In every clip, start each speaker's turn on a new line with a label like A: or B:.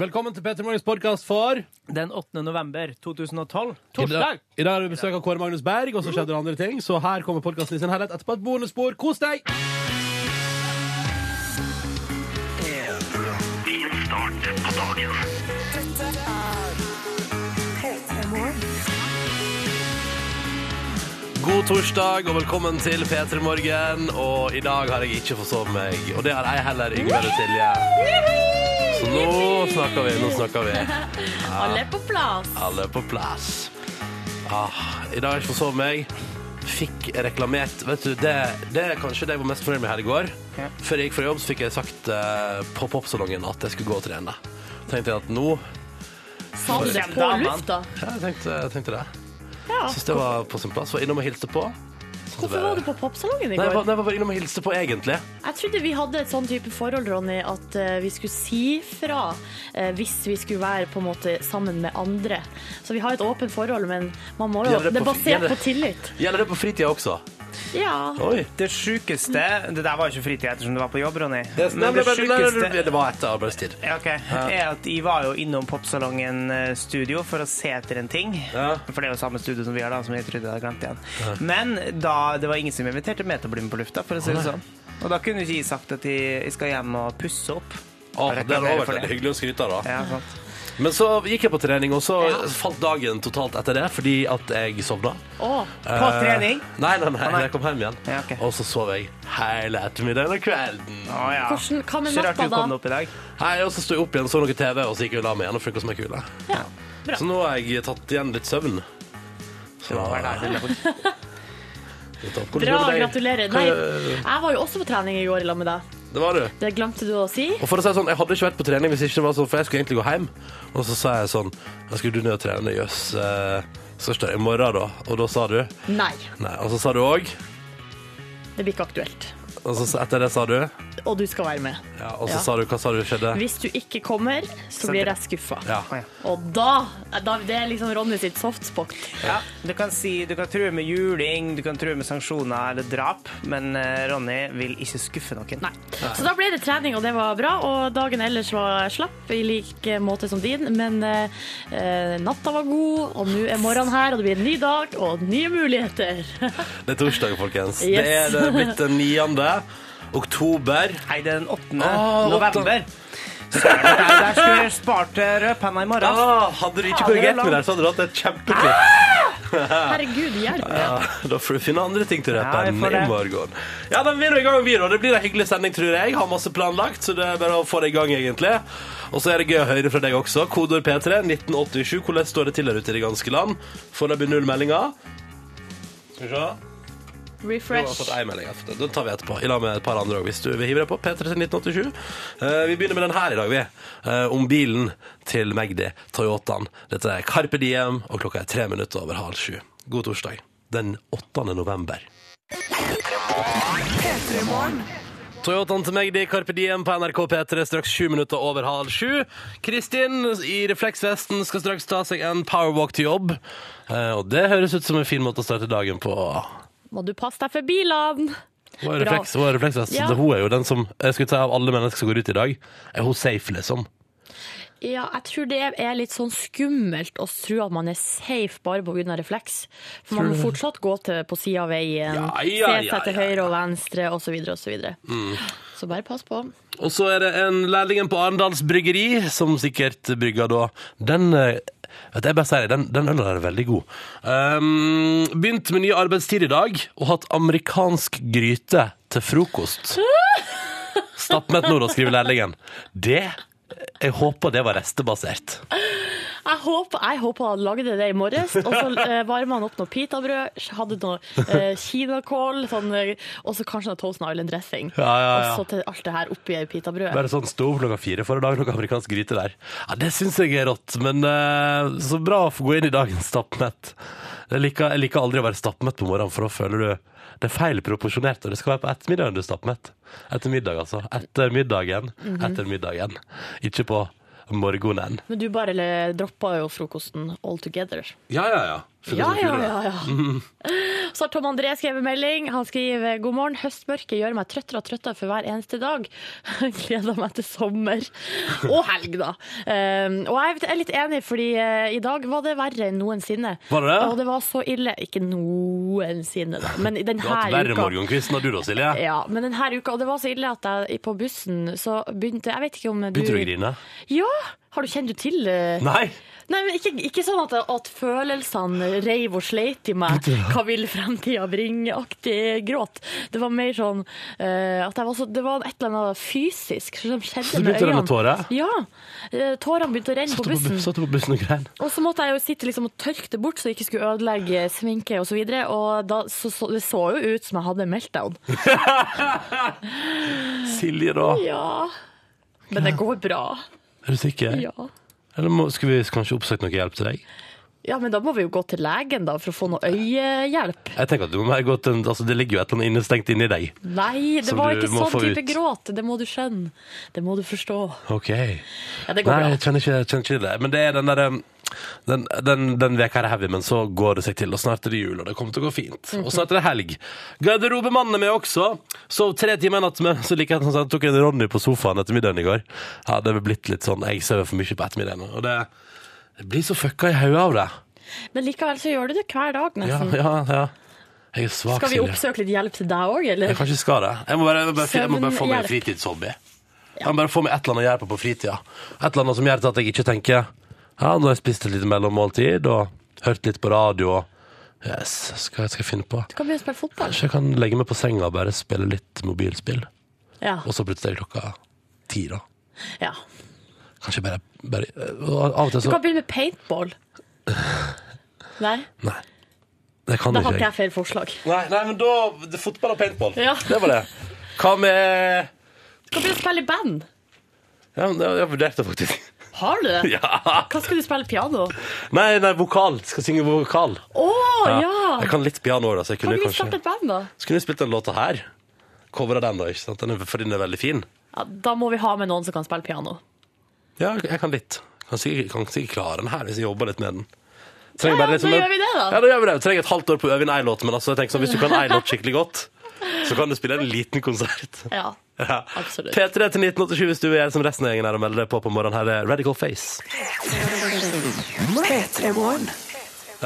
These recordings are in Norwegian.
A: Velkommen til Petter Morgens podkast for
B: Den 8. november
A: I
B: 2012.
A: dag
B: Torsdag!
A: i dag har vi besøk av Kåre Magnus Berg, og så skjedde det andre ting. Så her kommer podkasten i sin helhet etterpå et bonusspor. Kos deg! God torsdag og velkommen til P3 Morgen. Og i dag har jeg ikke forsovet meg. Og det har jeg heller, Yngve eller Silje. Så nå snakker vi. Nå snakker vi.
C: Alle er på plass.
A: Alle er på plass. Ah, I dag har jeg ikke forsovet meg. Fikk reklamert Vet du, det, det er kanskje det jeg var mest fornøyd med her i går.
B: Ja.
A: Før jeg gikk fra jobb, så fikk jeg sagt eh, på popsalongen at jeg skulle gå og trene. Tenkte jeg at nå
C: Sa du det
B: Kjem
C: på
B: damene.
C: lufta?
A: Ja, jeg tenkte, jeg tenkte det.
C: Ah, Ja.
A: Syns det var på sin plass. Var innom og hilste på. Så
C: Hvorfor var du på popsalongen i
A: Nei, jeg var,
C: går?
A: nei, jeg var bare innom og hilste på, egentlig.
C: Jeg trodde vi hadde et sånn type forhold, Ronny, at eh, vi skulle si fra eh, hvis vi skulle være på en måte sammen med andre. Så vi har et åpent forhold, men man må jo
A: Gjelder det på-
C: Det er basert
A: gjelder-
C: på tillit.
A: Gjelder det på fritida også?
C: Ja.
A: Oi.
B: Det sjukeste Det der var jo ikke fritid ettersom det var på jobb, Ronny.
A: Det, nei,
B: Men
A: men, men, nei,
B: det
A: nei,
B: sjukeste
A: nei, det var etter arbeidstid.
B: Ja, ok, er at jeg var jo innom popsalongen eh, studio for å se etter en ting.
A: Ja.
B: For det er jo samme studio som vi har da, som jeg trodde jeg hadde glemt igjen. Men da, det var ingen som inviterte meg til å bli med på lufta, for å si det sånn. Og da kunne ikke jeg sagt at jeg, jeg skal hjem og pusse opp.
A: Å,
B: Jeg
A: det hadde
B: reklamerer
A: vært
B: for det.
A: veldig hyggelig å skryte av, da.
B: Ja, sant.
A: Men så gikk jeg på trening, og så
C: Ja.
A: falt dagen totalt etter det fordi at jeg sovna.
C: Å,
A: Eh.
B: På trening?
A: Nei, nei, nei,
B: nei.
A: jeg kom hjem igjen.
B: Ja, ok.
A: Og så sov jeg hele ettermiddagen og kvelden.
B: Å ja.
C: hvordan, hva med
B: Så rart
C: natta,
B: du kom
C: da?
B: deg opp i dag.
A: Hei, og så sto jeg opp igjen, så noe TV, og så gikk jeg og la meg igjen og frykta som ei kule.
C: Ja. Bra.
A: Så nå har jeg tatt igjen litt søvn.
B: Det var
A: Ja.
B: deilig.
A: Litt opp. Hvordan
C: Bra,
A: går det med deg?
C: gratulerer. Nei, jeg var jo også på trening i går i lag med deg.
A: Det var du.
C: Det glemte du å si.
A: Og for å si det sånn, Jeg hadde ikke vært på trening hvis ikke det var sånn, for jeg skulle egentlig gå hjem. Og så sa jeg sånn Jeg skulle du ned og trene, jøss. eh, Skal ikke det i morgen, da? Og da sa du
C: Nei,
A: Nei. Og så sa du òg.
C: det blir ikke aktuelt.
A: Og så sa- etter det sa du
C: Og du skal være med.
A: Ja, og så
C: Ja.
A: sa du Hva sa du skjedde?
C: Hvis du ikke kommer, så blir jeg skuffa.
A: Ja.
B: Å, ja.
C: Og da, da Det er liksom Ronny sitt softspot.
B: Ja, du kan, si, du kan true med juling, du kan true med sanksjoner eller drap, men eh, Ronny vil ikke skuffe noen.
C: Nei. Så da ble det trening, og det var bra. Og dagen ellers var slapp, i like måte som din. Men eh, eh, natta var god, og nå er morgenen her, og det blir en ny dag og nye muligheter.
A: Det er torsdag, folkens.
C: Yes.
A: Det er det er blitt den 9. oktober.
B: Nei, det er den 8.
A: Å,
B: november. Så, nei, der skulle jeg spart eh, rødpenna i morgen.
A: Ah, hadde du ikke korrigert meg der, så hadde du hatt et kjempeklipp.
C: Herregud, hjelp.
A: Ja, da får du finne andre ting til
B: Ja, vi
A: rappen
B: får
A: i
B: det.
A: morgen. Ja, da blir vi i gang, vi, da. Det blir en hyggelig sending, tror jeg. Har masse planlagt, så det er bare å få det i gang, egentlig. Og så er det gøy å høre fra deg også. Kodord P3 1987. Hvordan står det til der ute i det ganske land? Foreløpig null meldinger. Skal vi se. Jo, jeg har fått
C: Refresh.
A: en melding, jeg har fått det. Den tar vi etterpå. I lag med et par andre òg, hvis du vil hive deg på. P3 til 1987. Eh, vi begynner med den her i dag, vi. Eh, om bilen til Magdi, Toyotaen. Dette er Carpe Diem, og klokka er tre minutter over halv sju. God torsdag den 8. november. Toyotaen til Magdi, Carpe Diem på NRK P3, straks sju minutter over halv sju. Kristin i refleksvesten skal straks ta seg en powerwalk til jobb. Eh, og det høres ut som en fin måte å starte dagen på.
C: Må du passe deg for bilene.
A: Hun er
C: Bra.
A: refleks, hun er refleksvest.
C: Ja.
A: Det- Hun er jo den som jeg skulle si, Av alle mennesker som går ut i dag, er hun safe, liksom.
C: Ja, jeg tror det er litt sånn skummelt å tro at man er safe bare pga. refleks. For man må fortsatt gå til, på sida av veien,
A: Ja, ja,
C: se
A: ja,
C: seg til
A: ja, Mm. ja.
C: høyre og venstre osv. Så, videre. så bare pass på.
A: Og så er det en lærlingen på Arendals Bryggeri som sikkert brygger da Den eh, vet du, jeg bare sier det, den, den ølen der er veldig god. Um, begynt med ny arbeidstid i dag og hatt amerikansk gryte til frokost. Stappmett nord og skriver lærlingen. Det Jeg håper det var restebasert.
C: Jeg håper, jeg håper han lagde det i morges, og så eh, varma han opp noe pitabrød, hadde noe eh, kinakål, sånn, eh, og så kanskje noe Toast Island dressing.
A: Ja, ja, ja.
C: Og så til alt det her oppi pitabrødet.
A: Bare sånn stå opp klokka fire for å lage noe amerikansk gryte der. Ja, Det syns jeg er rått, men eh, så bra å få gå inn i dagen stappmett. Jeg liker, jeg liker aldri å være stappmett på morgenen, for da føler du det er feil proporsjonert, og det skal være på ettermiddagen du er stappmett. Etter middag, altså. Etter middagen.
C: Mhm.
A: Etter middagen. Ikke på morgenen.
C: Men du bare eh, droppa jo frokosten all together.
A: Ja, ja, ja.
C: Ja, ja, ja. ja. Så har Tom André skrevet melding. Han skriver God morgen. Høstmørket gjør meg trøttere og trøttere for hver eneste dag. Gleder meg til sommer. Og helg, da. Um, og jeg er litt enig, fordi eh, i dag var det verre enn noensinne.
A: Var det det?
C: Og det var så ille. Ikke noensinne, da. Men i denne
A: Du har hatt verre
C: uka
A: morgenkvisten har du da, Silje.
C: ja, men denne uka, og det var så ille at jeg på bussen så begynte Jeg vet ikke om du
A: Begynte du å grine?
C: Ja! Har du kjent du til eh,
A: Nei!
C: Nei, men ikke, ikke sånn at, at følelsene reiv og sleit i meg. Hva vil fremtida bringe-aktig gråt. Det var mer sånn eh, at jeg var så, det var et eller annet fysisk som
A: Så
C: skjedde med øynene.
A: begynte det med tårer?
C: Ja. eh, Tårene begynte å renne
A: Satt
C: på
A: du på, bu-
C: bussen.
A: satt du på bussen og grein?
C: Og så måtte jeg jo sitte liksom og tørke det bort, så jeg ikke skulle ødelegge sminke og så videre. Og da, så, så, det så jo ut som jeg hadde meltdown.
A: Silje, da?
C: Ja. Men det går bra.
A: Er du sikker?
C: Ja.
A: Eller må, skal vi kanskje oppsøke noe hjelp til deg?
C: ja, men da må vi jo gå til legen da for å få noe øyehjelp.
A: Jeg tenker at du må være godt, altså Det ligger jo et eller annet innestengt inni deg.
C: Nei, det
A: Som
C: var
A: du
C: ikke
A: må
C: sånn
A: få
C: type
A: ut.
C: gråt. Det må du skjønne. Det må du forstå.
A: Ok.
C: Ja, det går
A: Nei, jeg
C: bra.
A: kjenner ikke, jeg kjenner ikke det. Men det er den derre den, den, den veka her er heavy, men så går det seg til, og snart er det jul, og det kommer til å gå fint. Og snart er det helg. Garderobemannen er med også. Sov tre timer i natt, men så liker jeg at han sa han tok en Ronny på sofaen etter middagen i går. Ja, det er vel blitt litt sånn, jeg sover for mye på ettermiddagen, og det, det blir så fucka i hodet av det.
C: Men likevel så gjør du det hver
A: Ja,
C: dag, nesten.
A: ja, ja. Jeg er svak,
C: Skal vi
A: Silje.
C: oppsøke litt hjelp til deg òg,
A: Jeg
C: eller?
A: kanskje skal det. Jeg må bare, jeg må bare, jeg må bare få meg en
C: Søvnhjelp.
A: fritidshobby. Jeg må bare få meg et eller annet å gjøre på på fritida. Et eller annet som gjør at jeg ikke tenker Ja, nå har jeg spist et lite mellommåltid og hørt litt på radio og Yes, skal, skal jeg finne på?
C: Du kan begynne å spille fotball.
A: Kanskje jeg kan legge meg på senga og bare spille litt mobilspill,
C: Ja.
A: og så plutselig er det klokka ti, da.
C: ja.
A: Kanskje jeg bare, bare øh, og Av og til
C: Du
A: så
C: kan begynne med paintball. Nei,
A: Nei. Det kan
C: da
A: ikke
C: hadde
A: jeg.
C: jeg feil forslag.
A: Nei, nei, men da det- Fotball og paintball.
C: Ja.
A: Det var det. Hva med
C: Du kan begynne å spille i band.
A: Ja, men jeg vurderte det faktisk.
C: Har du det?
A: Ja.
C: Hva skal du spille piano?
A: Nei, nei, vokal. Skal synge vokal.
C: Å, ja!
A: Jeg kan litt piano òg, da. Så jeg
C: Kan
A: kunne
C: vi starte
A: kanskje
C: et band, da?
A: Så kunne jeg spilt den låta her. Covera den, da. ikke sant? Den er, for den er veldig fin.
C: Ja, da må vi ha med noen som kan spille piano.
A: Ja, jeg kan litt. Kan sikkert, kan sikkert klare den her hvis jeg jobber litt med den.
C: Ja, ja, da gjør vi det, da.
A: sånn- Ja, da gjør vi det. Trenger et halvt år på å øve inn ei låt, men altså, jeg tenker sånn, hvis du kan ei låt skikkelig godt, så kan du spille en liten konsert.
C: Ja,
A: Ja.
C: Absolutt.
A: P3 til 1987 hvis du vil gjøre som resten av gjengen her og melde deg på på morgenen. Her er Radical Face.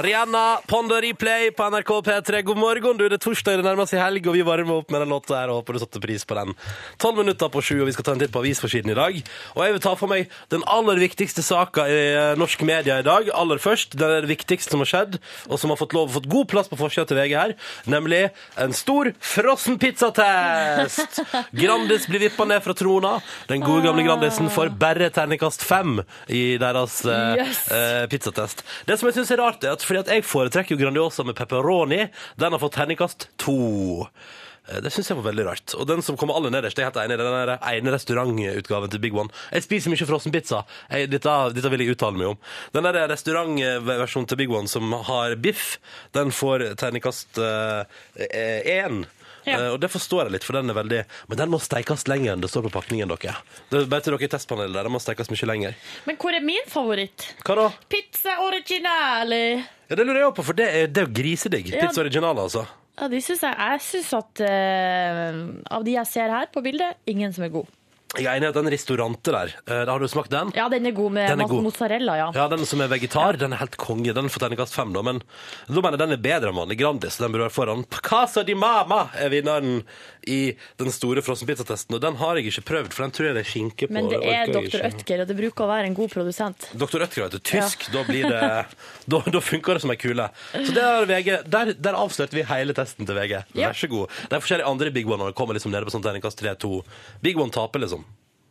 A: Rihanna, Pondo Replay på NRK P3. God morgen, du. Det er torsdag, det nærmer seg helg, og vi varmer opp med den låta her. og Håper du satte pris på den. Tolv minutter på sju, og vi skal ta en titt på avisforsiden i dag. Og jeg vil ta for meg den aller viktigste saka i eh, norsk media i dag. Aller først, den er det viktigste som har skjedd, og som har fått lov fått god plass på forsida til VG her, nemlig en stor frossenpizzatest! Grandis blir vippa ned fra trona. Den gode gamle Grandisen får bare terningkast fem i deres eh,
C: Yes.
A: eh, eh, pizzatest. Det som jeg synes er rart, er at fordi at jeg foretrekker jo Grandiosa med pepperoni. Den har fått terningkast to. Eh, Det synes jeg var veldig rart. Og den som kommer aller nederst, jeg er helt enig i, det er den der ene restaurantutgaven til Big One. Jeg spiser mye frossenpizza. Jeg- Dette, dette vil jeg uttale meg om. Den der restaurantversjonen til Big One som har biff, den får terningkast eh, eh, én.
C: Ja.
A: Eh, og det forstår jeg litt, for den er veldig Men den må steikes lenger enn det står på pakningen, dere. Det er bare til dere i testpanelet der. Den må steikes mye lenger.
C: Men hvor er min favoritt?
A: Hva da?
C: Pizza originale!
A: Ja, Det lurer jeg også på, for det er, det er jo grisedigg.
C: Ja.
A: Pizza original, altså.
C: Ja, de synes jeg, jeg syns at eh, av de jeg ser her på bildet, ingen som er god.
A: Jeg er enig i at den restaurante der, eh, da har du smakt den?
C: Ja, den er god med
A: Den er
C: mas-
A: god.
C: mozzarella, ja.
A: Ja, den som er vegetar, den er helt konge. Den får terningkast fem, da. Men da mener jeg den er bedre enn vanlig Grandis. så Den burde være foran. Casa di Mama er vinneren i den store frossenpizzatesten. Og den har jeg ikke prøvd, for den tror jeg det er skinke på.
C: Men det er
A: orker jeg
C: Dr.
A: ikke.
C: Ødker, og det bruker å være en god produsent.
A: Dr. Ødker, vet du. Tysk. Da, blir det, da, da funker det som ei kule. Så det er VG, der, der avslørte vi hele testen til VG.
C: Ja.
A: Vær så god. Det er forskjellige andre Big One-er kommer liksom nede på sånn terningkast 3-2. Big One taper, liksom.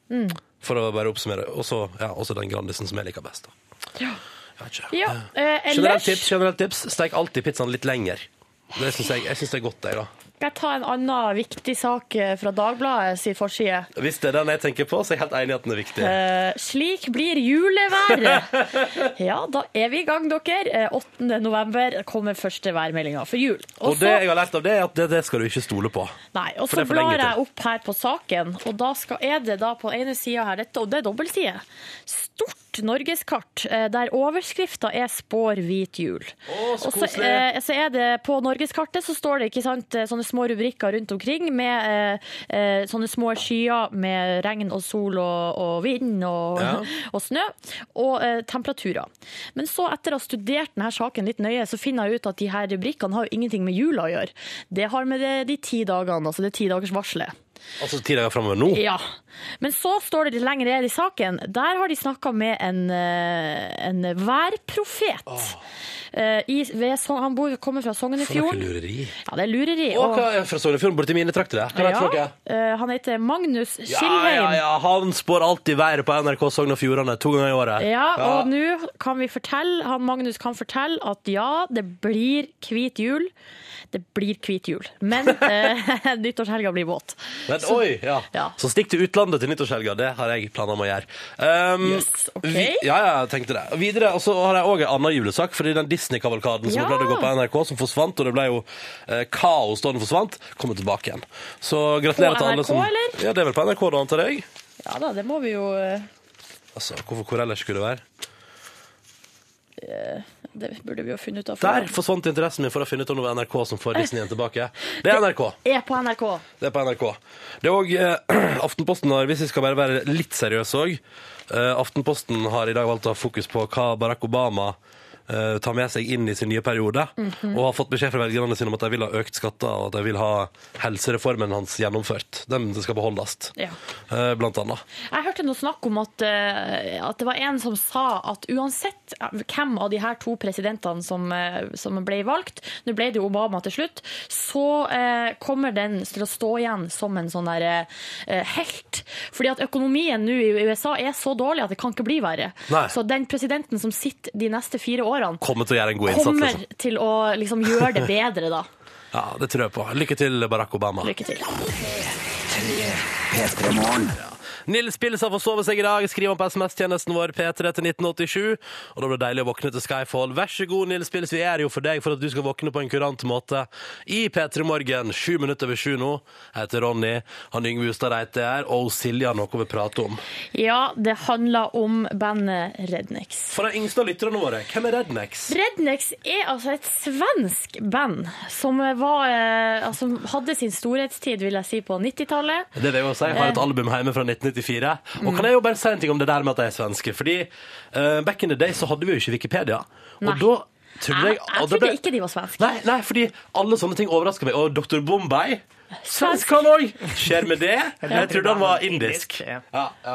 C: Mm.
A: For å bare oppsummere. Og så ja, også den Grandisen som jeg liker best. Da. Jeg vet ikke.
C: Ja, eh,
A: Generelt
C: ellers
A: tips, generelt tips. Steik alltid pizzaen litt lenger. Det synes jeg, jeg synes det er godt, jeg, da.
C: skal jeg ta en annen viktig sak eh, fra Dagbladet sin forside.
A: Hvis det er den jeg tenker på, så er jeg helt enig i at den er viktig.
C: Eh, slik blir juleværet. Ja, da er vi i gang, dere. Eh, 8. november kommer første værmeldinga for jul.
A: Og det
C: så-
A: jeg har lært av det, er at det, det skal du ikke stole på.
C: Nei, og
A: For
C: så
A: det er for lenge
C: blar jeg
A: til.
C: opp her på saken, og da skal, er det da på ene sida her dette, og det er dobbeltside. Stort stort norgeskart eh, der overskrifta er 'Spår hvit jul'.
A: Å, så
C: Og så,
A: koselig.
C: eh, så er det På norgeskartet så står det ikke sant, eh, sånne små rubrikker rundt omkring med eh, eh, sånne små skyer med regn og sol og, og vind og,
A: Ja.
C: og snø, og eh, temperaturer. Men så, etter å ha studert denne saken litt nøye, så finner jeg ut at de her rubrikkene har jo ingenting med jula å gjøre. Det har med de, de ti dagene, altså det ti dagers varselet.
A: Altså ti dager framover nå?
C: Ja. Men så står det litt lenger ned i saken. Der har de snakka med en, eh, en værprofet. Eh, I, ved, Sogn- han bor, kommer fra Sogn i
A: For noe
C: fjorden.
A: lureri.
C: Ja, det er lureri.
A: Å, hva er fra Sognefjorden borti mine trakter der? Hva er det for
C: ja,
A: noe?
C: eh, han heter Magnus
A: Ja,
C: Skilheim.
A: ja, ja, han spår alltid været på NRK Sogn og Fjordane to ganger i året.
C: Ja, og nå kan vi fortelle, han Magnus kan fortelle at ja, det blir hvit jul. Det blir hvit jul. Men eh, nyttårshelga blir våt.
A: Men, oi, ja.
C: Ja.
A: Så stikk til utlandet til nyttårshelga. Det har jeg planer om å gjøre. Um,
C: Yes, ok.
A: ja, ja, jeg tenkte det. Videre og så har jeg òg en annen julesak. Fordi den Disney-kavalkaden som
C: Ja.
A: pleide å gå på NRK, som forsvant, og det ble jo eh, kaos da den forsvant, kommer tilbake igjen. Så gratulerer
C: På
A: til alle
C: NRK,
A: som
C: eller?
A: Ja, det er vel på NRK, da, antar jeg.
C: Ja da, det må vi jo eh,
A: Altså, hvorfor, hvor ellers skulle det være?
C: Det burde vi jo funnet ut av.
A: Der forsvant interessen min for å finne ut om det var NRK som får Disney igjen tilbake. Det er NRK.
C: Er på NRK.
A: Det er på NRK. Det er òg eh, Aftenposten har, hvis vi skal bare være litt seriøse òg eh, Aftenposten har i dag valgt å ha fokus på hva Barack Obama eh, tar med seg inn i sin nye periode.
C: Mhm.
A: Og har fått beskjed fra velgerne sine om at de vil ha økt skatter, og at de vil ha helsereformen hans gjennomført. Den skal beholdes,
C: Ja.
A: eh, blant annet.
C: Jeg hørte noe snakk om at, eh, at det var en som sa at uansett hvem av de her to presidentene som, eh, som ble valgt, nå ble det jo Obama til slutt, så eh, kommer den til å stå igjen som en sånn der eh, helt. Fordi at økonomien nå i USA er så dårlig at det kan ikke bli verre.
A: Nei.
C: Så den presidenten som sitter de neste fire årene,
A: Kommer til å gjøre en god innsats.
C: kommer
A: Liksom.
C: til å liksom gjøre det bedre da.
A: Ja, det tror jeg på. Lykke til, Barack Obama.
C: Lykke til.
A: Nils Pils har forsovet seg i dag. Skriv om på SMS-tjenesten vår P3 til 1987. Og da blir det deilig å våkne til Skyfall. Vær så god, Nils Pils. Vi er jo for deg for at du skal våkne på en kurant måte i P3 Morgen. Sju minutter over sju nå. Jeg heter Ronny. Han Yngve Hustad Reite er her. Og Silje har noe vi prater om.
C: Ja, det handler om bandet Rednecks.
A: For de yngste av lytterne våre, hvem er Rednex?
C: Rednex er altså et svensk band som, var, eh, altså, hadde sin storhetstid vil jeg si, på 90-tallet.
A: Det er det jeg må si. Jeg
C: Eh.
A: har et album hjemme fra 1994.
C: Mm.
A: Og kan jeg jo bare si en ting om det der med at de er svenske? Fordi eh, back in the day så hadde vi jo ikke Wikipedia. Og
C: Nei.
A: da
C: Jeg,
A: trodde jeg,
C: jeg
A: og det
C: trodde
A: ble-
C: ikke de var svenske.
A: Nei, nei, fordi alle sånne ting overrasker meg. Og Dr. Bombay Svensk han òg! Skjer med det? Jeg trodde han var indisk.
B: Ja.
A: Ja, ja.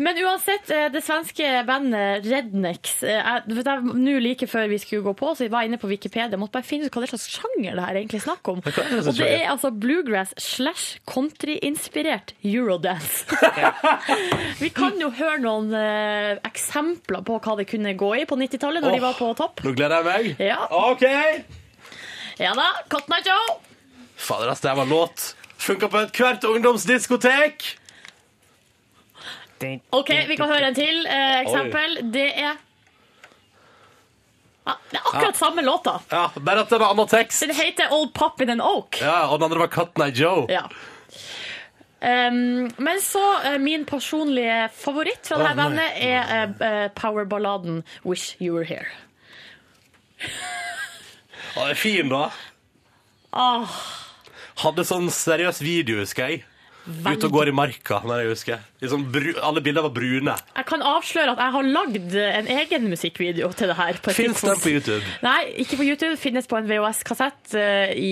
C: Men uansett, eh, det svenske bandet Rednex eh, jeg- du vet, jeg- Nå like før vi skulle gå på, så var jeg inne på Wikipedia. Måtte bare finne ut hva det er slags sjanger det her egentlig er snakk om. Og
A: hva er det som
C: det er altså bluegrass slash countryinspirert eurodance. vi kan jo høre noen eh, eksempler på hva det kunne gå i på 90-tallet, når de var på topp.
A: Nå gleder jeg meg.
C: Ja.
A: OK!
C: Ja da, Cotton Eye Joe!
A: Fader, ass, det her var låt. Funka på ethvert ungdomsdiskotek.
C: OK, vi kan høre en til eh, eksempel. Det er ja, Det er akkurat samme låta.
A: Ja, Bare at det var annen tekst.
C: Den heter Old Pop in an Oak.
A: Ja, Og den andre var Cotton Eye Joe.
C: Ja. Um, men så eh, min personlige favoritt fra dette
A: nei.
C: bandet er eh, eh, powerballaden 'Wish You Were Here'.
A: Ja, det er fin, da.
C: Åh,
A: Hadde sånn seriøs video, husker jeg. Ute og går i marka. Når jeg husker liksom, bru, Alle bilder var brune.
C: jeg kan avsløre at jeg har lagd en egen musikkvideo til det her. på et
A: Fins den
C: tidspunkt.
A: på YouTube?
C: Nei, ikke på YouTube. Finnes på en VHS-kassett eh, i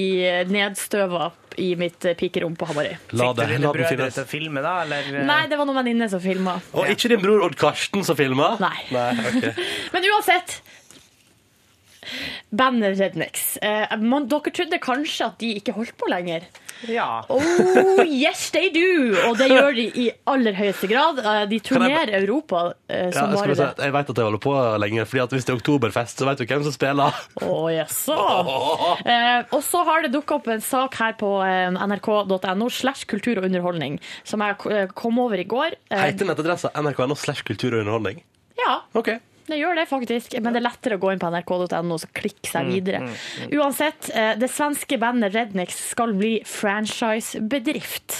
C: nedstøva i mitt eh, pikerom på Hamarøy.
A: La
B: Fikk du
A: det, la
B: dine
A: den
B: brødre
A: finnes.
B: til å filme, da? Eller? eh,
C: Nei, det var noen venninner som filma.
A: Og ikke din bror Odd Karsten som filma?
C: Nei.
A: Nei ok.
C: Men uansett Bandet Rednex. Eh, man, dere trodde kanskje at de ikke holdt på lenger.
B: Ja.
C: Oh, yes they do! Og det gjør de i aller høyeste grad. Eh, de turnerer Europa
A: Ja,
C: eh, som
A: jeg,
C: bare
A: skulle si,
C: det.
A: at jeg vet at jeg holder på lenger, fordi at hvis det er oktoberfest, så vet du hvem som spiller.
C: Å, jaså. Eh, og så har det dukka opp en sak her på eh, nrk.no slash kultur og underholdning som jeg eh, kom over i går. Eh,
A: Heter nettadressa nrk.no slash kultur og underholdning?
C: ja,
A: Ok.
C: det gjør det faktisk. Men det er lettere å gå inn på nrk.no og så klikke
A: Mm,
C: seg videre. Uansett, eh, det svenske bandet Rednex skal bli franchisebedrift.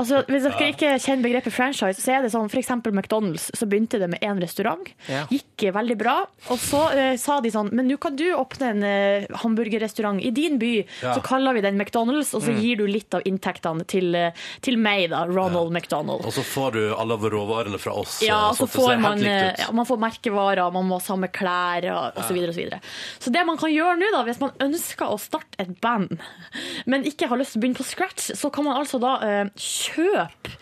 C: Altså, hvis dere ikke kjenner begrepet franchise, så er det sånn f.eks. McDonald's. Så begynte det med én restaurant,
B: Ja.
C: gikk veldig bra. Og så eh, sa de sånn Men nå kan du åpne en eh, hamburgerrestaurant i din by.
A: Ja. Mm.
C: Så kaller vi den McDonald's, og så gir du litt av inntektene til, eh, til meg, da. Ronald McDonald.
A: Og så får du alle råvarene fra oss.
C: Ja,
A: eh,
C: og
A: sånn at det
C: så
A: ser
C: får
A: helt
C: man, eh,
A: likt ut.
C: ja, man får merkevarer, man må ha samme klær og osv. Så, videre, og så, videre. så det man kan gjøre nå, da, hvis man ønsker å starte et band, men ikke har lyst til å begynne på scratch, så kan man altså da eh, kjøpe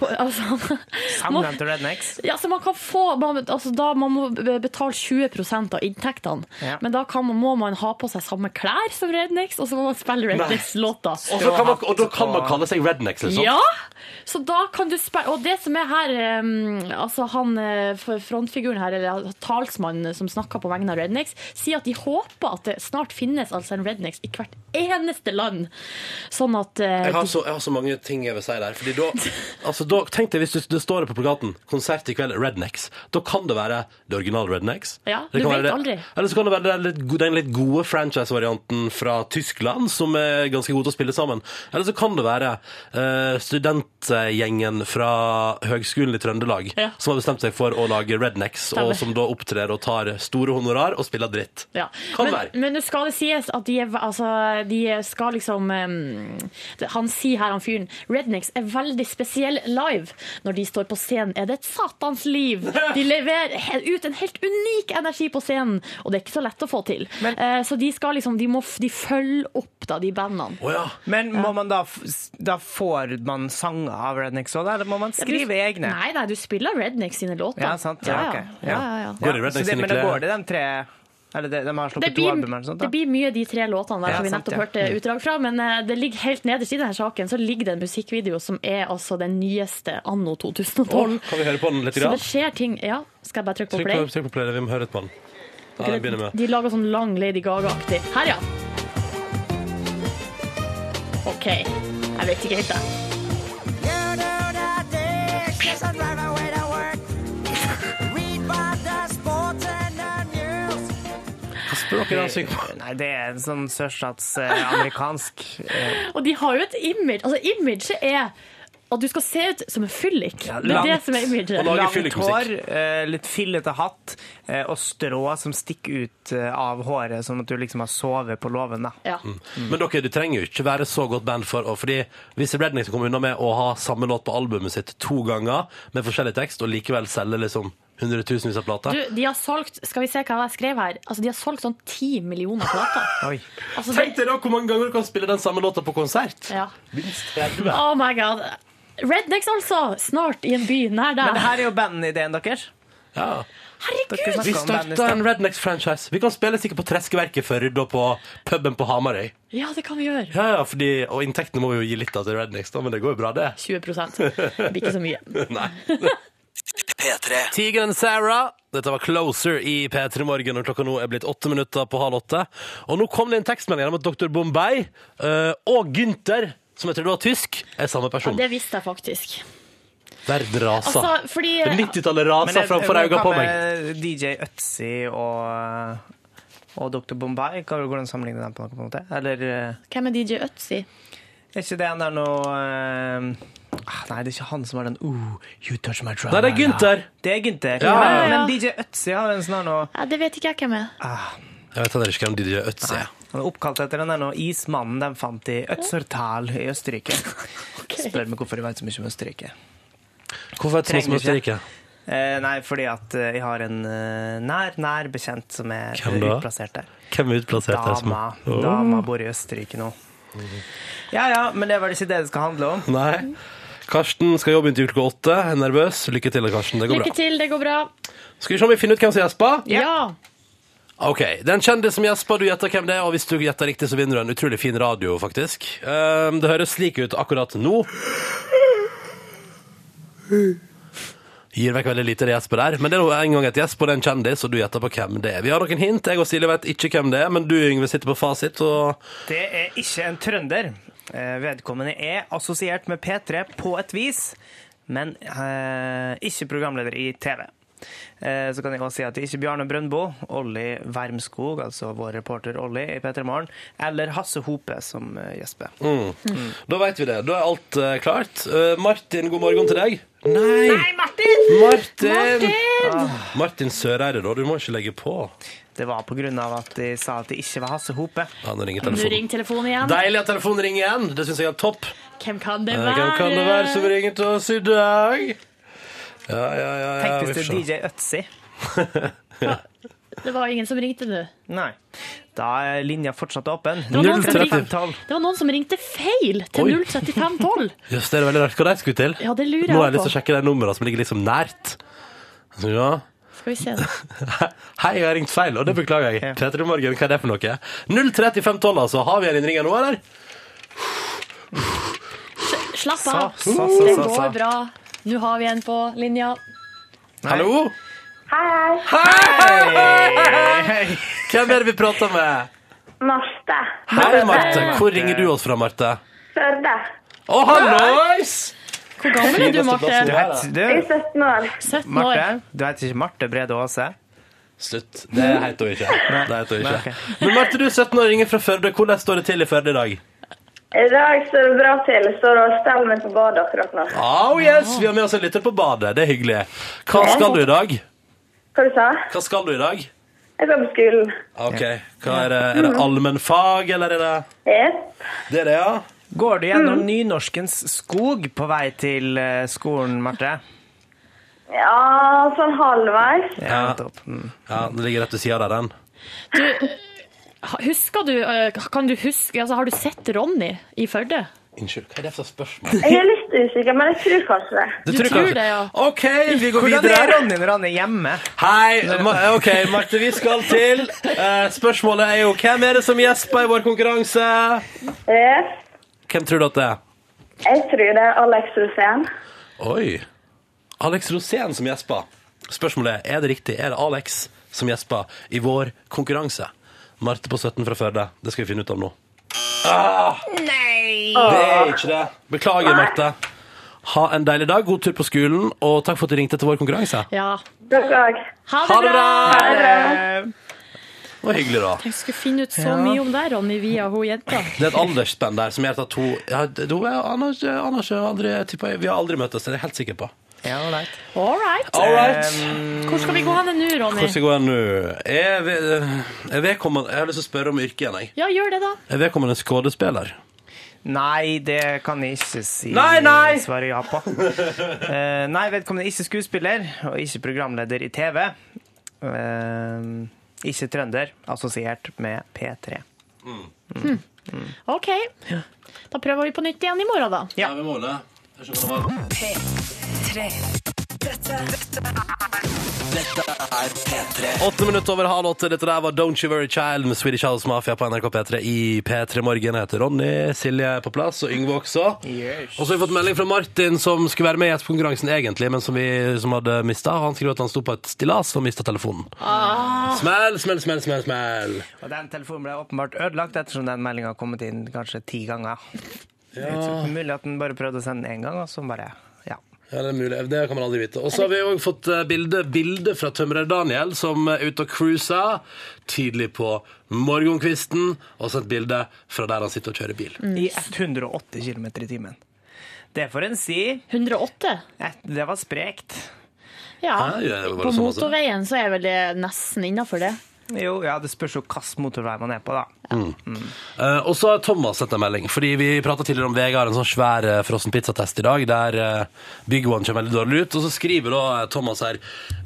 C: på, altså, man,
B: Sangene til Rednecks.
C: ja, så man kan få man, altså, da, man må be- betale 20 av inntektene,
B: Ja.
C: men da kan man, må man ha på seg samme klær som Rednecks, og så må man spille Rednecks-låter.
A: Og, så kan man, og da kan man kalle seg rednecks, liksom.
C: Ja! Så da kan du spørre Og det som er her um, Altså han eh, for- frontfiguren her, eller altså, talsmannen som snakker på vegne av Rednecks, sier at de håper at det snart finnes altså en Rednecks i hvert eneste land. Sånn at eh,
A: Jeg har, så, jeg har så mange ting jeg vil si der. Fordi da, altså da Tenk deg hvis det, det står på plakaten 'Konsert i kveld, Rednecks'. Da kan det være det originale Rednecks.
C: Ja,
A: Det
C: du
A: kan
C: vet
A: være det-
C: aldri.
A: Eller så kan det være den litt, go- den litt gode franchise-varianten fra Tyskland, som er ganske god til å spille sammen. Eller så kan det være eh, studentgjengen fra Høgskolen i Trøndelag
C: Ja.
A: som har bestemt seg for å lage Rednecks,
C: Stemmer.
A: og som da opptrer og tar store honorar og spiller dritt.
C: Ja.
A: Kan
C: men,
A: være.
C: men nå skal det sies at de, er, altså, de skal liksom um, Han sier her, han fyren, Rednecks er veldig spesiell live. Når de står på scenen, er det et satans liv. De leverer he- ut en helt unik energi på scenen, og det er ikke så lett å få til. Eh, så de skal liksom De, må, f- de følger opp da, de bandene.
A: Å ja.
B: Men må man da, f- s- da får man sanger av Rednecks òg, eller må man skrive egne?
C: Nei, nei, du spiller Rednecks sine låter.
B: Ja, sant.
C: Ja,
B: Ja,
C: ja.
B: ok. Ja.
C: ja, ja, ja.
A: Går det i Rednecks
B: så det,
A: sine
B: men da
A: klær?
B: går det de tre Eller de, de har
C: Det
B: sluppet to
C: blir,
B: album eller sånt?
C: det
B: Da.
C: blir mye de tre låtene der
B: Ja,
C: som vi
B: sant,
C: nettopp
B: ja. Mm.
C: hørte utdrag fra, men eh, det ligger helt nederst i denne saken så ligger det en musikkvideo som er altså den nyeste anno 2012.
A: Å, kan vi høre på den litt?
C: så
A: Grann?
C: det skjer ting Ja, skal jeg bare trykke på
A: Trykk på,
C: play?
A: trykk på play, vi må høre et på den. Ja, den begynner med.
C: De lager sånn lang Lady Gaga-aktig. Her, ja. OK. Jeg vet ikke helt, jeg.
A: Hva spør dere han synger på?
B: Nei, det er en sånn eh, sørstatsamerikansk
C: Og de har jo et image. Altså, imaget er at du skal se ut som en fyllik.
B: Ja,
C: det er det
B: langt.
C: som er
A: Og
C: imaget.
A: lager
B: Langt
A: fyllikmusikk.
B: hår, eh, litt fillete hatt eh, og strå som stikker ut eh, av håret, sånn at du liksom har sovet på låven. da.
C: Ja.
A: Men dere, du trenger jo ikke være så godt band for å Fordi hvis Rednecks kommer unna med å ha samme låt på albumet sitt to ganger med forskjellig tekst, og likevel selge liksom hundretusenvis av plater
C: Du, de har solgt Skal vi se hva jeg skrev her? Altså, de har solgt sånn ti millioner plater.
B: Oi.
C: Altså,
A: Tenk
C: det,
A: deg da hvor mange ganger du kan spille den samme låta på konsert!
C: ja.
A: Minst 30.
C: Oh my god. Rednecks, altså! Snart i en by nær
B: Men
C: deg.
B: det her er jo bandideen deres.
A: Ja.
B: Dere
A: Vi
B: snakker
C: Herregud!
B: om band i
A: starter
B: sted.
A: en Rednecks-franchise. Vi kan spille sikkert på Treskeverket for Rydda på puben på Hamarøy.
C: Ja, det kan vi gjøre.
A: Ja, ja, fordi, Og inntektene må vi jo gi litt av til Rednecks, da, men det går jo bra, det.
C: 20 Det blir ikke så mye.
A: Nei. Tegan Sarah. Dette var Closer i P3 Morgen, og klokka nå er blitt åtte minutter på halv åtte. Og nå kom det en tekstmelding om at Dr. Bombay eh, og Gunther, som jeg trodde var tysk, er samme
C: Ja,
A: person.
C: det visste jeg faktisk.
A: Verden raser.
C: Altså, fordi
A: Det er 90-tallet raser framfor øynene på meg.
B: DJ Øtzi og, og Dr. Bombay, hva går det an å sammenligne dem på noen måte? Eller eh,
C: Hvem er DJ Øtzi?
B: er ikke det han der noe eh, ah, Nei, det er ikke han som har den uh, You touch my drama.
A: Nei, det er Gunther.
B: Det er Gunther.
A: Ja,
B: men,
A: ja,
C: ja.
B: men DJ Øtzi har en sånn her noe
C: Ja, det vet ikke jeg hvem
A: Ah,
C: er.
A: Jeg vet heller ikke hvem DJ Øtz er.
B: Han er oppkalt etter den der nå ismannen de fant i Øtzertal i Østerrike. Spør meg hvorfor jeg vet så mye om Østerrike.
A: Hvorfor vet du sånn som
B: Trenger
A: Østerrike?
B: Eh, nei, fordi at eh, jeg har en eh, nær, nær bekjent som er
A: Hvem da?
B: utplassert der.
A: Hvem er utplassert der? som-
B: Dama.
A: Åh. Mm.
B: Dama bor i Østerrike nå. Ja ja, men det er vel ikke det det skal handle om.
A: Nei. Karsten skal jobbe inntil klokka åtte. Er Nervøs. Lykke til, Karsten. Det går
C: Lykke
A: bra.
C: til, det går bra.
A: Skal vi se om vi finner ut hvem som gjesper?
C: Ja.
A: Ok, det er en kjendis som gjesper, du gjetter hvem det er, og hvis du gjetter riktig så vinner du en utrolig fin radio, faktisk. Ehm, det høres slik ut akkurat nå. Gir vekk veldig lite det gjesper der, men det er nå en gang et gjesp, og det er en kjendis, og du gjetter på hvem det er. Vi har noen hint, jeg og Silje vet ikke hvem det er, men du, Yngve, sitter på fasit, og
B: Det er ikke en trønder. Eh, vedkommende er assosiert med P3 på et vis, men eh, ikke programleder i TV. Eh, Så kan jeg også si at ikke Bjarne Brøndbo, Olli Wermskog, altså vår reporter Olli i P3 Morgen, eller Hasse Hope som eh, gjesper.
A: Mm. Da veit vi det. Da er alt eh, klart. Eh, Martin, god morgen til deg. Nei!
C: Martin!
A: Martin!
C: Martin!
A: Martin Søreide, da. Du må ikke legge på.
B: Det var pga. at de sa at det ikke var Hasse Hope.
A: Ja, nå ringer
C: Du
A: telefonen.
C: ringer telefonen igjen.
A: Deilig at telefonen ringer igjen. Det syns jeg er topp.
C: Hvem kan det
A: Eh,
C: være?
A: Hvem kan det være som ringer til oss i dag? Ja, ja, ja. ja
B: Tenktes
A: vi
B: det
A: får se.
B: DJ Øtzi?
C: Det var ingen som ringte nå.
B: Nei. Da er linja fortsatt åpen.
C: var noen som
B: 03512.
C: Det var noen som ringte feil til
A: Oi.
C: 03512.
A: Jøss, det er veldig rart hva de skulle til.
C: Ja, det lurer
A: Nå har jeg
C: jeg
A: lyst til å
C: på.
A: sjekke de numrene som ligger liksom nært. Så, Ja.
C: Skal vi se.
A: Hei, jeg har ringt feil, og det beklager jeg.
B: Ja.
A: Petter i morgen, hva er det for noe? 03512, altså. Har vi en innringer nå, eller?
C: Slapp
B: Sa,
C: av.
B: sa,
C: Det
B: sa, sa, sa.
C: går bra. Nå har vi en på linja.
B: Nei.
A: Hallo?
D: Hei,
B: Hei.
A: Hvem er det vi prater med?
D: Marte.
A: Hei, Marte. Hvor ringer du oss fra, Marte?
D: Førde.
A: Å, hallois!
C: Hvor gammel er du,
B: Du
C: Marte?
B: het,
D: Jeg
B: du,
D: er 17 år.
C: 17 år.
B: Marte, du heter ikke Marte Brede Aase?
A: Slutt. Det heter hun ikke. Det heter hun
B: Nei,
A: ikke. Men Marte, du er 17 år, ringer fra Førde. Hvordan står det til i Førde i dag?
D: I dag står det bra til. Jeg står og steller meg på badet akkurat nå.
A: Oh yes, vi har med oss en lytter på badet. Det er hyggelig. Hva skal du i dag?
D: Hva du sa
A: Hva skal du i dag?
D: Jeg skal på skolen.
A: Ok, hva er det? Er det allmennfag, eller er det
D: Yes.
A: Det er det, ja.
B: Går du gjennom nynorskens skog på vei til eh, skolen, Marte?
D: Ja, sånn halvveis.
A: Ja.
B: nettopp. Mm.
A: Ja, Den ligger rett ved sida der, den.
C: Husker du, eh, kan du huske, altså Har du sett Ronny i Førde?
A: Unnskyld, hva er det for spørsmål?
D: Jeg er litt usikker, men jeg tror kanskje det.
A: Du
C: tror
A: kanskje-
C: det, ja.
A: OK, vi går
B: Hvordan er
A: videre.
B: Ronny når han er hjemme?
A: Hei, Ma- OK, Marte, vi skal til eh, Spørsmålet er jo hvem er det som gjesper i vår konkurranse?
D: Yes.
A: Hvem tror du at det er?
D: Jeg tror det er Alex Rosén.
A: Oi. Alex Rosén som gjesper. Spørsmålet er er det riktig. Er det Alex som gjesper i vår konkurranse? Marte på 17 fra Førde. Det skal vi finne ut av nå. Ah, det er ikke det. Beklager, Marte. Ha en deilig dag, god tur på skolen, og takk for at du ringte til vår konkurranse.
C: Ja.
D: Dere òg.
C: Ha
A: Ha
C: det
A: det
C: bra!
A: bra!
B: Eh,
A: Det var hyggelig, da.
C: Jeg skulle finne ut så mye om deg, Ronny, via hun jenta.
A: Det er et aldersspenn der som gjør at hun ja, hun er- han har ikke- han har ikke aldri- tippa- Vi har aldri møttes, det er jeg helt sikker på.
B: Ja, ålreit.
C: All right.
A: All right.
C: Hvor skal vi gå hen nå, Ronny?
A: Hvordan skal det gå nå? Er ved- er vedkommende Jeg har lyst til å spørre om yrket igjen, jeg.
C: Ja, gjør det, da.
A: Er vedkommende skuespiller?
B: Nei, det kan jeg ikke si
A: Nei, nei!
B: svare ja på. Eh, nei, vedkommende er ikke skuespiller, og ikke programleder i TV. Eh, ikke trønder, assosiert med P3.
C: OK. Da prøver vi på nytt igjen i morgen, da.
B: Ja,
A: vi må det. Åtte minutter over halv åtte. Dette der var Don't You Worry Child med Swedish House Mafia på NRK P3 i P3 Morgen. Jeg heter Ronny, Silje er på plass, og Yngve også.
B: Yes.
A: Og så har vi fått melding fra Martin, som skulle være med i gjestekonkurransen egentlig, men som, vi, som hadde mista. Han skriver at han sto på et stillas og mista telefonen.
B: Ah.
A: Smell, smell, smell, smell, smell.
B: Og den telefonen ble åpenbart ødelagt ettersom den meldinga har kommet inn kanskje ti ganger. Det er ikke Mulig at den bare prøvde å sende den én gang, og så bare Ja.
A: Ja, det er mulig. Det kan man aldri vite. Og så har vi òg fått eh, bilde, bilde fra tømrer Daniel, som er ute og cruiser tidlig på morgenkvisten. Og så et bilde fra der han sitter og kjører bil.
B: I 180 km i timen. Det får en si.
C: 108?
B: Et- Det var sprekt.
C: Ja.
A: Hæ? Ja, det var
C: På
A: sånn, altså.
C: motorveien så er vel det nesten innafor det.
B: Jo, ja, det spørs jo hvilken motorvei man er på, da.
A: Eh, og så har Thomas sendt en melding, fordi vi prata tidligere om Vegard, en sånn svær eh, frossen pizzatest i dag, der eh, Big One kommer veldig dårlig ut. Og så skriver da eh, Thomas her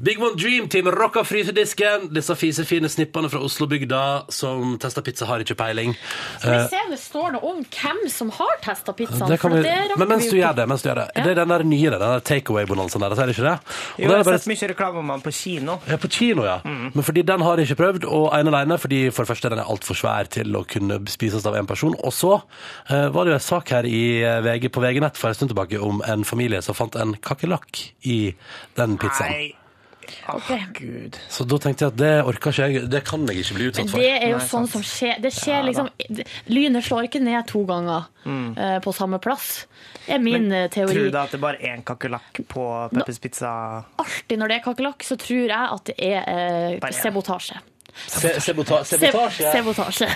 A: Big One Dream Team rocka frysedisken. Disse fisefine snippene fra Oslo-bygda som tester pizza, har ikke peiling.
C: Skal vi se om det står noe om hvem som har testa pizzaen?
A: Eh, Det kan
C: for
A: vi,
C: det rakk
A: men mens
C: vi
A: du
C: jo
A: gjør
C: ikke.
A: det, mens du gjør det Det er den der nye, den der takeaway-bonansen der, ser du ikke det? Og
B: Jo,
A: den
B: jeg
A: er
B: har
A: bare
B: sett mye Mm. reklame om han på kino.
A: ja, på kino, ja. Men fordi den har jeg ikke prøvd, og ene alene fordi for det første den er altfor svær til å kunne spises av en person. Og så eh, var det jo en sak her i eh, VG på VG Nett for en stund tilbake om en familie som fant en kakerlakk i den pizzaen.
B: Nei,
C: Ok.
B: Gud.
A: Så da tenkte jeg at det orker ikke jeg. Det kan jeg ikke bli
C: Men
A: utsatt for.
C: det er jo
B: Nei,
C: sånn
B: sant.
C: som skjer. Det skjer liksom Lynet slår ikke ned to ganger eh, på samme plass, er min eh, teori.
B: Mm. Tror du da at det er bare én kakerlakk på Peppers Pizza?
C: Alltid når det er kakerlakk, så tror jeg at det er eh,
B: Bare en.
C: sabotasje.
A: Se, sebota
C: Se-
A: sabotasje.
C: Sabotasje.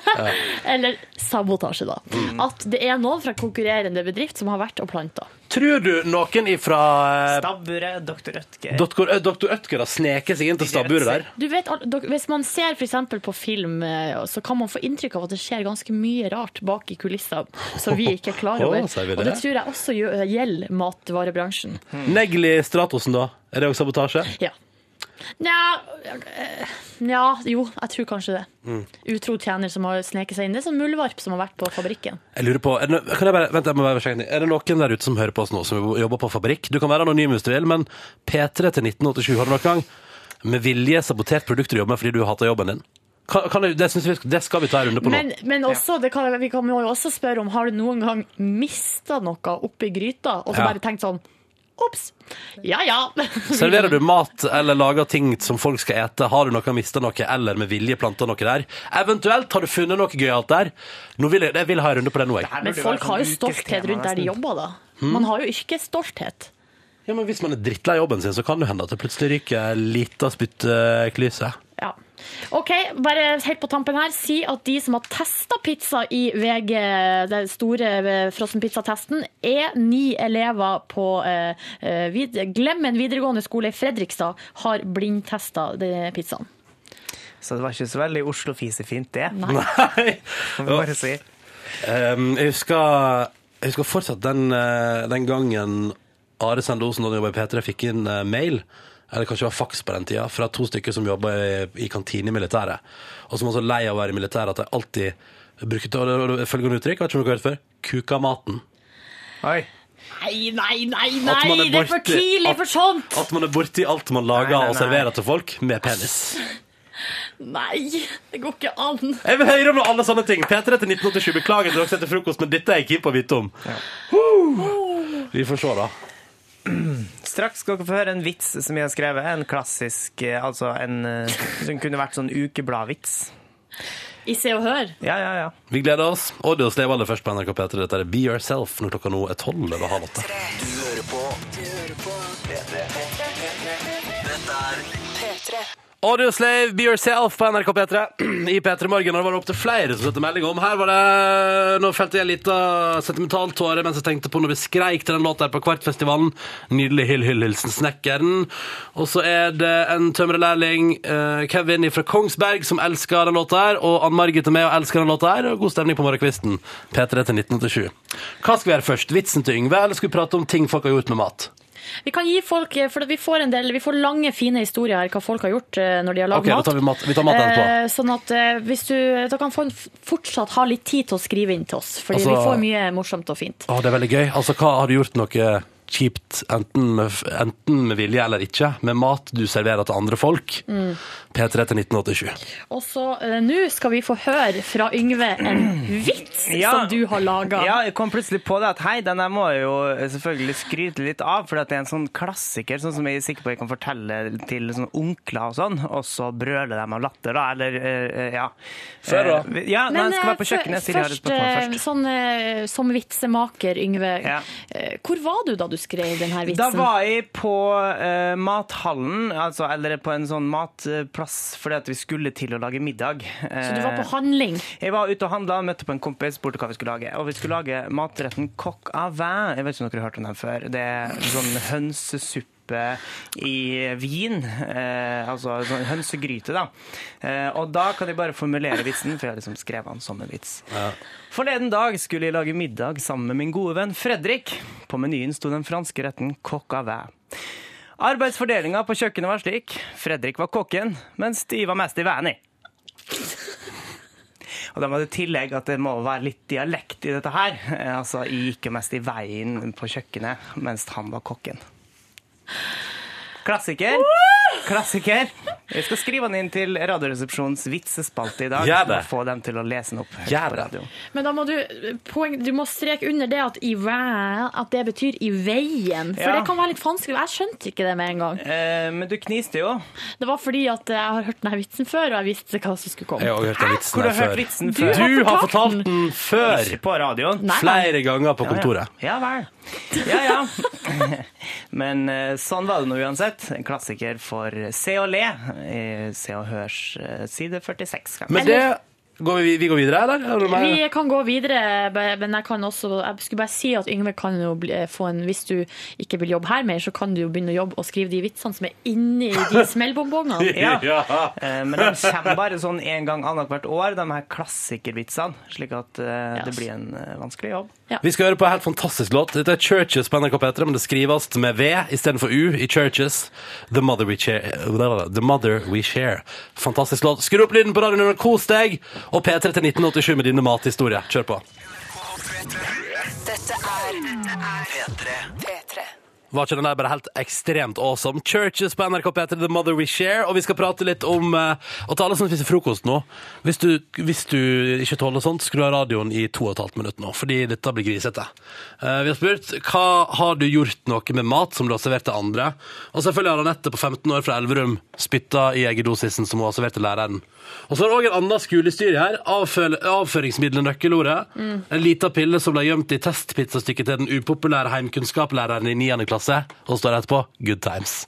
C: Eller sabotasje, da.
B: Mm.
C: At det er noen fra konkurrerende bedrift som har vært og planta.
A: Tror du noen ifra eh,
B: Stabburet, Dr. Rødtger
A: Doktor, eh, Doktor Ødker har sneket seg inn til stabburet der?
C: Du vet, al- dok- hvis man ser for eksempel på film, eh, så kan man få inntrykk av at det skjer ganske mye rart bak i kulissene som vi ikke er klar
A: Å,
C: over.
A: sier vi
C: Og det
A: det?
C: tror jeg også gjø- gjelder matvarebransjen.
A: Negli Stratosen, da? Er det også sabotasje?
C: Ja. Nja eh, Nja, jo, jeg tror kanskje det.
B: Mm.
C: Utro tjener som har sneket seg inn. Det er sånn muldvarp som har vært på fabrikken.
A: Jeg lurer på, er det, no- kan jeg bare, vent, jeg må bare sjekke en ting. er det noen der ute som hører på oss nå, som jobber på fabrikk? Du kan være anonym hvis du vil, men P3 til 1987 har du noen gang med vilje sabotert produkter du jobber med fordi du hater jobben din? Kan, kan jeg, det, synes vi, det skal vi ta en runde på nå.
C: Men, men også, det kan, vi kan jo også spørre om har du noen gang mista noe oppi gryta, og så
A: Ja.
C: bare tenkt sånn Ops! Ja ja.
A: Serverer du mat eller lager ting som folk skal ete, har du noe mista noe, eller med vilje planta noe der? Eventuelt har du funnet noe gøyalt der. Nå vil jeg, jeg vil ha en runde på det nå, jeg.
B: Her burde
C: Men
B: det være
C: folk har jo
B: sånn Hmm?
C: stolthet rundt der de
B: ukestema,
C: jobber, da. Man har jo yrkesstolthet.
A: Ja, men hvis man er drittlei jobben sin, så kan det hende at det plutselig ryker en liten spytteklyse.
C: Ja. OK, bare helt på tampen her, si at de som har testa pizza i VG, den store eh, frossenpizzatesten, er ni elever på eh, eh, vid Glem en videregående skole i Fredrikstad har blindtesta de pizzaen.
B: nesten. Så det var ikke så veldig Oslo-fisefint, det.
A: Nei!
B: Kan vi bare si.
A: Um, jeg, husker, jeg husker fortsatt den, eh, den gangen Are Sende Osen, da han jobba i P3, fikk inn eh, mail, eller kanskje det var faks på den tida, fra to stykker som jobba i, i kantine i militæret, og som var så lei av å være i militæret at de alltid brukte og det- og det- følgende uttrykk, vet ikke om dere har hørt før, kuka maten.
B: Oi.
C: Nei, nei, nei,
A: At man
C: nei! Det er for
A: borti-
C: tidlig
A: at-
C: for sånt!
A: At man er borti alt man lager
B: Nei, nei,
A: og
B: nei.
A: serverer til folk med penis.
C: Nei, det går ikke an.
A: Jeg vil høre om alle sånne ting. P3 til 1987. Beklager til dere som heter frokost, men dette er jeg keen på å vite om. Huh. Vi får se, da.
B: Straks skal dere få høre en vits som jeg har skrevet. En klassisk, eh, altså en eh, som kunne vært sånn ukebladvits.
C: I Se og Hør.
B: Ja, ja, ja.
A: Vi gleder oss. Audios lever aller først på NRK P3. Dette er Be Yourself når klokka nå er tolv over halv åtte. Audio Slave, Be Yourself på NRK P3. I P3 Morgen har det vært opp til flere som sendte melding om. Her var det Nå felte jeg en liten sentimental tåre mens jeg tenkte på når vi skreik til den låta her på Kvartfestivalen. Nydelig Hyll Hyll Hilsen Snekkeren. Og så er det en tømrerlærling, eh, Kevin fra Kongsberg, som elsker den låta her. Og Ann Margit og meg og elsker den låta her. Og god stemning på morgenkvisten. P3 til 1987. Hva skal vi gjøre først? Vitsen til Yngve, eller skal vi prate om ting folk har gjort med mat?
C: Vi kan gi folk, eh, for vi får, en del, vi får lange, fine historier her, hva folk har gjort eh, når de har lagd
A: Ok, da
C: mat.
A: tar vi mat- vi tar maten etterpå.
C: Eh, Sånn at eh, hvis du, da kan folk f- fortsatt ha litt tid til å skrive inn til oss, fordi
A: Altså-
C: vi får mye morsomt og fint.
A: Å, det er veldig gøy. Altså, hva har du gjort noe kjipt, enten med, enten med vilje eller ikke, med mat du serverer til andre folk?
B: Mm.
A: P3 til 1987.
C: Og så eh, nå skal vi få høre fra Yngve en vits
B: Ja.
C: som du har laga.
B: Ja, jeg kom plutselig på det at hei, den her må jeg jo selvfølgelig skryte litt av, for det er en sånn klassiker, sånn som jeg er sikker på jeg kan fortelle til sånn onkler og sånn, og så brøler de av latter, da, eller eh, ja.
A: Før da?
B: Eh, Ja, nei, jeg skal
C: eh,
B: være på
C: fø-
B: kjøkkenet, siden jeg har et
C: først,
B: spørsmål
C: eh,
B: først.
C: Sånn, eh, som vitsemaker, Yngve.
B: Ja.
C: eh, Hvor var du da du skrev denne vitsen?
B: Da var jeg på eh, mathallen, altså, eller på en sånn matplass, fordi at vi skulle til å lage middag.
C: Så du var
B: Eh,
C: på handling?
B: Jeg var ute og handla, møtte på en kompis, spurte hva vi skulle lage. Og vi skulle lage matretten coq à vin. Jeg vet ikke om dere har hørt om den før. Det er sånn hønsesuppe i vin. Eh, altså sånn hønsegryte, da. Eh, og da kan jeg bare formulere vitsen, for jeg har liksom skrevet den som en vits. Forleden dag skulle jeg lage middag sammen med min gode venn Fredrik. På menyen sto den franske retten coq à vin. Arbeidsfordelinga på kjøkkenet var slik. Fredrik var kokken, mens de var mest i vinen. Og de hadde i tillegg at det må være litt dialekt i dette her. Eh, Altså, jeg gikk jo mest i veien på kjøkkenet, mens han var kokken. Klassiker. Klassiker. Jeg skal skrive den inn til Radioresepsjonens vitsespalte i dag.
A: Gjør
B: for
A: det.
B: å Få dem til å lese den opp høyt
A: Gjør
B: på
A: det.
B: radioen.
C: Men da må du, poeng, du må streke under det at i væ, at det betyr i veien. For
B: Ja.
C: det kan være litt vanskelig. Jeg skjønte ikke det med en gang.
B: Eh, men du kniste jo.
C: Det var fordi at jeg har hørt denne vitsen før, og jeg visste hva som skulle
A: Jeg
C: komme.
A: har også hørt den vitsen
B: Hvor du
A: her
B: har hørt
A: før.
B: vitsen
C: Du
B: før?
A: Du har
C: har fortalt
A: fortalt den før!
B: Ikke på radioen.
C: Nei, nei.
A: Flere ganger på kontoret.
B: Ja vel. Ja ja. Men eh, sånn var det nå uansett. En klassiker for Se og Le. eh, Se og Hørs eh, side 46. kan
A: Men det går vi, vi går videre, eller? Er det noe mer?
C: Vi kan gå videre, be- men jeg kan også Jeg skulle bare si at Yngve kan jo bli, få en Hvis du ikke vil jobbe her mer, så kan du jo begynne å jobbe og skrive de vitsene som er inni de smellbongbongene.
B: Ja.
A: Ja.
B: Eh, Men de kommer bare sånn en gang annethvert år, de her klassikervitsene. Slik at eh,
C: Ja,
B: det
C: ass.
B: blir en eh, vanskelig jobb.
A: Vi skal høre på en helt fantastisk låt. Dette er Churches på NRK P3, men det skrives med V istedenfor U i Churches. The Mother We Share. The mother we share. Fantastisk låt. Skru opp lyden på radioen og kos deg! Og P3 til 1987 med dine mathistorier. Kjør på.
E: Dette er P3. P3.
A: Var ikke den der bare helt ekstremt awesome? Churches på NRK P3, The Mother We Share. Og vi skal prate litt om eh, Og til alle som spiser frokost nå, hvis du, hvis du ikke tåler sånt, skru av radioen i to og et halvt minutt nå, fordi dette blir grisete. Eh, vi har spurt hva har du gjort noe med mat som du har servert til andre. Og selvfølgelig har Anette på 15 år fra Elverum spytta i eggedosisen som hun har servert til læreren. Og så har òg en annen skolestyre her. Avfø avføringsmiddelnøkkelordet. En lita pille som ble gjemt i testpizzastykket til den upopulære heimkunnskapslæreren i 9. klasse. Og står det etterpå 'Good times'.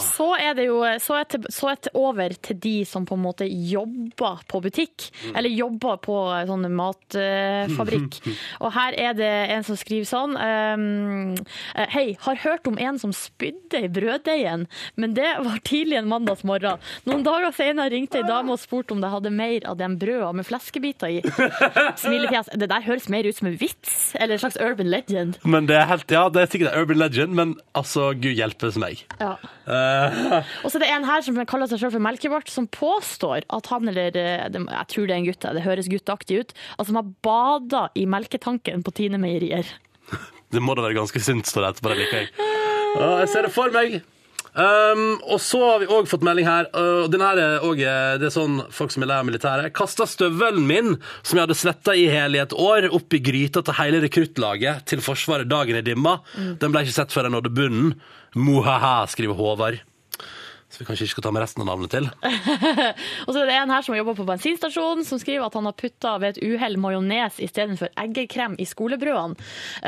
C: Så er det jo så er til, så er det over til de som på en måte jobber på butikk, eller jobber på sånn matfabrikk. Og her er det en som skriver sånn ehm, Hei, har hørt om en som spydde i brøddeigen, men det var tidlig en mandagsmorgen. Noen dager senere ringte ei dame og spurte om de hadde mer av den brøda med fleskebiter i. Smilefjes. Det der høres mer ut som en vits, eller en slags urban legend.
A: Men det er helt, ja, det er sikkert en urban legend, men altså, gud hjelpes meg.
C: Ja.
A: Eh,
C: Og så er det en her som kaller seg selv for Melkebart, som påstår at han eller eh, det- Jeg tror det er en gutt, det høres gutteaktig ut. Altså, han har bada i melketanken på Tine Meierier.
A: det må da være ganske sunt, står det etterpå. Det liker jeg. Ja, jeg ser det for meg. Um, og så har vi òg fått melding her. Uh, den her er også, eh, det er sånn folk som er lei av militæret. Kasta støvelen min, som jeg hadde svetta i hele i et år, opp i gryta til hele rekruttlaget til Forsvaret dagen i dimma. Den ble ikke sett før jeg nådde bunnen. Mohaha, skriver Håvard. Så vi kanskje ikke skal ta med resten av navnet til.
C: Og så er det en her som jobber på bensinstasjonen, som skriver at han har putta ved et uhell majones istedenfor eggekrem i skolebrødene.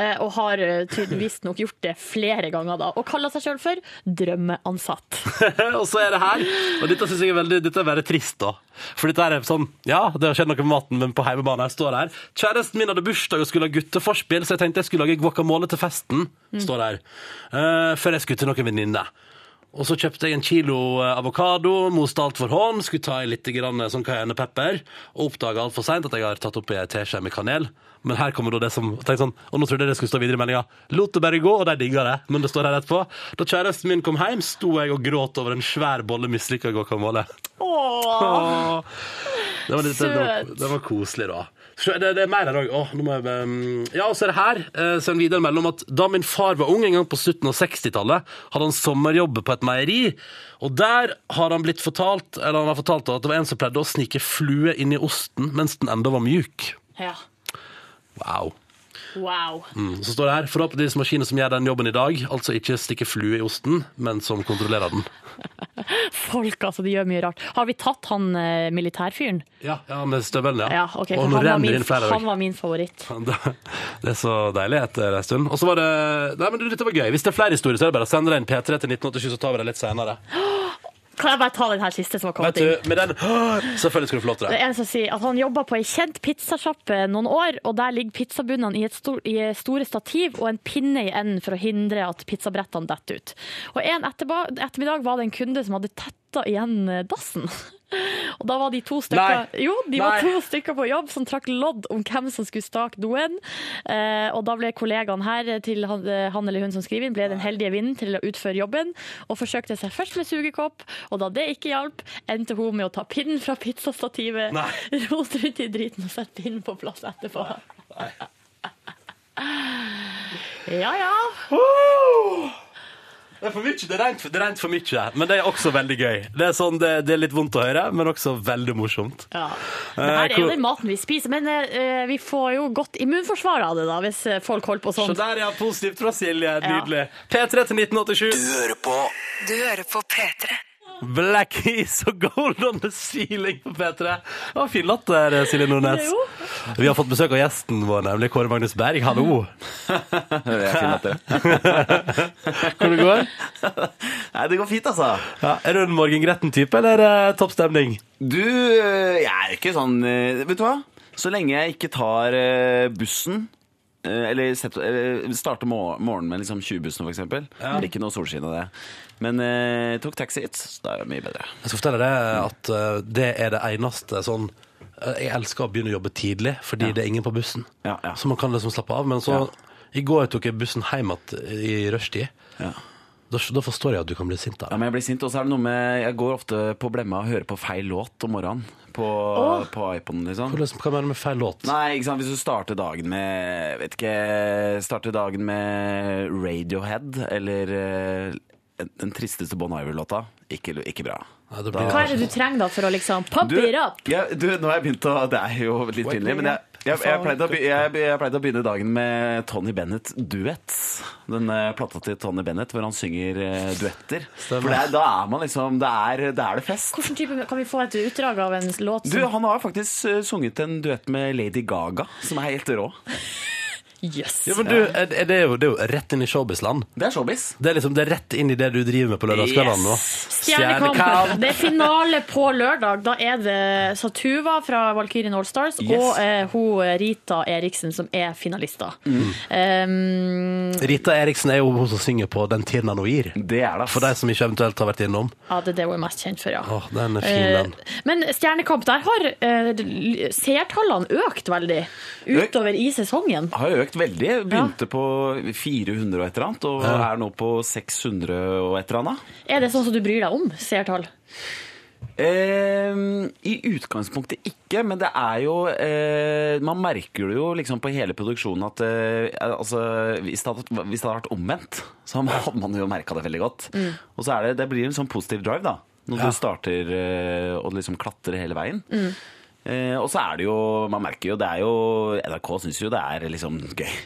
C: Eh, Og har eh, tydeligvis nok gjort det flere ganger da. Og kaller seg sjøl for drømmeansatt.
A: og så er det her. Og dette synes jeg er veldig Dette er veldig trist, da. For dette her er sånn Ja, det har skjedd noe med maten, men på hjemmebane her står det her. Kjæresten min hadde bursdag og skulle ha gutteforspill, så jeg tenkte jeg skulle lage guacamole til festen, står det her. Eh, før jeg skulle til noen venninne. Og så kjøpte jeg en kilo eh, avokado, moste alt for hånd, skulle ta i litt grann eh, sånn cayennepepper, og oppdaga altfor seint at jeg har tatt oppi ei teskje med kanel. Men her kommer da det som tenkte sånn, Og nå trodde jeg det skulle stå videre i meldinga. Lot det bare gå, og de digga det. Men det står her etterpå. Da kjæresten min kom hjem, sto jeg og gråt over en svær bolle mislykka guacamole. Åh. Det var, litt, det, var,
C: Søt.
A: det var koselig, da. Så Det, det er mer her òg. Åh, nå må jeg um, Ja, og så er det her. Eh, Send videre mellom at da min far var ung, en gang på slutten av 60-tallet, hadde han sommerjobb på et meieri. Og der har han blitt fortalt Eller han har fortalt at det var en som pleide å snike flue inn i osten mens den enda var mjuk.
C: Ja.
A: Wow.
C: Wow.
A: Mm. Så står det her forhåpentligvis maskiner som gjør den jobben i dag, altså ikke stikke flue i osten, men som kontrollerer den.
C: Folk, altså. De gjør mye rart. Har vi tatt han eh, militærfyren?
A: Ja, ja med støvelen, ja.
C: Ja, ok. for
A: og nå
C: han, var
A: renner det
C: min,
A: inn flere.
C: han var min favoritt.
A: Faen, Det det er så deilig etter en stund. Og så var det Nei, men du, dette var gøy. Hvis det er flere historier, så er det bare å sende deg en P3 til 1987, så tar vi det litt senere.
C: Kan jeg bare ta den her siste som har kommet
A: Vet
C: inn?
A: du, med den Selvfølgelig skal du få lov til
C: Det
A: det.
C: er en som sier at han jobba på ei kjent pizzasjappe noen år, og der ligger pizzabunnene i, et stor, i store stativ og en pinne i enden for å hindre at pizzabrettene detter ut. Og en etterba- ettermiddag var det en kunde som hadde tetta igjen eh, dassen. Og da var de to stykker,
A: Nei.
C: jo, de var
A: Nei.
C: to stykker på jobb som trakk lodd om hvem som skulle stake doen. Eh, og da ble kollegaen her til han, eh, han eller hun som skriver inn, ble den heldige vinnen til å utføre jobben, og forsøkte seg først med sugekopp, og da det ikke hjalp, endte hun med å ta pinnen fra pizzastativet,
A: Nei.
C: rote rundt i driten og sette pinnen på plass etterpå. Ja, ja.
A: Det er for mye, det er rent, det er rent for mye, men det er også veldig gøy. Det er, sånn, det, det er litt vondt å høre, men også veldig morsomt.
C: Ja. Det her er jo
A: Eh, hvor-
C: den maten vi spiser, men eh, vi får jo godt immunforsvar av det, da, hvis eh, folk holder på
A: Så
C: sånn.
A: der, ja. Positivt fra Silje. Nydelig. P3 til 1987.
E: hører på Du hører på P3.
A: Black Keys og Gold on the Ceiling på P3. Det var fin latter, Silje Nordnes.
C: Det er jo.
A: Vi har fått besøk av gjesten vår, nemlig Kåre Magnus Berg. Hallo.
F: Hører jeg fin latter?
A: Hvordan det går?
F: Nei, det går fint, altså.
A: Ja, er du en morgengretten-type, eller er det topp stemning?
F: Du, eh, jeg er ikke sånn eh, Vet du hva? Så lenge jeg ikke tar eh, bussen eh, eller setter, eh, starter mor- morgenen med liksom 20-bussen, f.eks. eksempel Det blir ikke noe solskinn av det. Men eh, jeg tok taxi hit, så da er det mye bedre.
A: Jeg skal fortelle deg at eh, det er det eneste sånn eh, Jeg elsker å begynne å jobbe tidlig, fordi det er ingen på bussen.
F: Ja, ja.
A: Så man kan liksom slappe av. Men så
F: Ja.
A: I går tok jeg bussen hjem igjen i rushtid.
F: Ja.
A: Da, da forstår jeg at du kan bli sint av
F: Ja,
A: det.
F: men jeg blir sint, og så er det noe med Jeg går ofte på blemma og hører på feil låt om morgenen. På, på iPoden, liksom.
A: Hvordan- Hva mener du med feil låt?
F: Nei, ikke sant, hvis du starter dagen med Vet ikke Starter dagen med Radiohead Eller eh, en- den tristeste Bon Iver-låta ikke, ikke bra
A: Nei, det blir-
C: Hva er det du trenger da for å liksom pump it up?
F: ja, du, nå har jeg begynt å Det er jo litt pinlig Men jeg, jeg, jeg, pleide å, be- jeg, jeg pleide å begynne dagen med Tony Bennett duets Den eh, platta til Tony Bennett Hvor han synger eh, duetter
A: Stemmer.
F: For det, er- da er man liksom Da er, da er det fest
C: Hvilken type Kan vi få et utdrag av en låt
F: du,
C: som
F: han har faktisk eh, sunget en duett med Lady Gaga Som er helt rå
C: Yes!
A: Ja, men du, er, er det, jo, det er jo rett inn i showbiz-land.
F: Det er showbiz
A: Det er liksom det er rett inn i det du driver med på lørdagskveldene nå.
C: Stjernekamp. Det er finale på lørdag. Da er det Satuva fra Valkyrien Allstars
F: Yes.
C: og eh, hun Rita Eriksen som er finalister. Um,
A: Rita Eriksen er jo hun som synger på Den tiden han nå gir.
F: Det er det ass.
A: For de som ikke eventuelt har vært innom.
C: ja, det er det hun er mest kjent for, ja.
A: Åh, den er fin, den.
C: Eh, Men Stjernekamp, der har eh, seertallene økt veldig utover i sesongen.
F: har økt veldig. Begynte på 400 og et eller annet, og er nå på 600 og et eller annet.
C: Er det sånn som du bryr deg om seertall?
F: Ehm, I utgangspunktet ikke, men det er jo eh, Man merker det jo liksom på hele produksjonen at eh, altså, hvis, det hadde, hvis det hadde vært omvendt, så hadde man jo merka det veldig godt. Og så er det, det blir en sånn positiv drive, da. Når
A: Ja.
F: du starter eh, og liksom klatrer hele veien. Eh, og så er det jo Man merker jo, det er jo NRK syns jo det er liksom gøy.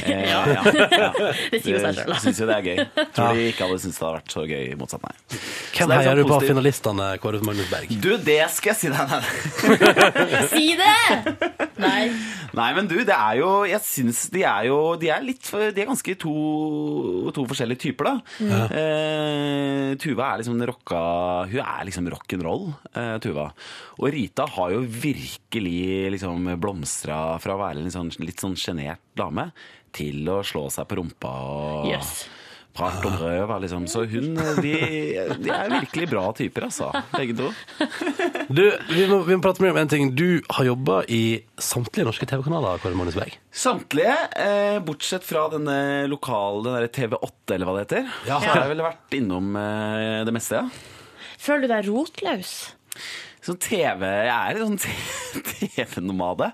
F: Eh, ja, ja.
C: Det sier jo seg sjøl.
F: Jeg syns jo det er gøy. Tror de ikke hadde syntes det hadde vært så gøy motsatt, nei. Så
A: Hvem
F: det er
A: heier
F: sånn
A: du på av
F: positivt.
A: finalistene, Kåre Magnus Berg?
F: Du, det skal jeg si deg. Nei, nei.
C: Si det! Nei.
F: nei men du, det er jo Jeg syns de er jo De er litt for- De er ganske to, to forskjellige typer, da. Eh, Tuva er liksom den rocka Hun er liksom rock'n'roll, eh, Tuva. Og Rita har jo virkelig liksom blomstra fra å være en sånn, litt sånn sjenert dame til å slå seg på rumpa og
C: Yes.
F: Part om røva, liksom. Så hun de, de er virkelig bra typer, altså. Begge to.
A: Du, vi må, vi må prate mer om en ting. Du har jobba i samtlige norske TV-kanaler, Kåre Magnus Berg.
F: Samtlige, eh, bortsett fra denne lokale den der TV8, eller hva det heter.
A: Ja.
F: Så har jeg vel vært innom eh, det meste, ja.
C: Føler du deg rotløs?
F: Så TV Jeg er en sånn TV-nomade.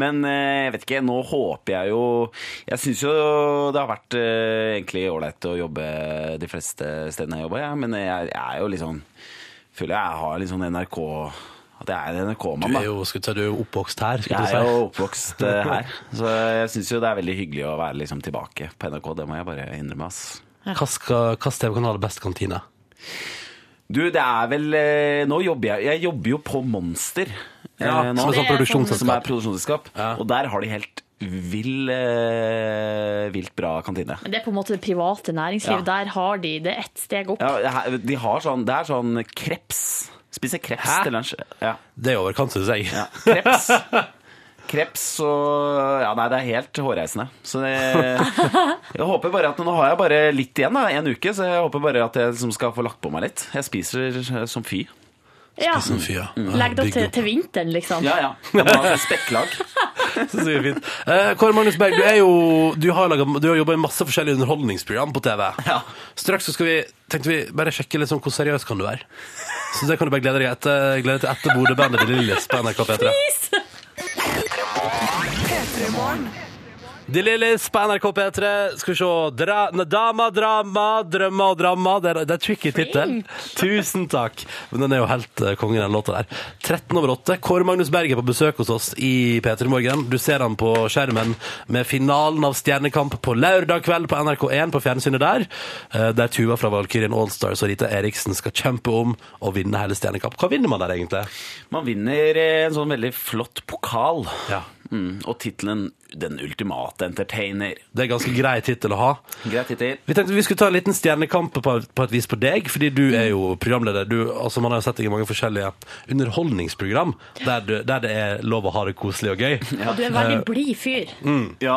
F: Men eh, jeg vet ikke, nå håper jeg jo Jeg syns jo det har vært eh, egentlig ålreit å jobbe de fleste stedene jeg jobber, ja. men jeg, jeg er jo litt sånn Føler jeg har litt sånn NRK At jeg er en
A: Du
F: NRK-mann, da.
A: er jo, skal du, si, du er jo oppvokst her. Skal
F: Jeg er
A: du si.
F: jo oppvokst eh, her, så jeg syns jo det er veldig hyggelig å være liksom tilbake på NRK. Det må jeg bare innrømme, ass.
A: Hvilken TV-kanal er best kantine?
F: Du, det er vel eh, Nå jobber jeg Jeg jobber jo på Monster. eh,
A: Ja,
F: nå,
A: som er sånn produksjonsselskap.
F: Som er produksjonsselskap. Og der har de helt vill, eh, vilt bra kantine.
C: Men det er på en måte det private næringslivet.
F: Ja.
C: Der har de det ett steg opp.
F: Ja, her- de har sånn, det er sånn kreps. Spiser kreps
A: Hæ?
F: til lunsj. Ja,
A: Det er i overkant, syns jeg.
F: ja. Kreps. Kreps og Ja, nei, det er helt hårreisende. Så det, jeg håper bare at Nå har jeg bare litt igjen, da. En uke. Så jeg håper bare at jeg liksom skal få lagt på meg litt. Jeg spiser eh, som fy.
C: Ja.
A: Som fyr, ja.
C: Mm. Legg det opp
A: Bygg
C: til, til vinteren, liksom.
F: Ja, ja. Jeg må ha spekklag.
A: Så sier vi fint. Eh, Kåre Magnus Berg, du, er jo, du har, laget, du har jobba i masse forskjellige underholdningsprogram på TV.
F: Ja.
A: Straks så skal vi, tenkte vi bare sjekke litt sånn hvor seriøs kan du være. Så det kan du bare glede deg etter, glede deg til etter bordebandet til Lillis på NRK P3. De Lillis på NRK P3. Skal vi se dra, nei, Dama, drama, drømmer og dramma. Det er, det er tricky tittel. Tusen takk. Men den er jo helt eh, kongen, den låta der. 13 over 8. Kåre Magnus Berg er på besøk hos oss i P3 Morgen. Du ser han på skjermen med finalen av Stjernekamp på lørdag kveld på NRK1 på fjernsynet der. eh, Der Tuva fra Valkyrien Allstars og Rita Eriksen skal kjempe om å vinne hele Stjernekamp. Hva vinner man der, egentlig?
F: Man vinner eh, en sånn veldig flott pokal.
A: Ja.
F: Mm, og tittelen 'Den ultimate entertainer'.
A: Det er ganske grei tittel å ha.
F: Greit tittel.
A: Vi tenkte vi skulle ta en liten stjernekamp på, på et vis på deg, fordi du er jo programleder. Du, altså man har jo sett deg i mange forskjellige underholdningsprogram der, du, der det er lov å ha det koselig og gøy.
C: Og du er en veldig blid fyr.
F: Ja.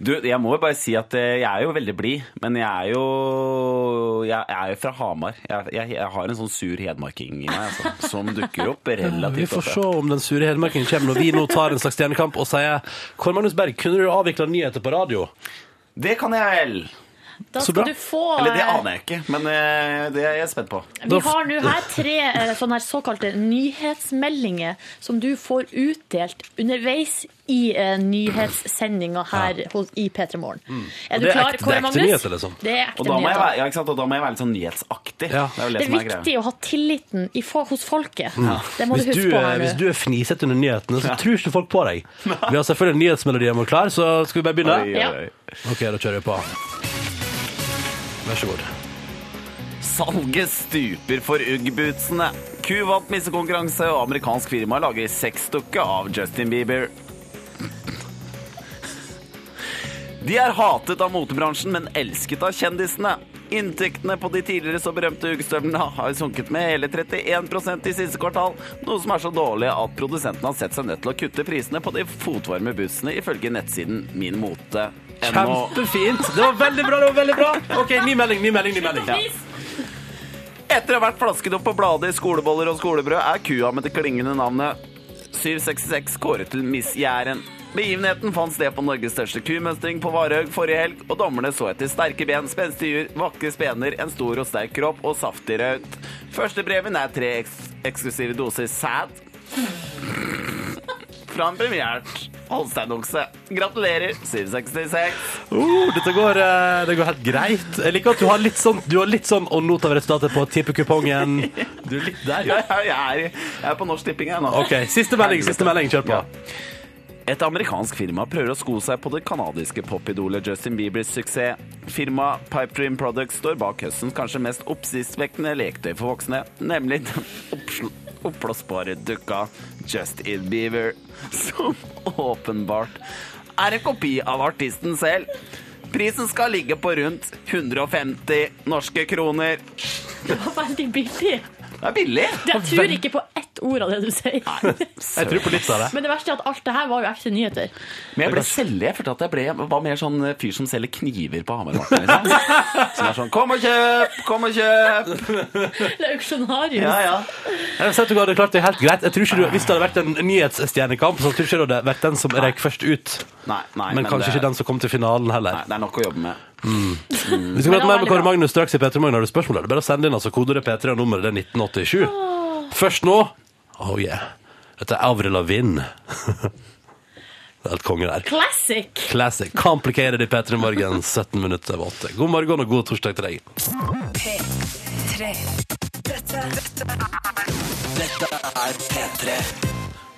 F: Du, jeg må jo bare si at eh, jeg er jo veldig blid, men jeg er jo Jeg er jo fra Hamar. Jeg, jeg, jeg har en sånn sur hedmarking i meg altså, som dukker opp
A: Vi
F: relativt
A: får
F: ofte.
A: se om den sure hedmarkingen kommer når vi nå tar en slags stjernekamp og sier Kåre Magnus Berg, kunne du avvikla nyheter på radio?
F: Det kan jeg vel!
C: Da
A: bra.
C: skal du få
F: Eller det
C: eh,
F: aner jeg ikke, men eh, det er jeg spent på.
C: Vi har nå her tre eh, sånne her såkalte nyhetsmeldinger som du får utdelt underveis i eh, nyhetssendinga her hos, i P3 Morgen. Er du
A: det er ekte-
C: klar,
A: det er
C: Kåre
A: ekte
C: Magnus?
A: nyheter, liksom.
C: Det er ekte
F: Og da må jeg
C: nyheter.
F: være, ja, ikke sant? Og da må jeg være litt sånn
A: Ja.
F: nyhetsaktig. Det er jo det,
C: Det er
F: som er greia.
C: viktig å ha tilliten i, fo- hos folket. Det må du
A: Hvis
C: huske
A: du,
C: på
A: er,
C: her
A: hvis
C: nå.
A: du er fnisete under nyhetene, så tror ikke folk på deg. Vi har selvfølgelig nyhetsmelodien vår klar, så skal vi bare begynne?
F: Oi,
C: Ja.
F: oi, oi.
A: Ok, da kjører vi på. Vær så god.
F: Salget stuper for Ugg-bootsene. Ku vant missekonkurranse, og amerikansk firma lager sexdukke av Justin Bieber. De er hatet av motebransjen, men elsket av kjendisene. Inntektene på de tidligere så berømte uggstøvlene har sunket med hele 31 i siste kvartal, noe som er så dårlig at produsenten har sett seg nødt til å kutte prisene på de fotvarme bussene, ifølge nettsiden Min Mote.
A: Kjempefint. Det var veldig bra. det var veldig bra Ok, Ny melding, ny melding. ny melding
F: Etter å ha vært flasket opp på bladet i skoleboller og skolebrød, er kua med det klingende navnet 766 kåret til Miss Jæren. Begivenheten fant sted på Norges største kumønstring på Varhaug forrige helg, og dommerne så etter sterke ben, spenstige jur, vakre spener, en stor og sterk kropp og saftig raut. Første breven er tre eks eksklusive doser sæd fra en premiert Holsteinokse. Gratulerer, 766.
A: Oh, dette går, eh, det går helt greit. Jeg liker at du har litt sånn Du har litt sånn og not av resultatet på tippekupongen. Du er litt der, jo.
F: Jeg, jeg, er, jeg er på Norsk Tipping her nå.
A: OK, siste melding. siste melding, Kjør på.
F: Et amerikansk firma prøver å sko seg på det kanadiske popidolet Justin Biebers suksess. Firmaet Pipe Dream Products står bak høstens kanskje mest oppsiktsvekkende leketøy for voksne, nemlig den oppsl- oppblåsbare dukka Justin Bieber, som åpenbart er en kopi av artisten selv. Prisen skal ligge på rundt 150 norske kroner.
C: Det var veldig billig.
F: Det er billig!
C: Jeg tror ikke på ett ord av det du sier.
A: Jeg tror på litt av det.
C: Men det verste er at alt det her var jo ekte nyheter.
F: Men jeg ble selger. Jeg følte at jeg ble, var mer sånn fyr som selger kniver på Hamarbakken. Liksom. Som er sånn 'kom og kjøp, kom og kjøp'.
C: Det er auksjonarius.
F: Ja, ja.
A: Jeg har sett at du hadde klart det helt greit. Jeg tror ikke du, Hvis det hadde vært en nyhetsstjernekamp, så tror jeg ikke det hadde vært den som røyk først ut.
F: Nei, nei,
A: Men kanskje
F: det,
A: ikke den som kom til finalen
F: Nei,
A: heller.
F: det er nok å jobbe med.
A: Vi skal
C: Men det
A: prate mer med
C: var
A: Kåre
C: veldig bra.
A: Magnus straks i P3 Morgen. Har du spørsmål, er det bare å sende inn altså kodeordet P3 og nummeret det er 1987. Først nå Oh yeah. Dette er Avril Lavigne. Det er helt konge der.
C: Classic.
A: Classic. Complicated i P3 Morgen, 17 minutter over 8. God morgen og god torsdag til deg.
E: P3. Dette, dette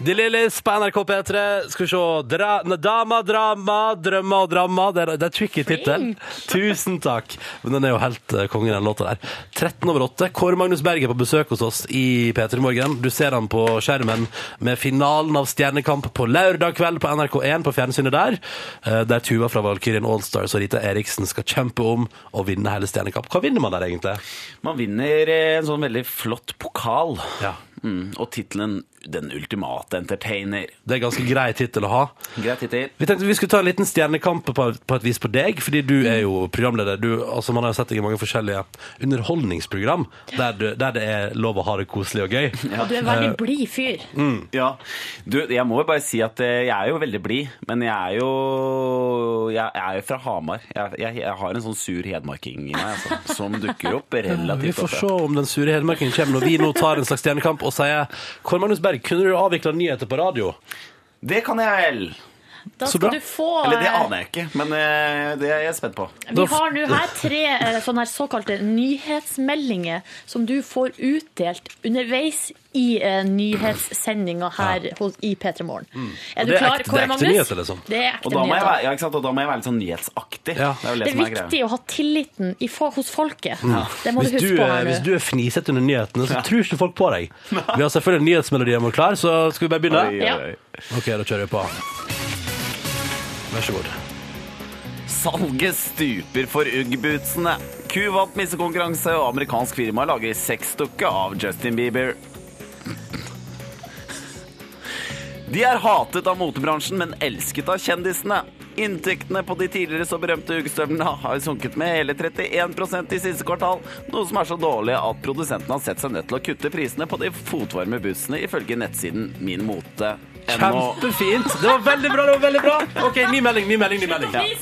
A: De Lillis på NRK P3. Skal vi se dra, nei, Dama, drama, drømmer og dramma. Det er, det er tricky tittel. Tusen takk. Men den er jo helt eh, kongen, den låta der. 13 over 8. Kåre Magnus Berg er på besøk hos oss i P3 Morgen. Du ser han på skjermen med finalen av Stjernekamp på lørdag kveld på NRK1 på fjernsynet der. eh, Der Tuva fra Valkyrien Allstars og Rita Eriksen skal kjempe om å vinne hele Stjernekamp. Hva vinner man der, egentlig?
F: Man vinner eh, en sånn veldig flott pokal.
A: Ja.
F: Mm, og tittelen 'Den ultimate entertainer'.
A: Det er ganske grei tittel å ha.
F: Greit tittel.
A: Vi tenkte vi skulle ta en liten stjernekamp på, på et vis på deg, fordi du er jo programleder. Du, altså man har jo sett deg i mange forskjellige underholdningsprogram der, du, der det er lov å ha det koselig og gøy.
C: Og du er en
A: Eh,
C: veldig blid fyr.
A: mm,
F: Ja. Du, jeg må jo bare si at eh, jeg er jo veldig blid, men jeg er jo Jeg er jo fra Hamar. Jeg, jeg, jeg har en sånn sur hedmarking i meg altså, som dukker opp
A: Vi
F: relativt
A: får se om den sure hedmarkingen kommer når vi nå tar en slags stjernekamp og sier Kåre Magnus Berg, kunne du avvikla nyheter på radio?
F: Det kan jeg vel!
C: Da
A: Så bra.
C: skal du få
F: Eller det
C: eh,
F: aner jeg ikke, men eh, det er jeg spent på.
C: Vi har nå her tre eh, sånne her såkalte nyhetsmeldinger som du får utdelt underveis i eh, nyhetssendinga her hos, i P3 Morgen. Er du
A: Mm. det er
C: klar,
A: ekte- det er
C: Kåre
A: ekte
C: Magnus?
A: nyheter, liksom.
C: Det er ekte
F: Og da må jeg
C: nyheter.
F: være, ja, ikke sant? Og da må jeg være litt sånn
A: Ja.
F: nyhetsaktig. Det er vel
C: Det
F: det,
C: er
F: som er
C: viktig
F: greia.
C: å ha tilliten i, for, hos folket. Det må du
A: Hvis
C: huske
A: du,
C: på
A: er,
C: her
A: hvis
C: nå.
A: du er fnisete under nyhetene, så tror ikke folk på deg. Vi har selvfølgelig nyhetsmelodien vår klar, så skal vi bare begynne?
F: Oi,
C: Ja.
F: oi, oi.
A: Ok, da kjører vi på. Vær så god.
F: Salget stuper for Ugg-bootsene. Ku vant missekonkurranse, og amerikansk firma lager sexdukke av Justin Bieber. De er hatet av motebransjen, men elsket av kjendisene. Inntektene på de tidligere så berømte uggstøvlene har sunket med hele 31 i siste kvartal, noe som er så dårlig at produsenten har sett seg nødt til å kutte prisene på de fotvarme bootsene, ifølge nettsiden Min Mote.
A: Kjempefint! Det var veldig bra! det var veldig bra Ok, Ny melding, ny melding, ny melding.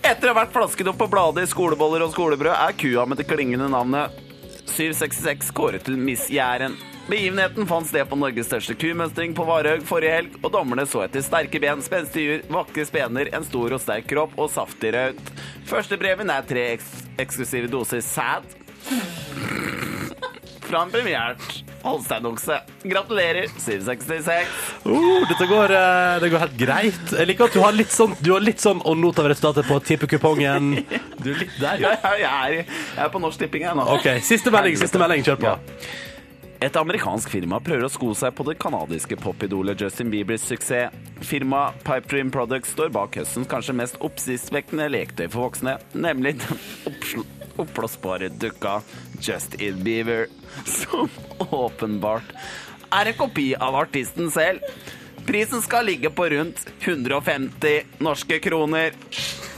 F: Etter å ha vært flasket opp på bladet i skoleboller og skolebrød, er kua med det klingende navnet 766 kåret til Miss Jæren. Begivenheten fant sted på Norges største kumønstring på Varhaug forrige helg, og dommerne så etter sterke ben, spenstige jur, vakre spener, en stor og sterk kropp og saftig raut. Første breven er tre eks eksklusive doser sæd fra en premiert Holstein-okse. Gratulerer, 766.
A: Oh, dette går, eh, det går helt greit. Jeg liker at du har litt sånn, du har litt sånn og not av resultatet på tippekupongen. Du er litt der, ja.
F: Jeg, jeg, er, jeg er på Norsk Tipping jeg nå.
A: Ok, Siste melding, siste melding, kjør på.
F: Et amerikansk firma prøver å sko seg på det kanadiske popidolet Justin Biebers suksess. Firmaet Pipe Dream Products står bak høstens kanskje mest oppsiktsvekkende leketøy for voksne, nemlig den oppsl- oppblåsbare dukka Justin Bieber, som åpenbart er en kopi av artisten selv. Prisen skal ligge på rundt 150 norske kroner.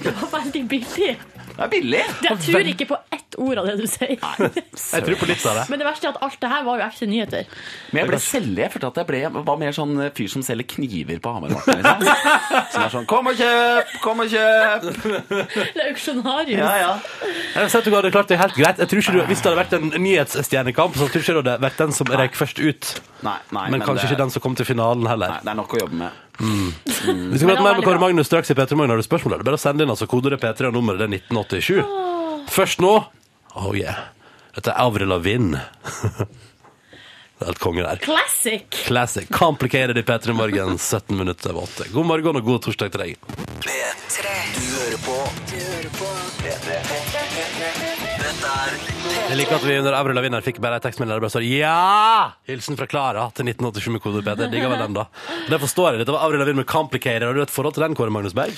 C: Det var veldig billig.
F: Det er billig!
C: Jeg tror ikke på ett ord av det du sier.
A: Jeg tror på litt av det.
C: Men det verste er at alt det her var jo ekte nyheter.
F: Men jeg ble selger. Jeg følte at jeg ble, var mer sånn fyr som selger kniver på Hamarmarken. Liksom. Som er sånn 'kom og kjøp, kom og kjøp'.
C: Det er auksjonarius.
F: Ja, ja.
A: Jeg har sett at du hadde klart det helt greit. Jeg tror ikke du, Hvis det hadde vært en nyhetsstjernekamp, så tror jeg ikke det hadde vært den som røyk først ut.
F: Nei, nei,
A: Men kanskje
F: det,
A: ikke den som kom til finalen heller.
F: Nei, det er nok å jobbe med.
A: Vi skal
C: Men
A: prate
C: det
A: mer med
C: var
A: Kåre
C: veldig bra.
A: Magnus straks i P3 Morgen. Har du spørsmål? er Det er bare å sende inn altså kodeordet P3 og nummeret det er 1987. Først nå Oh yeah. Dette er Avril Lavigne. det er helt konge der.
C: Classic!
A: Classic. Complicated i P3 Morgen, 17 minutter over 8. God morgen og god torsdag til deg.
E: P3. Du hører på. Du hører på.
A: Jeg liker at vi under Avril Lavigne her fikk bare en tekstmelding der det bare står ja! Hilsen fra Klara til 1987 med kode P3. Digger vel den, da. Det forstår jeg. Dette var Avril Lavigne med Complicated. Har du et forhold til den, Kåre Magnus Berg?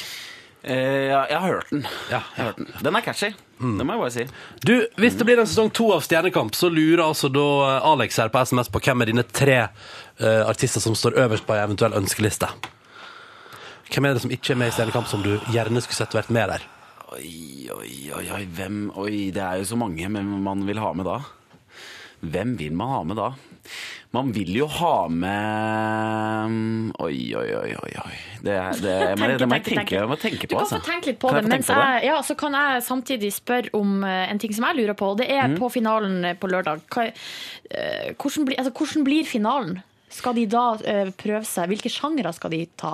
F: Eh, ja, jeg har hørt den.
A: Ja, Mm.
F: Jeg har hørt den. den er catchy. Det må jeg bare si.
A: Du, hvis det blir en sesong to av Stjernekamp, så lurer altså da eh, Alex her på SMS på hvem er dine tre eh, artister som står øverst på ei eventuell ønskeliste. Hvem er det som ikke er med i Stjernekamp, som du gjerne skulle sett vært med der?
F: Oi, oi, oi, oi, hvem Oi, det er jo så mange men man vil ha med da. Hvem vil man ha med da? Man vil jo ha med Oi, oi, oi, oi. oi. Det, er- det, jeg må-
C: Tenke,
F: det må jeg
C: tenke,
F: tenke, jeg må tenke
C: Du
F: på.
C: kan få
F: altså.
C: tenke litt på
F: Kan
C: det,
F: jeg få tenke
C: mens
F: på
C: jeg, ja, så kan jeg samtidig spørre om eh, en ting som jeg lurer på. og Det
F: Mhm.
C: er på finalen eh, på lørdag. Hva, eh, hvordan, blir- altså, hvordan blir finalen? Skal de da eh, prøve seg? Hvilke sjangere skal de ta?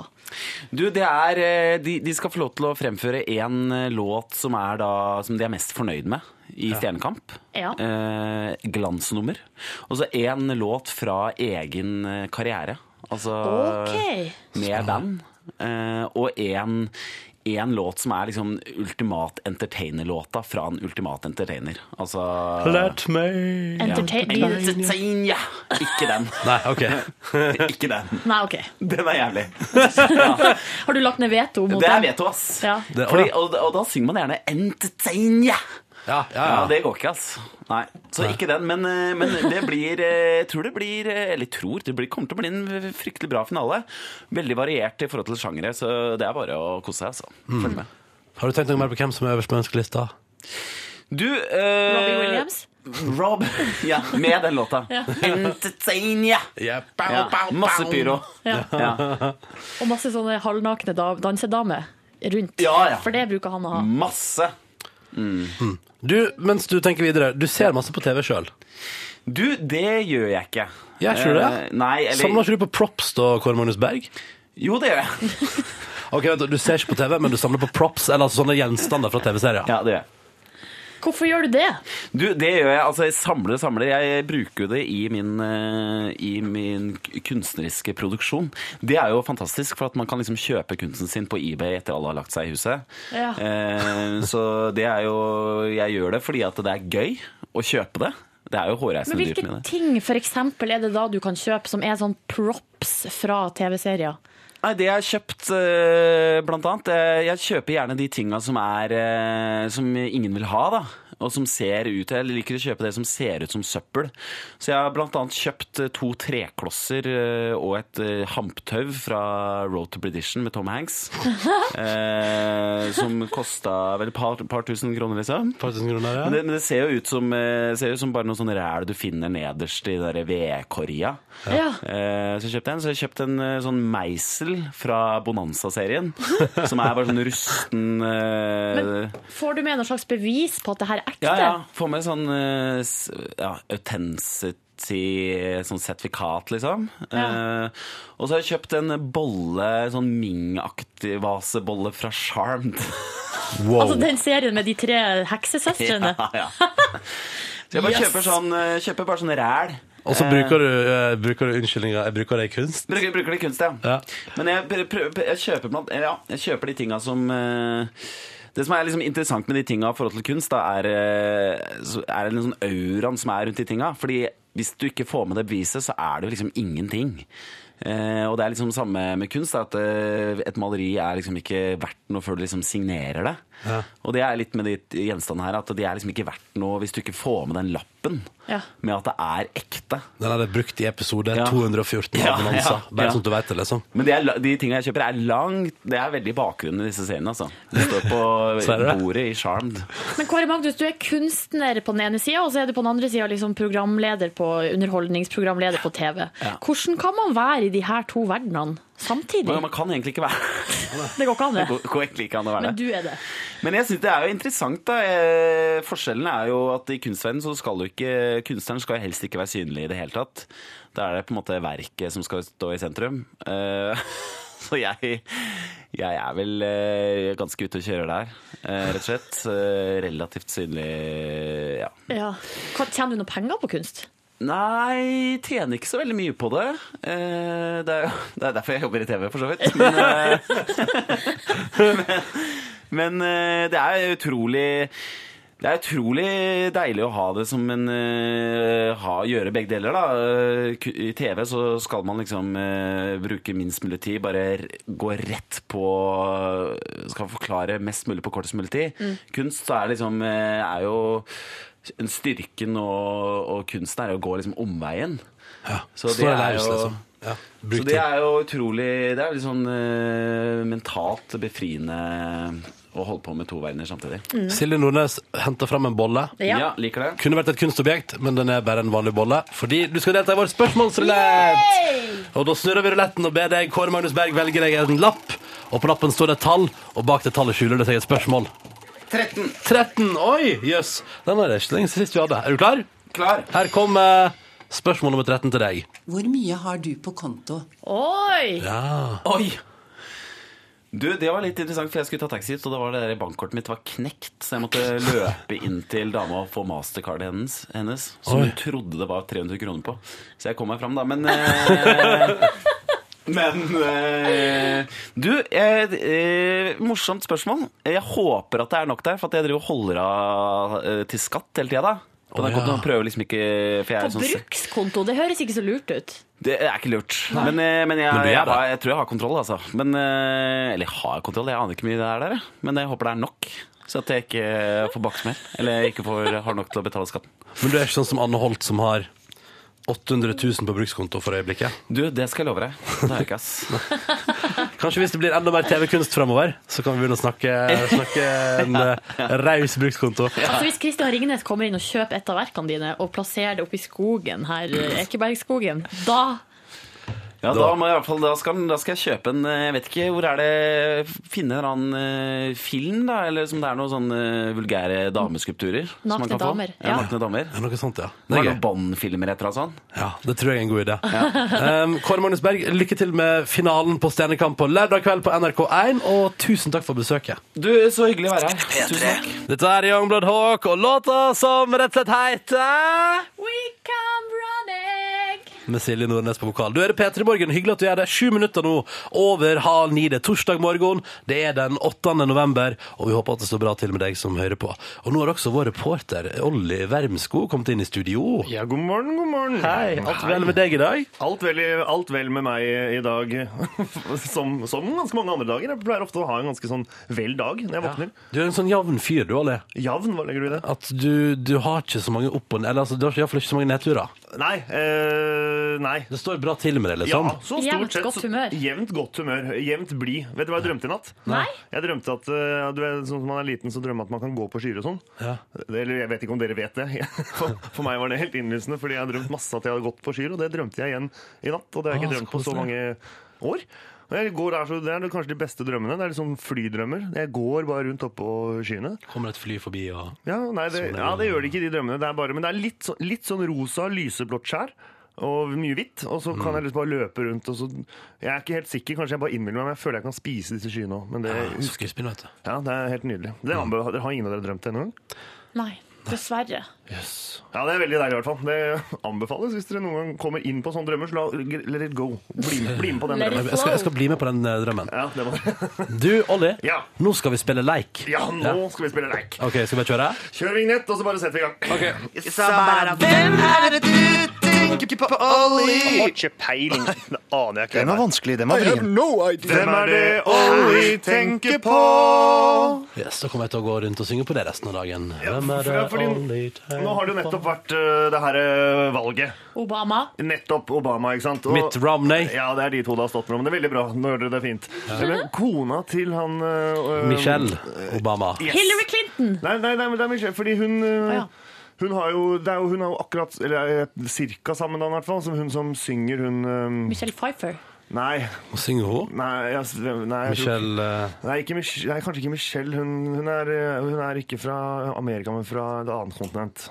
F: Du, det er, eh, de, de skal få lov til å fremføre en eh, låt som, er da, som de er mest fornøyd med i Stjernekamp.
C: Ja.
F: Eh, glansnummer. Og så en låt fra egen eh, karriere. Altså
C: Ok.
F: med band. Eh, og en, en låt som er liksom ultimat entertainer-låta fra en ultimat entertainer. Altså
A: me
C: Entertain?
F: Entertain, ja! Ikke den.
A: Nei, OK.
F: Ikke den.
C: Nei, OK.
F: Den er jævlig.
C: Har du lagt ned veto mot
F: Det er
C: den?
F: veto, ass.
C: Ja.
A: Det-
F: Fordi, og, og da synger man gjerne 'entertain', ja.
A: Ja, ja,
F: Ja,
A: ja.
F: det går ikke, ass. Nei, så ikke den. Men, eh, men det blir eh, Jeg tror det blir eh, Eller tror det blir, kommer til å bli en fryktelig bra finale. Veldig variert i forhold til sjangere, så det er bare å kose seg, altså. Følg med.
A: Har du tenkt noe mer på hvem som er øverst på ønskelista?
F: Du
C: Robbie Williams?
F: Rob. Ja, med den låta.
C: Ja.
F: Entertain, ja. ja. Masse pyro.
C: Ja.
F: Ja.
C: Og masse sånne halvnakne da- dansedamer rundt.
F: Ja, ja.
C: For det bruker han å ha.
F: Masse.
A: Du, mens du tenker videre, du ser masse på TV sjøl.
F: Du, det gjør jeg ikke.
A: Ja, tror du det?
F: Eh, Nei, eller
A: Samler ikke du på props da, Kåre Magnus Berg?
F: Jo, det gjør jeg.
A: Ok, vent, Du ser ikke på TV, men du samler på props eller altså sånne gjenstander fra TV-serier.
F: Ja, det gjør jeg.
C: Hvorfor gjør du det?
F: Du, det gjør jeg. Altså, jeg samler og samler. Jeg bruker jo det i min, eh, i min k- kunstneriske produksjon. Det er jo fantastisk, for at man kan liksom kjøpe kunsten sin på eBay etter alle har lagt seg i huset.
C: Ja.
F: Eh, så det er jo Jeg gjør det fordi at det er gøy å kjøpe det. Det er jo
C: Men
F: hårreisende dyrt
C: hvilke
F: med det.
C: ting for eksempel, er det da du kan kjøpe som er sånn props fra TV-serier?
F: Nei, det jeg har kjøpt, eh, blant annet eh, Jeg kjøper gjerne de tinga som er eh, Som ingen vil ha, da. Og som ser ut Jeg liker å kjøpe det som ser ut som søppel. Så jeg har blant annet kjøpt eh, to treklosser eh, og et eh, hamptau fra Road to Bredition med Tom Hanks. eh, som kosta vel et par, par tusen kroner, liksom.
A: Par tusen kroner, ja.
F: Men det, men det ser jo ut som, eh, ser jo ut som bare noe sånn ræl du finner nederst i den derre vedkorga.
C: Ja.
F: Eh, Så jeg kjøpte en, så jeg kjøpte en eh, sånn meisel fra Bonanza-serien. som er bare sånn rusten eh,
C: Får du med noe slags bevis på at det her er ekte?
F: Ja, ja. Får med sånn eh, s- ja, authenticity, sånn sertifikat, liksom.
C: Ja.
F: Eh, og så har jeg kjøpt en bolle, sånn Ming-aktig vasebolle fra Charmed.
C: Altså
A: Wow.
C: den serien med de tre heksesøstrene?
F: Ja, ja. Så jeg bare
C: Yes.
F: kjøper, sånn, eh, kjøper bare sånn ræl.
A: Og så bruker du, eh, bruker du unnskyldninga 'jeg bruker det i kunst'.
F: Bruker, bruker det i kunst, ja.
A: Ja.
F: Men jeg, pr- prø- jeg, kjøper, blant, ja, jeg kjøper de tinga som eh, Det som er liksom interessant med de tinga i forhold til kunst, da, er, eh, så er det den sånn auraen som er rundt de tinga. Fordi hvis du ikke får med det beviset, så er det jo liksom ingenting. Eh, og det er liksom samme med kunst, da, at eh, et maleri er liksom ikke verdt noe før du liksom signerer det. Og det er litt med de t- gjenstandene her, at de er liksom ikke verdt noe hvis du ikke får med den lappen
C: Ja.
F: med at det er ekte.
A: Den er brukt i episode
F: Ja.
A: 214 av
F: Ja,
A: Bonanza.
F: ja,
A: Bare
F: ja.
A: sånn at du vet det, liksom.
F: Men de, er, la- de tingene jeg kjøper er langt Det er veldig i bakgrunnen i disse seriene altså. Det står
A: Så er det
F: på
A: det.
F: bordet i Charmed
C: Men Kåre Magnus, du er kunstner på den ene sida, og så er du på den andre sida liksom programleder på underholdningsprogramleder på TV. Hvordan kan man være i de her to verdenene samtidig?
F: Men man kan egentlig ikke være
C: Det går ikke an,
F: Det
C: det.
F: går går egentlig ikke an å være
C: Sånn, Men
F: det
C: du er det.
F: Men jeg synes det er jo interessant da Eh, Forskjellen er jo at i kunstverdenen så skal du ikke Kunstneren skal helst ikke være synlig i det hele tatt Da er det på en måte verket som skal stå i sentrum Eh, Så jeg, jeg er vel eh, ganske ute og kjører der eh, Rett og slett Eh, Relativt synlig Ja
C: Ja. Hva, tjener du noe penger på kunst?
F: Nei, tjener ikke så veldig mye på det. Eh, det, er, jo- det er derfor jeg jobber i TV, for så vidt. Men, eh, men, men eh, det er utrolig det er utrolig deilig å ha det som en eh, ha, Gjøre begge deler, da. Eh, ku- I TV så skal man liksom eh, bruke minst mulig tid. Bare r- gå rett på Skal forklare mest mulig på kortest mulig tid. Kunst så er liksom eh, er jo en Styrken og, og kunsten er jo å gå liksom omveien. Så det
A: Står
F: er
A: løs,
F: jo-
A: liksom. Ja.
F: Så
A: Bruk
F: det
A: tid.
F: er jo utrolig Det er litt sånn eh, mentalt befriende å holde på med to verdener samtidig.
A: Silje Nordnes henter fram en bolle.
C: Ja.
F: liker det.
A: Kunne vært et kunstobjekt, men den er bare en vanlig bolle. Fordi du skal delta i vår spørsmålsrulett! Og da snurrer vi ruletten og ber deg, Kåre Magnus Berg, velge deg en lapp. Og på lappen står det et tall, og bak det tallet skjuler det seg et spørsmål.
F: 13.
A: 13! Oi! Jøss. Den var det ikke lenge siden sist vi hadde. Er du klar?
F: Klar.
A: Her kommer spørsmål nummer 13 til deg.
G: Hvor mye har du på konto?
C: Oi!
F: Oi! Du, Det var litt interessant, for jeg skulle ta taxi hit, og da var det der bankkortet mitt var knekt. Så jeg måtte løpe inn til dama og få mastercardet hennes, hennes som
A: Oi.
F: hun trodde det var 300 kroner på. Så jeg kom meg fram, da. Men eh, Men eh, Du, eh, eh, morsomt spørsmål. Jeg håper at det er nok der, for at jeg driver og holder av eh, til skatt hele tida. På
A: Å,
F: den
A: ja.
F: kontoen og prøver liksom ikke for jeg er
C: På
F: sånn,
C: brukskonto, det høres ikke så lurt ut.
F: det er ikke lurt. Men, eh, men, jeg,
A: Men du gjør
F: jeg,
A: det.
F: har- jeg tror jeg har kontroll, altså. Men, eh, eller jeg har kontroll, jeg aner ikke hvor mye det er der. jeg. Men jeg håper det er nok. Så at jeg ikke eh, får baksmell. Eller ikke får, har nok til å betale skatten.
A: Men du er ikke sånn som Anne Holt, som har 800 000 på brukskonto for øyeblikket.
F: Du, det skal jeg love deg. Det har jeg ikke, ass.
A: Kanskje hvis det blir enda mer TV-kunst fremover, så kan vi begynne å snakke, snakke en eh, raus brukskonto.
C: Altså Hvis Kristian Ringnes kommer inn og kjøper et av verkene dine og plasserer det oppi skogen her, Ekebergskogen, da
F: Ja, da, må jeg i hvert fall, da, skal, da skal jeg kjøpe en eh, Jeg vet ikke, hvor er det Finne en eller annen eh, film, da? Eller som det er noen sånne eh, vulgære dameskulpturer? som man
C: Nakne
F: kan få.
C: damer,
F: Ja,
C: ja.
F: nakne damer.
A: Ja, noe sånt, ja.
F: Det
A: Det
F: er
A: er gøy.
F: noen Bond-filmer etter og sånn.
A: Ja, det tror jeg er en god idé. um, Kåre Magnus Berg, lykke til med finalen på Stjernekamp på lørdag kveld på NRK1, og tusen takk for besøket.
F: Du, så hyggelig å være her. Tusen takk.
A: Dette er Youngblood Hawk og låta som rett og slett heter
C: We come running.
A: Med Silje Nordnes på vokal. Du er det P3 Morgen, hyggelig at du er det. Sju minutter nå over halv ni. Det er torsdag morgen, det er den 8. november, og vi håper at det står bra til med deg som hører på. Og nå har også vår reporter Olli Wermskog kommet inn i studio.
H: Ja, god morgen, god morgen.
A: Hei, alt vel med deg i dag?
H: Alt vel, i- alt vel med meg i dag, som, som ganske mange andre dager. Jeg pleier ofte å ha en ganske sånn vel dag når jeg våkner.
A: Du er en sånn jevn fyr, du, Olli.
H: Javn, hva legger du i det?
A: At du, du har ikke så mange opp og ned Eller altså, du har i hvert fall ikke så mange nedturer.
H: Nei. Eh, nei.
A: Det står bra til med deg,
H: Ja,
A: liksom.
H: så stort
C: Jevnt
H: sett,
C: godt
H: så-
C: humør.
H: Jevnt godt humør. Jevnt blid. Vet du hva jeg drømte i natt?
C: Nei.
H: Jeg drømte at eh, du vet, sånn som man er liten, så drømmer man at man kan gå på skyer og sånn.
A: Ja.
H: Eller jeg vet ikke om dere vet det. For, for meg var det helt innlysende, fordi jeg har drømt masse at jeg hadde gått på skyer, og det drømte jeg igjen i natt. Og det har jeg
A: Ah,
H: ikke
A: så
H: drømt på så mange år. Og jeg går der, så Det er kanskje de beste drømmene. Det er liksom flydrømmer. Jeg går bare rundt oppå skyene.
A: Kommer et fly forbi og
H: Ja, nei, det, ja, Sånn det gjør det ikke, i de drømmene. Det er bare, men det er litt, så, litt sånn rosa, lyseblått skjær. Og mye hvitt. Og så kan jeg liksom bare løpe rundt. Og så, jeg er ikke helt sikker, kanskje jeg bare innbiller meg, men jeg føler jeg kan spise disse skyene òg. Men det,
A: Skuespill, vet du.
H: ja, det er helt nydelig. Det anbe- dere har ingen av dere drømt det ennå?
C: Nei, dessverre.
H: Ja, det er veldig deilig i hvert fall. Det anbefales hvis dere noen gang kommer inn på sånne drømmer, så la, let it go. Bli med, bli med på den
C: Let it
H: drømmen.
A: Jeg skal, jeg skal bli med på den eh, drømmen.
H: Ja, det var.
A: Du, Olli,
H: Ja.
A: nå skal vi spille leik.
H: ja, nå skal vi spille leik.
A: OK, skal vi bare kjøre?
H: Kjør vignett, og så bare setter vi i gang.
F: Så bare, hvem er det du tenker på, Olli?
H: Har ikke peiling. Det aner jeg ikke.
I: Den var vanskelig, den var vrien.
H: Hvem er det Olli tenker på?
A: Yes, da kommer jeg til å gå rundt og synge på det resten av dagen. Hvem er det
H: Ja, fordi
A: Olli tenker
H: Nå har det jo nettopp vært eh, det her eh, valget.
C: Obama.
H: Nettopp Obama, ikke sant? Og-
A: Mitt Romney.
H: Ja, det er de to det har stått mellom. Det er veldig bra. Nå gjør dere det fint. Men kona til han eh,
A: Michelle Obama.
H: Yes.
C: Hillary Clinton.
H: Nei, nei, nei, men det er Michelle, fordi hun eh,
C: Å, ja.
H: Hun har jo, det er jo, hun har jo akkurat Eller eh, cirka samme navn, i hvert fall. Som hun som synger hun eh,
C: Michelle Pfeiffer.
H: Nei.
A: Og synger hun?
H: Nei, jeg, s- nei jeg tror-
A: Michelle eh,
H: Nei, ikke Mich nei, kanskje ikke Michelle. Hun, hun, er, eh, hun er ikke fra Amerika, men fra et annet kontinent.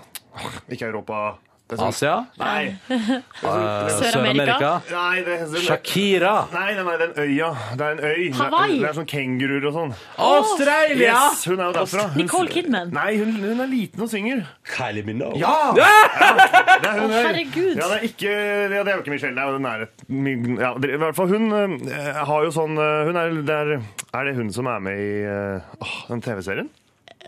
H: Ikke Europa. Det er sånn-
A: Asia?
H: Nei. sånn-
A: Eh, Sør-Amerika?
C: Sør-Amerika?
H: Nei, det, den,
A: Shakira?
H: nei, nei, nei, den øya. Det er en øy. Det er-
C: Hawaii?
H: Det er sånn kenguruer og sånn.
A: Australia!
H: Yes, hun er jo derfra. Hun,
C: Nicole Kidman.
H: nei, hun, hun er liten og synger.
A: Kylie Minogue.
H: Ja! det er hun
C: Å, herregud.
H: Ja, det er ikke ja, Det er jo ikke Michelle, det er jo den nære ja, det- I hvert fall hun eh, har jo sånn eh, Hun er der Er det hun som er med i eh, åh, den TV-serien?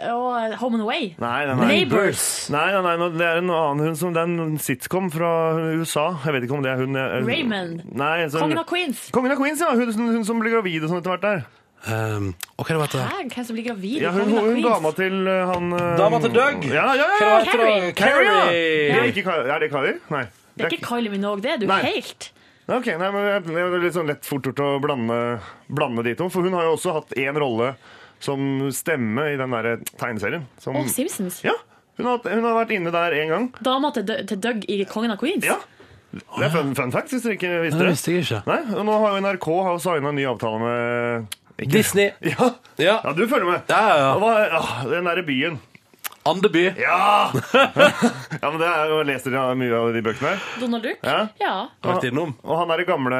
C: Og eh, Home and Away.
H: Nei, nei, nei.
C: Neighbours.
H: Nei, nei, nei, nå- det er en annen hun som Det er en sitcom fra USA. Jeg vet ikke om det er hun jeg-
C: Raymond.
H: Nei, så-
C: Kongen av Queens.
H: Kongen av Queens, ja. Hun, hun, hun som blir gravid og sånn etter hvert der.
A: Um, og hva er det det heter?
C: Hæ, hvem som blir gravid i
H: Ja, hun,
C: Kongen av
H: hun dama
C: Queens?
H: til uh, han uh,
A: Dama til Doug?
H: Ja, ja, ja.
A: Hva
H: ja.
A: heter det? Carrie!
H: Det er, ikke, Ka- er det Kari? Nei.
C: Det er ikke Kylie Minogue, det er du
H: Nei.
C: helt.
H: Ok, nei, men jeg- Det er litt sånn lett fort gjort å blande, blande de to. For hun har jo også hatt én rolle som stemme i den der tegneserien. Som,
C: Og Simpsons.
H: Mm. ja, hun har, hatt- hun har vært inne der én gang.
C: Dama til, Dø- til Doug i Kongen av Queens.
H: Ja. Det er fun, fun fact, hvis dere ikke visste
A: Det
H: det.
A: visste jeg ikke.
H: Nei, og nå har jo NRK har signa en ny avtale med ikke-
A: Disney.
H: Ja,
A: Ja.
H: ja, du følger med.
A: Ja, ja, ja.
H: Og hva- ah, den derre byen.
A: Andeby.
H: Ja! ja, men det er jo, Leser dere mye av de bøkene her?
C: Donald Duck.
H: Ja.
A: Har vært innom.
H: Og han derre gamle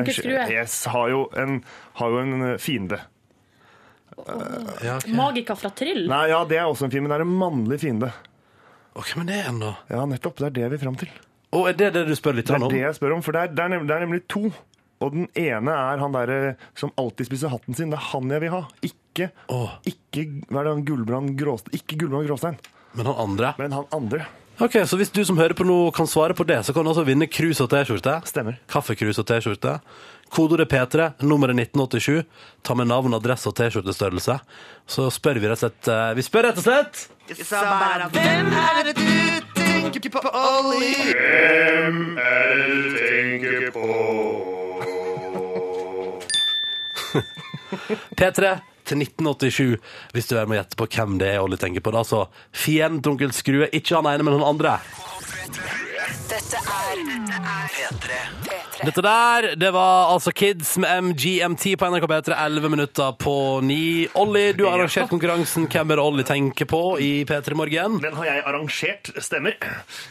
C: Onkel Skrue.
H: Yes, har jo en, har jo en eh, fiende.
A: Ja, ok.
C: Magika fra Tryll.
H: Nei, ja, det er også en fiende, men det er en mannlig fiende.
A: Og hvem er det igjen, da?
H: Ja, nettopp. Det er det vi er fram til.
A: Og er det det du spør litt
H: Det er
A: om?
H: det jeg spør om, for det er, det er, nemlig, det er nemlig to. Og den ene er han derre som alltid spiser hatten sin. Det er han jeg vil ha. Ikke,
A: Åh.
H: ikke hva er det han Gulbrand Gråstein? Ikke Gulbrand Gråstein,
A: Men han andre?
H: men han andre.
A: Ok, Så hvis du som hører på nå kan svare på det, så kan du altså vinne krus og T-skjorte.
H: Stemmer.
A: Kaffekrus og T-skjorte. Kodeordet P3, nummeret 1987. Ta med navn, adresse og T-skjortestørrelse. Så spør vi rett og slett eh, Vi spør rett og slett
F: Så bare, hvem er det du tenker på, Olli?
A: P3 til 1987 hvis du er med å gjette på hvem det er Olli tenker på. Da, så fienden til onkel Skrue, ikke han ene, men han andre.
E: Dette er P3.
A: Dette der, det var altså Kids med MGMT på NRK P3, 11 minutter på 9. Olli, du har arrangert konkurransen Hvem er det Olli tenker på i P3 Morgen?
H: Den har jeg arrangert, stemmer.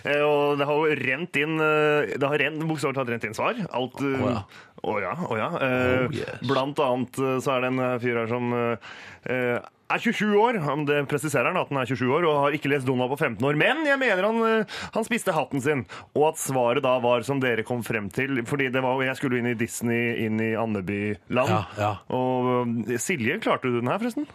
H: Eh, Og det har jo rent inn eh, Det har rent, bokstavelig talt rent inn svar. Alt eh,
A: Å, ja.
H: Å ja. Å ja. Eh,
A: Oh, yes.
H: Blant annet eh, så er det en eh, fyr her som eh, eh, er 27 år, Han- det presiserer han at han er 27 år og har ikke lest Donald på 15 år. Men jeg mener han, eh, han spiste hatten sin, og at svaret da var som dere kom frem til. fordi det var, jo- jeg skulle jo inn i Disney, inn i Andebyland.
A: Ja, ja.
H: Og eh, Silje, klarte du den her, forresten?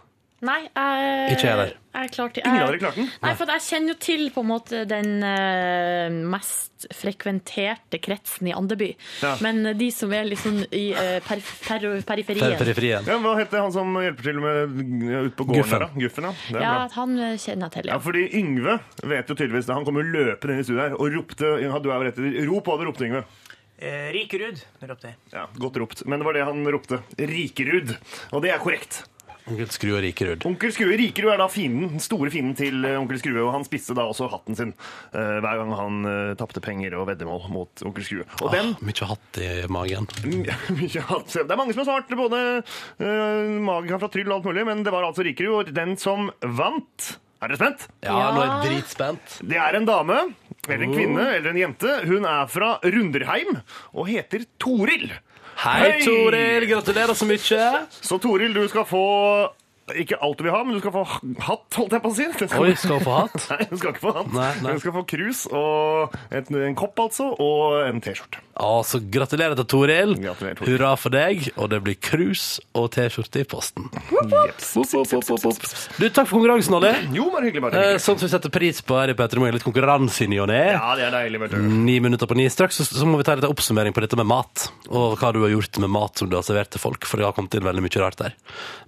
C: Nei, jeg
A: Ikke jeg heller.
C: jeg klarte-
H: Ingen
C: jeg-
H: av dere klarte den?
C: Nei, for at jeg kjenner jo til på en måte den eh, mest frekventerte kretsen i Andeby.
H: Ja.
C: Men eh, de som er liksom i eh, per, per, periferien
A: Periferien.
H: Ja, hva heter han som hjelper til med ute på gården?
A: Guffen.
H: her, da? Guffen, ja. Det er
C: Ja,
H: bra.
C: han eh, kjenner jeg til,
H: Ja,
C: ja.
H: fordi Yngve vet jo tydeligvis det. Han kom jo løpende inn i studioet her og ropte ja, du er jo rett, i- Rop hva du ropte, Yngve.
B: Eh, Rikerud ropte jeg.
H: Ja, Godt ropt. Men det var det han ropte. Rikerud. Og det er korrekt.
A: Onkel Skrue og Rikerud.
H: Onkel Skrue Rikerud er da fienden, den store fienden til eh, onkel Skrue. Og han spiste da også hatten sin eh, hver gang han uh, tapte penger og veddemål mot onkel Skrue. Og den
A: Ah, mye hatt i magen.
H: Mye hat. Det er mange som har svart, både uh, Magica fra Tryll og alt mulig, men det var altså Rikerud. Og den som vant Er dere spent?
A: Ja, nå er jeg dritspent.
H: Det er en dame, eller en kvinne, eller en jente. Hun er fra Runderheim og heter Toril.
A: Hei,
H: Hei!
A: Toril. Gratulerer så mye.
H: Så Toril, du skal få ikke alt du vil ha, men du skal få hatt, holdt jeg på å si. Det
A: Oi, skal hun få hatt?
H: Nei, hun skal ikke få hatt.
A: Nei, nei.
H: Hun skal få krus og et, en kopp, altså, og en T-skjorte.
A: Altså, gratulerer til Toril.
H: Gratulerer, Toril.
A: Hurra for deg. Og det blir krus og T-skjorte i posten. Woop, woop, woop, woop, woop. Du, takk for konkurransen, Olli.
H: Jo, bare hyggelig. bare
A: Eh,
H: hyggelig.
A: Sånn som vi setter pris på her i Petter Morgen. Litt konkurranse i ny og ne.
H: Ja, det er deilig, vet du.
A: Ni minutter på ni. Straks så, så må vi ta litt oppsummering på dette med mat. Og hva du har gjort med mat som du har servert til folk, for det har kommet inn veldig mye rart der.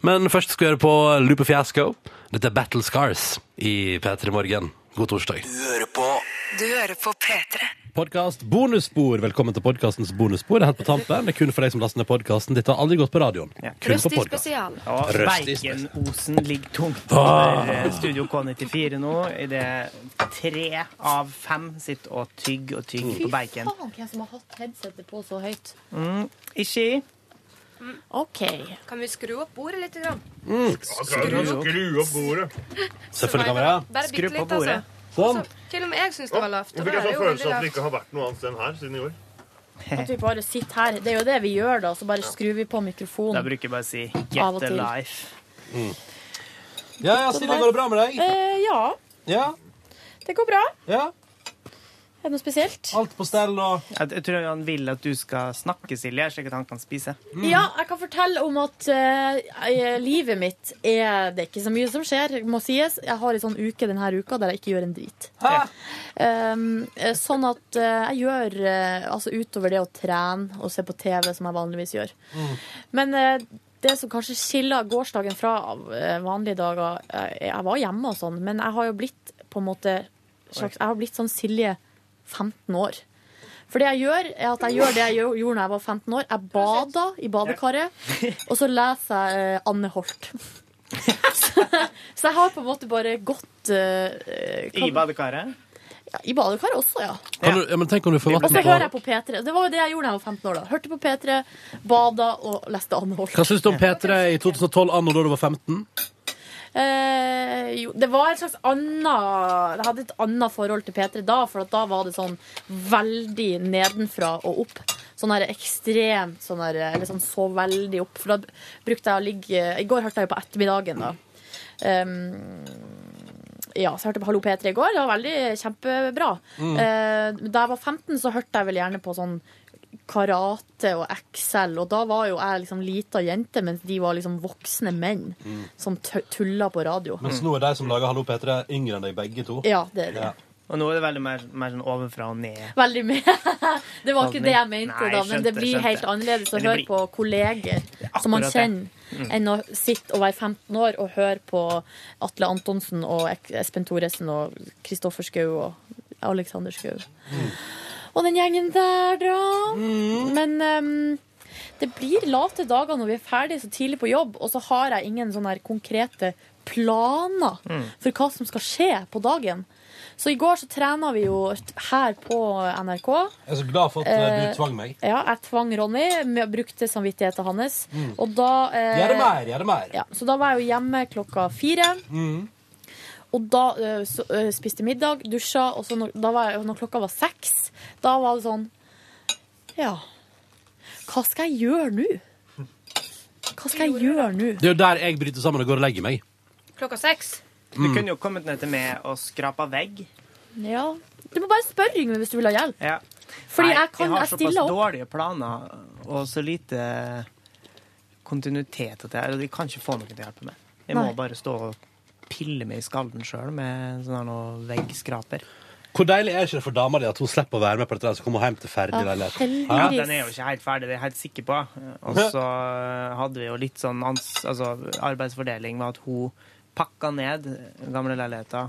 A: Men først skal vi høre på Lupe Fiasco. Dette er Battle Scars i P3 Morgen. God torsdag.
E: Du hører på P3.
A: Podcast bonusspor. Velkommen til podcastens bonusspor. Det er helt på tampen. Det er kun for deg som laster ned podcasten. Dette har aldri gått på radioen. Kun på podcast.
B: Og
A: Røstis.
B: Bergenosen ligger tungt over eh, Studio K94 nå. I det tre av fem sitter og tygger og tygger på bacon.
C: hvem som har hatt headsetet på så høyt?
B: Ikke i.
C: OK.
I: Kan vi skru opp bordet litt? Grann?
H: Skru opp bordet.
A: Selvfølgelig, kamera.
I: Bare
B: Skru
I: bitte
B: på
I: litt, altså.
B: bordet.
A: Sånn.
I: Til og med jeg syns det var lavt. og
H: Fikk
I: da er
H: jeg
I: det
H: sånn
I: jo
H: følelse av at
I: veldig
H: det ikke har vært noe annet sted enn her siden i år?
C: At vi bare sitter her. Det er jo det vi gjør, da. Så bare skrur vi på
B: Da
C: mikrofonen.
B: bruker jeg bare å si
C: Av og
B: get a
C: til.
B: life.
A: Ja, ja, Silje, går det bra med deg?
C: Eh, ja,
A: Ja,
C: det går bra.
A: ja.
C: Er det noe spesielt?
A: Alt på stell og
B: Jeg, jeg tror han vil at du skal snakke, Silje, slik at han kan spise.
C: Ja, jeg kan fortelle om at eh, jeg- livet mitt er Det er ikke så mye som skjer, må sies. Jeg har en sånn uke denne uka der jeg ikke gjør en drit. Um, eh, sånn at eh, jeg gjør eh, Altså utover det å trene og se på TV, som jeg vanligvis gjør. Men eh, det som kanskje skiller gårsdagen fra eh, vanlige dager eh, Jeg var hjemme og sånn, men jeg har jo blitt på en måte slags, Jeg har blitt sånn Silje 15 år. For det jeg gjør, er at jeg gjør det jeg gjør- gjorde da jeg var 15 år. Jeg bada i badekaret, og så leser jeg eh, Anne Holt. så jeg har på en måte bare gått eh,
B: I
C: kan-
B: badekaret.
C: ja, I badekaret også, ja.
A: kan du, ja, men Tenk om du får
C: Og
A: vann
C: så hører jeg
A: på
C: på P3. Det var jo det jeg gjorde da jeg var 15 år. da Hørte på P3, bada og leste Anne Holt.
A: Hva syns du om P3 i 2012, anno da du var 15?
C: Eh, jo, det var et slags anna Jeg hadde et annet forhold til P3 da, for at da var det sånn veldig nedenfra og opp. Sånn her ekstremt sånn her Eller sånn så veldig opp. For da brukte jeg å ligge I går hørte jeg jo på ettermiddagen, da. Um, ja, så jeg hørte på Hallo P3 i går. Det var veldig kjempebra.
A: Mm.
C: Eh, da jeg var 15, så hørte jeg vel gjerne på sånn karate og Excel, og da var jo jeg liksom lita jente, mens de var liksom voksne menn
B: Mm.
C: som tø- tulla på radio.
A: Mens nå er de som lager Hallo P3, yngre enn deg begge to.
C: Ja, det er det.
A: Ja.
B: Og nå er det veldig mer, mer sånn ovenfra og ned.
C: Veldig mye. Det var ikke det jeg mente,
B: Nei,
C: da, men
B: skjønte,
C: det blir
B: skjønte.
C: helt annerledes å
B: Men det
C: høre
B: blir-
C: på kolleger som man
B: akkurat det. Mm.
C: kjenner, enn å sitte og være 15 år og høre på Atle Antonsen og Ek- Espen Thoresen og Kristoffer Schou og
B: Mm.
C: Alexander Schou. Og den gjengen der, da. Men ehm, det blir late dager når vi er ferdig så tidlig på jobb, og så har jeg ingen sånne her konkrete planer
B: Mm.
C: for hva som skal skje på dagen. Så i går så trena vi jo her på NRK.
A: Jeg er så glad for at eh,
C: Eh,
A: du tvang meg.
C: Ja, jeg tvang Ronny, med, brukte samvittigheten hans. Og da eh,
A: Gjør det mer, gjør det mer.
C: ja, så da var jeg jo hjemme klokka fire. Og da eh, så, eh, spiste jeg middag, dusja, og så når, da var jeg, når klokka var seks, da var det sånn Ja, hva skal jeg gjøre nå? Hva skal jeg gjøre nå?
A: Det er jo der jeg bryter sammen og går og legger meg.
I: Klokka seks.
B: Du kunne jo kommet ned til meg og skrapa vegg.
C: Ja, Du må bare spørre Yngve hvis du vil ha hjelp.
B: Ja.
C: Fordi
B: Nei,
C: jeg kan,
B: har
C: jeg stiller
B: såpass
C: opp.
B: dårlige planer og så lite kontinuitet at jeg, jeg kan ikke få noen til å hjelpe meg. Jeg
C: Nei.
B: må bare stå og pille meg i skallen sjøl med sånn her noe veggskraper.
A: Hvor deilig er ikke det for dama di at hun slipper å være med på dette, der, så kommer hun hjem til ferdig
C: Ja,
A: leilighet?
B: Ja,
C: heldigvis.
B: den er jo ikke helt ferdig, det er jeg helt sikker på. Og så hadde vi jo litt sånn ans altså, arbeidsfordeling med at hun pakka ned gamle leiligheter.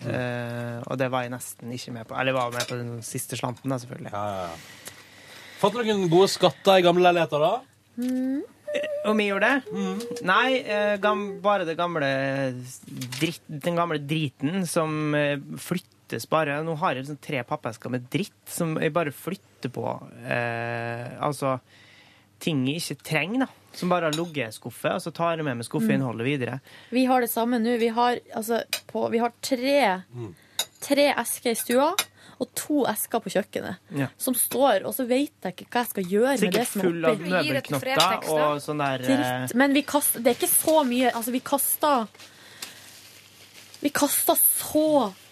B: Eh, og det var jeg nesten ikke med på. Eller jeg var med på den siste slanten, da, selvfølgelig.
A: Fant du noen gode skatter i gamle leiligheter, da?
B: Om jeg gjorde det?
I: Mm.
B: Nei, eh, gam, bare det gamle dritt, den gamle driten som eh, flyttes bare. Nå har jeg liksom tre pappesker med dritt som jeg bare flytter på. Eh, altså ting jeg ikke trenger, da. Som bare har ligget i en skuffe, og så tar jeg med
I: Mm.
B: meg skuffeinnholdet videre.
C: Vi har det samme nå. Vi har, altså, på, vi har tre, tre esker i stua og to esker på kjøkkenet.
B: Ja.
C: Som står, og så vet jeg ikke hva jeg skal gjøre med det
B: Sikkert
C: som er
B: full av
C: oppi.
I: Vi gir et
B: møbelknotter
I: brevtekst, da.
B: og sånn der eh,
C: Dritt. Men vi kaster, det er ikke så mye. Altså, vi kaster Vi kaster så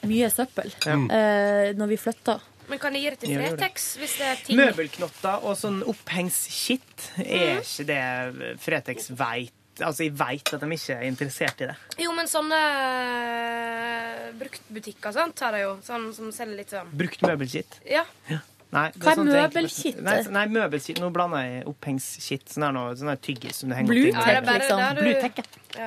C: mye søppel eh, når vi flytter.
I: Men kan jeg gi det til
B: Ja, gjør det.
I: Fretex hvis det er ting? Mm.
B: Møbelknotter og sånn opphengsskitt er ikke det eh, Fretex veit. Altså, jeg veit at de ikke er interessert i det.
I: Jo, men sånne eh, bruktbutikker sant, har jeg jo. Sånn som selger litt sånn.
B: Brukt møbelskitt.
I: Ja.
B: Nei, det
C: Hva er
B: sånn at jeg-
C: møbelskitt?
B: Nei, så- nei møbelskitt. Nå blander jeg opphengsskitt. Sånn her nå- sånn her tyggis som det henger
C: Blue
B: opp i.
I: det
C: tech,
I: er bare-
C: liksom.
I: det er du-
C: Blue tech, ja.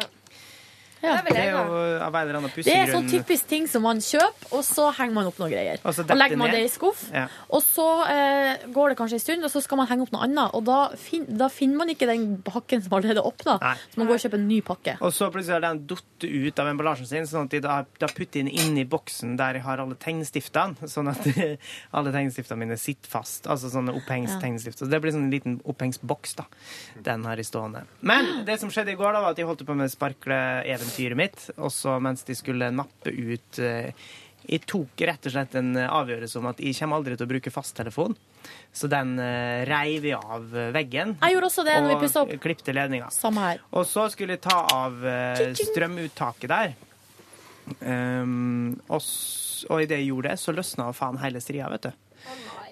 I: Det vil
B: Det er
I: jeg ha.
B: jo av en eller annen
C: Det er sånn
B: pussegrunn.
C: typisk ting som man kjøper, og så henger man opp noen greier.
B: Og så
C: Og legger man
B: Altså, detter ned.
C: det i skuff,
B: Ja.
C: og så eh, går det kanskje en stund, og så skal man henge opp noe annet. Og da, fin da finner man ikke den pakken som allerede er åpna,
B: Nei.
C: så man går og kjøper en ny pakke.
B: Og så plutselig har den datt ut av emballasjen sin, sånn at de da, da putter jeg den inn i boksen der jeg har alle tegnestiftene. Sånn at alle tegnestiftene mine sitter fast. Altså sånne opphengstegnestifter. Så det blir sånn en liten opphengsboks, da. Den har jeg stående. Men det som skjedde i går, da, var at jeg holdt på med sparkleeventyret mitt, også mens de skulle nappe ut eh, Jeg tok rett og slett en eh, avgjørelse om at jeg kommer aldri til å bruke fasttelefon. Så den eh, reiv jeg av eh, veggen.
C: Jeg gjorde også det når vi pusset opp.
B: Og klippte ledninga.
C: Samme her.
B: Og så skulle jeg ta av eh,
C: Tjing, tjing.
B: strømuttaket der. Ehm, og, s- og i det jeg gjorde det, så løsna jo faen hele stria, vet du.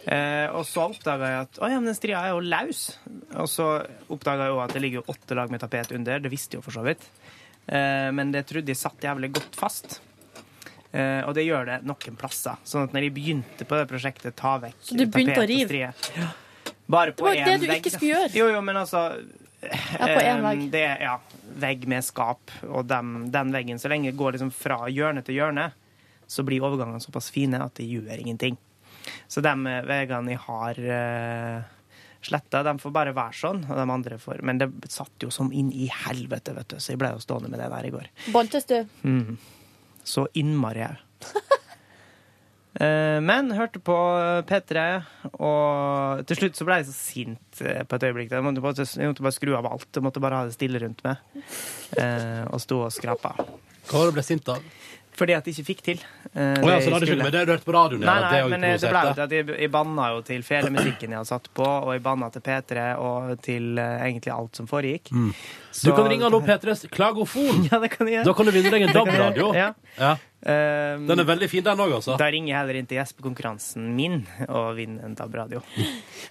B: Eh, og så oppdaga jeg at å ja, men den stria er jo løs. Og så oppdaga jeg jo at det ligger jo åtte lag med tapet under. Det visste jeg jo for så vidt. Eh, men det trodde jeg satt jævlig godt fast. Eh, og det gjør det noen plasser. Sånn at når jeg begynte på det prosjektet, ta vekk
C: du begynte å
B: tapet
C: rive?
B: og strie ja. Bare
C: Det
B: på
C: var jo
B: én
C: det du
B: vegg,
C: ikke
B: da.
C: skulle gjøre.
B: Jo, jo, men altså
C: Ja, på én
B: Ehm,
C: vegg.
B: Det er ja, vegg med skap, og dem, den veggen, så lenge det går liksom fra hjørne til hjørne, så blir overgangene såpass fine at de gjør ingenting. Så de veggene jeg har uh, sletta, de får bare være sånn, og de andre får Men det satt jo som inn i helvete, vet du, så jeg ble jo stående med det der i går.
C: Bantes du?
B: Så innmari jeg. Eh, Men hørte på P3, og til slutt så ble jeg så sint eh, på et øyeblikk. Jeg måtte bare, jeg måtte bare skru av alt. Jeg måtte bare ha det stille rundt meg. Eh, Og stå og skrapa.
A: Hva var det du ble sint av?
B: Fordi at jeg ikke fikk til. eh,
A: Å ja, så
B: det jeg
A: da hadde ikke
B: skulle.
A: med det du hørte på radioen?
B: Nei,
A: ja,
B: nei,
A: er jo
B: men eh, det ble jo
A: provosert,
B: til at jeg, jeg banna jo til hele musikken jeg hadde satt på, og jeg banna til P3 og til eh, egentlig alt som foregikk.
A: Du
B: Så-
A: kan ringe nå P3s klagofon.
B: Ja, det kan jeg
A: Da
B: gjøre.
A: kan du vinne deg en DAB-radio.
B: Ja.
A: Ja.
B: Eh,
A: Den er veldig fin, den òg, altså.
B: Da ringer jeg heller inn til gjespekonkurransen min og vinner en DAB-radio.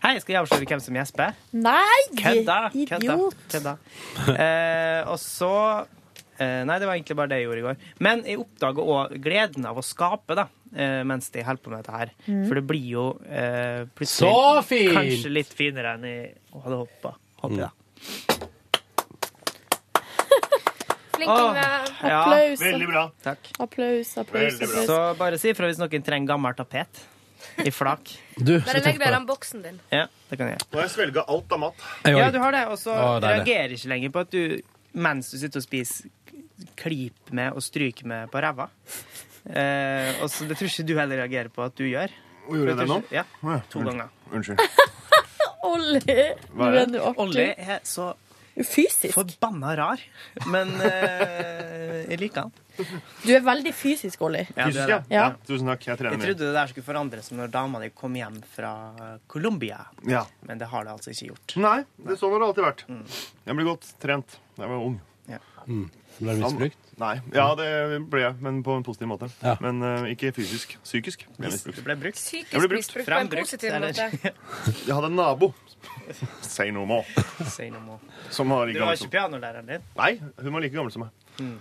B: Hei, skal jeg avsløre hvem som gjesper?
C: Nei!
B: Kødda! Kødda!
C: Idiot!
B: kødda. Eh, og så eh, Nei, det var egentlig bare det jeg gjorde i går. Men jeg oppdaga òg gleden av å skape da, eh, mens de holder på med dette her. For det blir jo eh, plutselig
A: Så fint!
B: kanskje litt finere enn jeg hadde håpa. Håper jeg, da.
I: Flink Yngve.
B: Ja,
C: Applaus,
H: Veldig bra.
B: takk.
C: applaus, applaus.
H: Veldig bra.
C: applaus.
B: Så bare si ifra hvis noen trenger gammel tapet. I flak.
A: Du,
I: Bare
A: så
I: legg
A: tenk
I: det i
A: på det.
I: den boksen din.
B: Ja, det kan jeg gjøre.
H: Nå har jeg svelga alt av mat.
A: Jeg
B: Ja,
A: også.
B: du har det, og så
A: Å, deilig.
B: reagerer ikke lenger på at du, mens du sitter og spiser, kliper med og stryker med på ræva. Eh, og så Det tror ikke du heller reagerer på at du gjør.
H: Gjorde jeg det nå? Mm.
B: Ja, to ganger.
H: Unnskyld.
C: Olli! Du
H: Hva er
C: er
H: det?
C: nå
B: Olli
C: artig.
B: er så
C: Fysisk.
B: forbanna rar, men eh, jeg liker han.
C: Du er veldig fysisk, Olli.
B: Ja, du er
H: Fysisk, ja.
B: det.
C: Ja.
H: Ja, Tusen takk.
B: Jeg
H: Jeg trener.
B: trodde det der skulle forandre seg når dama di kom hjem fra Colombia,
H: Ja.
B: men det har det altså ikke gjort.
H: Nei, det er sånn har det alltid vært. Jeg ble godt trent da jeg var ung.
A: Ble du misbrukt?
H: Nei. Ja, det ble jeg, men på en positiv måte.
A: Ja.
H: Men eh, ikke fysisk. Psykisk. ble jeg
B: Hvis
H: misbrukt.
B: det ble brukt.
H: Jeg blir
I: Psykisk
H: brukt.
I: misbrukt på en
B: Frembrukt,
I: positiv
B: eller?
I: måte.
H: Jeg hadde en nabo Say no more.
B: Say no more.
H: Som var like
B: Du var
H: gammel
B: ikke
H: som
B: pianolæreren din?
H: Nei, hun var like gammel som meg.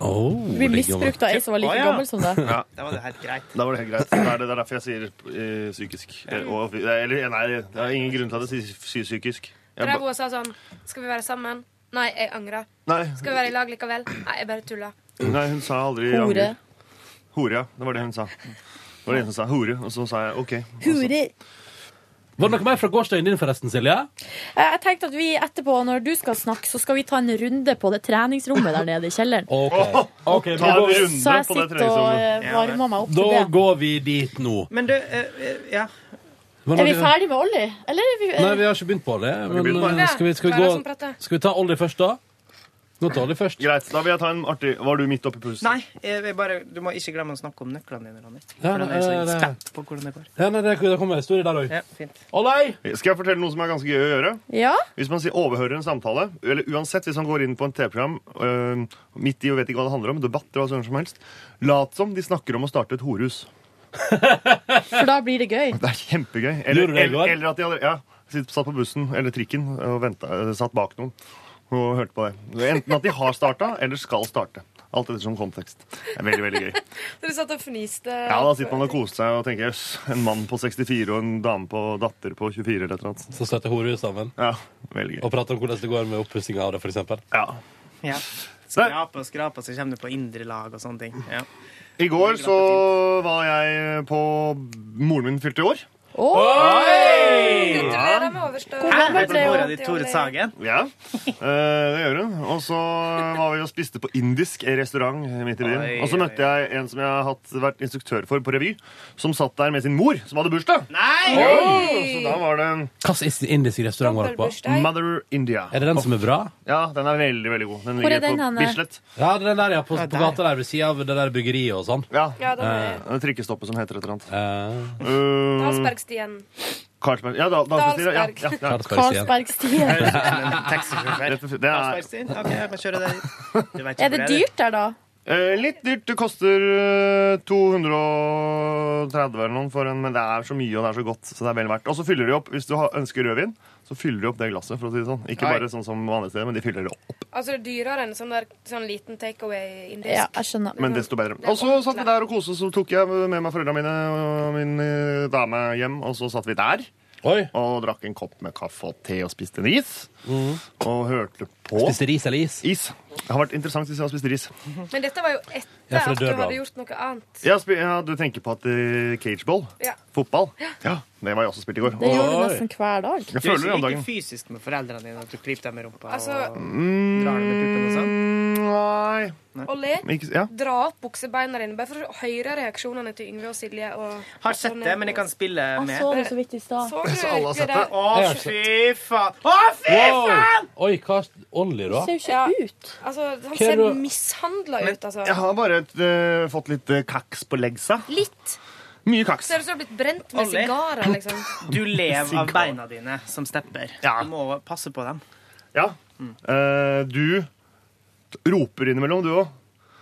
A: Oh,
C: Du blir misbrukt av ei som var
B: Å,
C: like
B: ja.
C: gammel som deg.
B: Da var det helt greit.
H: Da var det helt greit. Det er, det, det er derfor jeg sier eh, psykisk. Eh, og, fy- eller, nei, det er ingen grunn til at jeg sier- sier psykisk. Jeg ba,
I: Rebo sa sånn Skal vi være sammen? Nei, jeg angrer.
H: nei,
I: Skal vi være i lag likevel? Nei, jeg bare tuller.
H: nei, hun sa aldri
C: Hore.
H: angrer. Hore, ja. Det var det hun sa. Det var det hun sa. Hore. Og så sa jeg OK.
C: Hore.
A: Var det noe mer fra gårsdagen din, forresten, Silje?
C: Eh, Jeg tenkte at vi etterpå, når du skal snakke, så skal vi ta en runde på det treningsrommet der nede i kjelleren.
A: OK. Ok,
H: Ta en
A: men da,
H: runde
C: Så jeg
H: på
C: sitter
H: det
C: og
H: treningsrommet.
C: eh, varmer meg opp
A: da
C: til det.
A: går vi dit nå.
B: Men du, eh, eh, ja.
A: Var det
C: Er vi
A: noe-
C: ferdig med Olli? Eller er vi
A: Nei, vi har ikke begynt på Olli. Men
H: begynt på
A: eh, skal vi, skal vi,
I: Hva er det som
A: gå,
I: prater?
A: skal vi ta Olli først, da? Nå tar Olli først.
H: Greit. Da vil jeg ta en artig Var du midt oppi pulsen?
B: Nei, jeg vil bare, du må ikke glemme å snakke om nøklene dine, Ronny.
A: Ja,
B: For den
A: det-
B: er så
A: det-
B: spent på hvordan det går.
A: Ja, nei, det, det kommer en historie der òg.
B: Ja, fint.
A: Olli!
H: Skal jeg fortelle noe som er ganske gøy å gjøre?
C: Ja?
H: Hvis man sier overhører en samtale, eller uansett hvis man går inn på en TV-program øh, midt i og vet ikke hva det handler om, debatter og hva som helst, lat som de snakker om å starte et horhus.
C: For da blir det gøy.
H: Det er kjempegøy.
A: Gjorde
H: Eller,
A: du det i går?
H: eller, eller at de allerede ja, sitt- satt på bussen eller trikken og ventet, øh, satt bak noen og hørte på det. Enten at de har starta, eller skal starte. Alt etter som kontekst. Det er veldig, veldig gøy.
I: Så du satt og fniste?
H: Ja, Da sitter man og koser seg og tenker jøss, en mann på 64 og en dame på datter på 24 eller et eller annet.
A: Så støtter horehus sammen
H: Ja, veldig gøy.
A: og prater om hvordan det går med oppussinga av det, f.eks.
H: Ja.
B: Ja. Skrape og skrape, så kommer du på indre lag og sånne ting. Ja.
H: I går så var jeg på Moren min fylte år.
I: Gratulerer med overstått.
C: Hvordan
B: Vet du
C: ble
B: mora
C: hun?
B: di, Tore Sagen?
H: Ja, eh, det gjør hun. Og så var vi og spiste på indisk restaurant midt i byen.
B: Oi,
H: Og så møtte jeg en som jeg har hatt, vært instruktør for på revy, som satt der med sin mor, som hadde bursdag.
B: Nei!
H: Så da var det en
A: Hvilken indisk restaurant var dere på?
I: Dobbeltbursdag.
H: Mother India.
A: Er det den som er bra?
H: Ja, den er veldig, veldig god. Den
C: Hvor er
H: ligger
C: den
H: på
C: henne?
H: Bislett.
A: Ja, det er den der, ja. På,
B: Ja,
A: på
B: der.
A: gata der ved sida av det der byggeriet og sånn.
H: Ja,
I: Ja, den er
H: det er trikkestoppet som heter et eller annet.
A: Eh,
H: Uh,
I: Dalsbergstien.
H: Carlsberg. Ja, da, Dalsberg. Ja, ja, ja.
A: Karlsbergstien.
C: Karlsbergstien.
B: Taxisjåfør.
H: Rett og slett. Det er
B: Aspergstien? OK, jeg kan kjøre deg dit. Du vet ikke
C: Er det
B: hvor
C: dyrt der, da?
H: Eh, litt dyrt. Det koster eh, 230 eller noe for en, men det er så mye og det er så godt. Så det er vel verdt. Og så fyller de opp, hvis du har, ønsker rødvin, så fyller de opp det glasset. for å si det sånn. Ikke
B: Oi.
H: bare sånn som vanlige steder, men de fyller det opp.
I: Altså, det er dyrere enn sånn, der, sånn liten takeaway
C: Ja,
I: indisk.
C: jeg skjønner.
H: Men desto bedre. Og så satt vi der og koste, så tok jeg med meg foreldrene mine og min eh, dame hjem, og så satt vi der.
A: Oi!
H: Og drakk en kopp med kaffe og te og spiste en is. Og hørte på
A: Spiste ris eller is?
H: is. Det har vært interessant hvis jeg har spist ris.
I: Men dette var jo etter
A: Ja, for det
I: at du
A: dør du av.
I: hadde gjort noe annet.
H: Ja, spi- ja, du tenker på at eh, cageball?
I: Ja.
H: Fotball? Ja, Det var jeg også spilt i går.
C: Det gjør du
A: Oi.
C: nesten hver dag.
H: Jeg
B: Du er
H: føler det
B: ikke
H: om
B: like
H: dagen.
B: fysisk med foreldrene dine at du klyper dem i rumpa
I: Altså-
B: og drar dem i puppen og sånn?
H: Mm, Nei
I: Olli,
H: ikke, ja.
I: dra opp buksebeina dine, bare for å høre reaksjonene til Yngve og Silje. Og
B: Har sett det, men jeg kan spille
C: Jeg
B: med.
C: så det så vidt i stad.
I: Så du
H: Så alle har
I: ikke
H: sett
I: det?
B: Å,
A: Jeg har
B: fy faen! Å, fy
A: Wow!
B: faen!
A: Oi, hva Olli, da?
C: Det ser jo
I: Ja.
C: ikke ut.
I: Altså, han
A: Hva er
I: ser
A: det-
I: mishandla ut,
H: Jeg
I: altså.
H: har bare eh, fått litt eh, kaks på leggsa.
I: Litt.
H: Mye kaks.
I: Ser ut som du har blitt brent med
B: Olli.
I: sigarer, liksom.
B: Du lever av beina dine som stepper.
H: Ja.
B: Du må passe på dem.
H: Ja. Eh, du t- roper innimellom, du òg.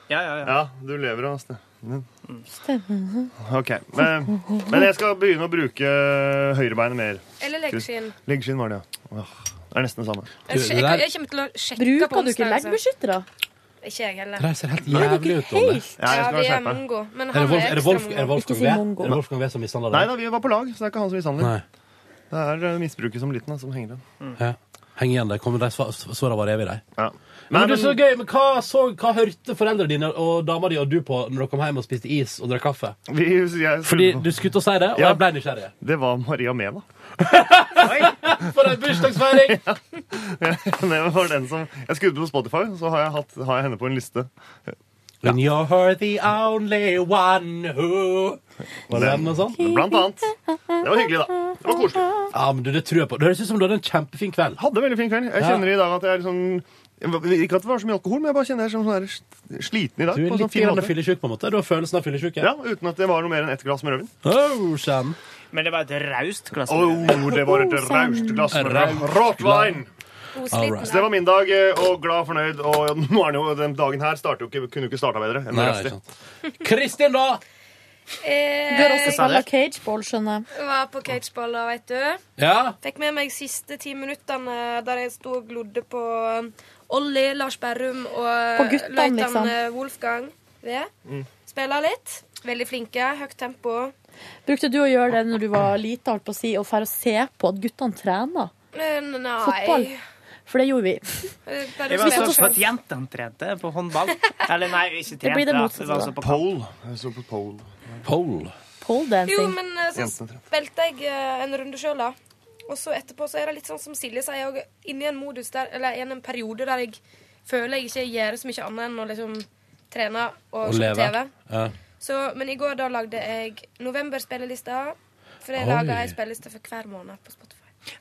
B: Ja, ja, ja.
H: Ja, du lever av stemmen. OK. Men, men jeg skal begynne å bruke eh, høyrebeinet mer.
I: Eller leggskinn.
H: Leggskinn var det, ja. Åh, Det er nesten det samme.
I: Jeg,
A: det
I: jeg,
A: der-
I: jeg kommer til å sjekke på
C: Bruker du ikke
I: onsdag. altså.
C: leggbeskyttere?
I: Ikke jeg heller.
A: Det ser helt jævlig ut, Olli.
C: Helt.
H: Ja,
I: Ja,
H: jeg
I: vi
H: skal være
I: er
H: skjerpa.
I: mongo. Men
A: Er det
I: han
A: Wolf-
I: er
A: er det
I: ekstra
A: Wolf- er det
I: mongo.
A: Wolfgang
C: Ikke si
A: V?
C: mongo.
A: Er det Wolfgang V som mishandler
H: Nei
A: deg?
H: da, vi var på lag, så det er ikke han som mishandler.
A: Nei.
H: Det er eh, misbruket som liten da, som henger igjen.
A: Ja. Heng igjen der. Kommer de sva- svarene var evig, de.
H: Ja.
A: Men,
H: Nei,
A: du, så
H: men-
A: gøy, men hva, så, hva hørte foreldrene dine og dama di og du på når dere kom hjem og spiste is og drakk kaffe?
H: Vi, jeg,
A: Fordi du skulle til å si det, og
H: Ja.
A: jeg ble nysgjerrig.
H: Det var Maria Mena.
A: For ei bursdagsfeiring!
H: Det var den som, jeg skrudde på Spotify, så har jeg, hatt, har jeg henne på en liste.
A: When you're the only one who Var det noe sånt?
H: Blant annet. Det var hyggelig, da. Det var koselig.
A: Ja, men du, Det tror jeg på. Det høres ut som du hadde en kjempefin kveld.
H: Hadde en veldig fin kveld. Jeg
A: Ja.
H: kjenner i dag at jeg er litt sånn Ikke at det var så mye alkohol, men jeg bare kjenner jeg er sånn her sl- sliten i dag.
A: Du
H: på
A: er
H: en sånn
A: litt
H: fin
A: grann
H: måte.
A: fyllesyk, på en måte. Du har følelsen av fyllesyke.
H: Ja, Uten at det var noe mer enn ett glass med rødvin.
A: Oh, kjenn.
B: Men det var et raust glass.
H: Oh, det var et raust glass med rødvin. Rottwein!
I: Hun
A: sånn All
I: sliten
A: right.
H: Så det var min dag, eh, og glad fornøyd. Og nå er det jo, den dagen her starter jo ikke, kunne jo ikke starta bedre. enn
A: Nei, sånn. ikke
H: det resten.
A: sant. Kristin, da!
I: Eh,
C: Du har også spilla cageball, skjønner jeg.
I: var på cageballer, vet du.
A: Ja?
I: Fikk med meg siste ti minuttene der jeg sto og glodde på um, Olli, Lars Berrum og uh,
C: På guttene, liksom.
I: løytnant uh, Wolfgang V.
B: Mm.
I: Spilla litt. Veldig flinke. Høyt tempo.
C: Brukte du å gjøre det når du var lita, holdt på å si, og dra og se på at guttene trener?
I: Eh, Nei
C: Fotball? For det gjorde vi.
I: Eh, Bare
B: Jeg var
I: spille
B: med på
I: selv.
B: at jentene trente på håndball. Eller nei, ikke trente.
C: Det blir det
B: da.
C: motsatte,
B: var
C: da.
B: altså på kamp.
H: Pole. Jeg så på pole.
A: Pole.
C: Pole
I: Jo,
C: dancing.
I: men eh, så
H: Jentene,
I: spilte jeg eh, en runde sjøl, da. Og så etterpå så er det litt sånn som Silje sier, jeg er inne i en modus der, eller i en periode der jeg føler jeg ikke gjør så mye annet enn å liksom trene og,
A: Å
I: se på
A: leve.
I: TV.
A: Ja.
I: Så, men i går da lagde jeg november-spillelista. For jeg
A: Oi.
I: lager ei spilleliste for hver måned på Spotify.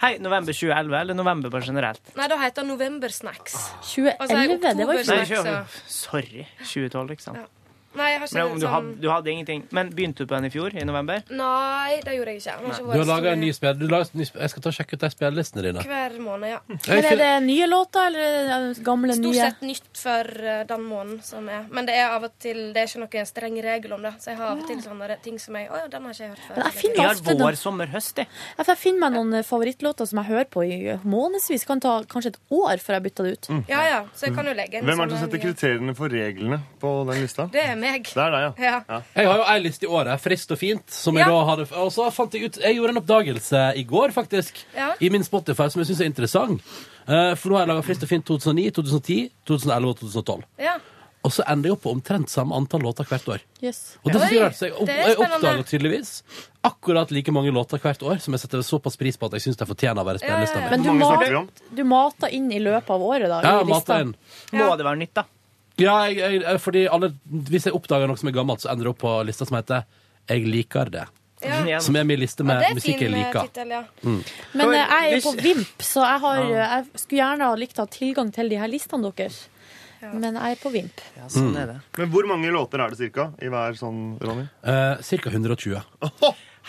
B: Hei, november 2011, eller november bare generelt?
I: Nei, da heter den Novembersnacks.
A: Ah.
I: Og så er
C: 2011, det var jo
B: Nei,
I: altså,
C: fint.
I: oktober-
B: ikke,
I: Snacks,
B: sorry. 2012, liksom.
I: Ja. Nei, jeg har ikke
B: Men om du,
I: sånn
B: hadde, du hadde ingenting. Men begynte du på den i fjor, i november?
I: Nei, det gjorde jeg ikke. Den har ikke
A: Du har
I: vært så
A: laga en ny
I: mye.
A: spill. Du laget en ny spill. Jeg skal ta og sjekke ut de spillelistene dine.
I: Hver måned, ja.
A: Jeg er
C: Men er
A: ikke-
C: det nye låter, eller er det gamle,
I: Stort
C: nye?
I: sett nytt for eh, den måneden som er. Men det er av og til Det er ikke noen streng regel om det. Så jeg har av og til sånne re- ting som jeg Å ja, den har ikke jeg hørt før.
C: Men jeg finner
B: Vi har
C: ofte noen-
B: vår, sommer, høst, jeg.
C: Ja, for Jeg finner meg noen eh, favorittlåter som jeg hører på i månedsvis. Kan ta kanskje et år før jeg bytter det ut.
I: Ja ja, så jeg kan jo legge inn
H: Hvem er det som
I: sånne
H: setter
I: nye.
H: kriteriene for reglene på den lista?
I: Det er meg.
H: Det er deg, ja.
I: Ja.
A: Jeg har jo ei liste i året, Frist og fint, som jeg
I: Ja.
A: da hadde Og så fant jeg ut Jeg gjorde en oppdagelse i går, faktisk,
I: Ja.
A: i min Spotify, som jeg syns er interessant. Eh, for nå har jeg laga Frist og fint 2009, 2010, 2011 og 2012.
I: ja.
A: Og så ender jeg opp på omtrent samme antall låter hvert år.
C: Yes.
A: Og det synes jeg er
I: Oi,
A: rart, så jeg, opp,
I: det er
A: jeg
I: spennende.
A: oppdager tydeligvis akkurat like mange låter hvert år som jeg setter såpass pris på at jeg syns de fortjener å være i spillelista mi.
C: Men du,
H: mange
C: ma-
H: snakker vi om?
C: du mater inn i løpet av året, da?
A: Ja,
C: i lista.
A: mata inn.
B: Må det være nytt, da?
A: Ja, jeg, jeg, jeg- fordi alle, hvis jeg oppdager noe som er gammelt, så ender det opp på lista som heter Jeg liker det.
I: ja.
B: Igjen.
A: Som er min liste med
I: Det er
A: musikk jeg
I: fin eh,
A: liker.
I: tittel, ja.
C: Men eh, jeg er jo
B: Hvis-
C: på Vimp, så jeg, har, eh, jeg skulle gjerne ha likt å ha tilgang til de her listene deres. Men jeg er på Vimp.
B: Ja, sånn er det.
A: Mm.
H: Men hvor mange låter er det cirka i hver sånn, Ronny?
A: Eh, cirka 120.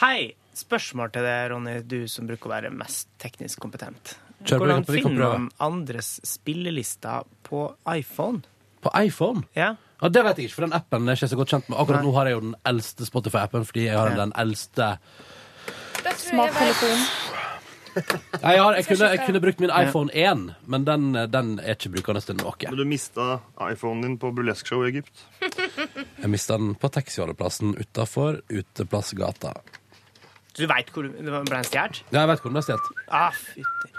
B: Hei, spørsmål til deg, Ronny, du som bruker å være mest teknisk kompetent.
A: Kjør på,
B: Hvordan
A: vi kan prøve.
B: finner man andres spillelister på iPhone?
A: På iPhone?
B: Ja,
A: Ja, Det vet jeg ikke, for den appen er ikke jeg så godt kjent med. Akkurat nå har jeg jo den eldste Spotify-appen, fordi jeg har
B: Ja.
A: den eldste
I: Da tror jeg jeg
C: Smarttelefon.
A: Nei, jeg, har, jeg,
I: skal
A: kunne, jeg
I: skifte.
A: kunne brukt min iPhone 1, men den, den er ikke brukende til noe.
H: Men du mista iPhonen din på burlesque-show i Egypt.
A: Jeg mista den på taxiholdeplassen utafor Uteplassgata.
B: du vet hvor du det ble stjålet?
A: Ja, jeg vet hvordan det er stjålet.
B: Ah, fytti.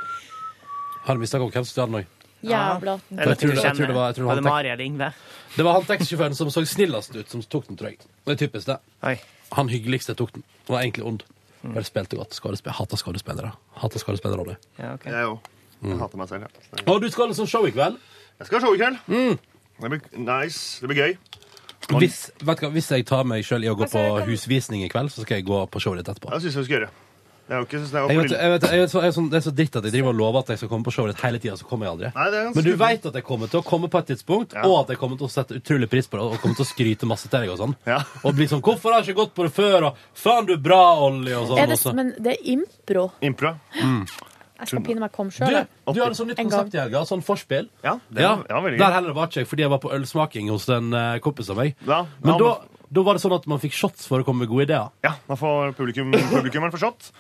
A: Har du mista hvem som stjal den òg?
C: Jævla
B: Jeg vet
A: tror
B: ikke
A: det-
B: om
A: jeg
B: du
A: tror det var- jeg tror det
B: kjenner.
A: var
B: Var
A: han-
B: det Mari eller Yngve?
A: Det var han taxisjåføren som så snillest ut, som tok den, tror jeg. Det er typisk, det.
B: Oi.
A: Han hyggeligste tok den. Han var egentlig ond. Bare spilte godt. Skådesp- Hater skuespillere. Hater skuespillerroller.
B: Ja, ok.
H: Jeg òg.
A: Mm.
H: Jeg hater meg selv. Ja.
A: Og du skal ha en sånn show i kveld.
H: Jeg skal ha show i kveld.
A: Mm.
H: Det blir nice. Det blir gøy.
A: Hvis, vet du hva, hvis jeg tar meg sjøl i å gå
I: Altså,
A: på
I: jeg kan-
A: husvisning i kveld, så skal jeg gå på showet ditt etterpå.
H: Jeg syns jeg skal gjøre. Jeg har jo ikke synes det,
A: Jeg
H: var
A: vet, jeg vet, jeg vet, jeg er sånn, det er så dritt at jeg driver og lover at jeg skal komme på showet ditt hele tida, så kommer jeg aldri.
H: Nei, det er ganske
A: Men du
H: skummelt.
A: veit at jeg kommer til å komme på et tidspunkt,
H: Ja.
A: og at jeg kommer til å sette utrolig pris på det, og kommer til å skryte masse til deg og sånn.
H: Ja.
A: Og bli sånn 'Hvorfor har jeg ikke gått på det før?' og 'Faen, du er bra, Olli', og sånn.
C: er det,
A: også.
C: Men det er impro.
H: Impro.
C: Jeg skal pine meg komme
A: Du,
C: sjøl.
A: du hadde sånn nytt
C: En
A: konsept i helga, sånn forspill.
H: Ja, det
A: Ja,
H: var, ja, veldig
A: Der
H: gøy.
A: heller var ikke jeg, fordi jeg var på ølsmaking hos en eh, kompis av meg.
H: Ja,
A: Men
H: ja,
A: da, da var det sånn at man fikk shots for å komme med gode ideer.
H: Ja, Da får publikum, publikummeren få shot.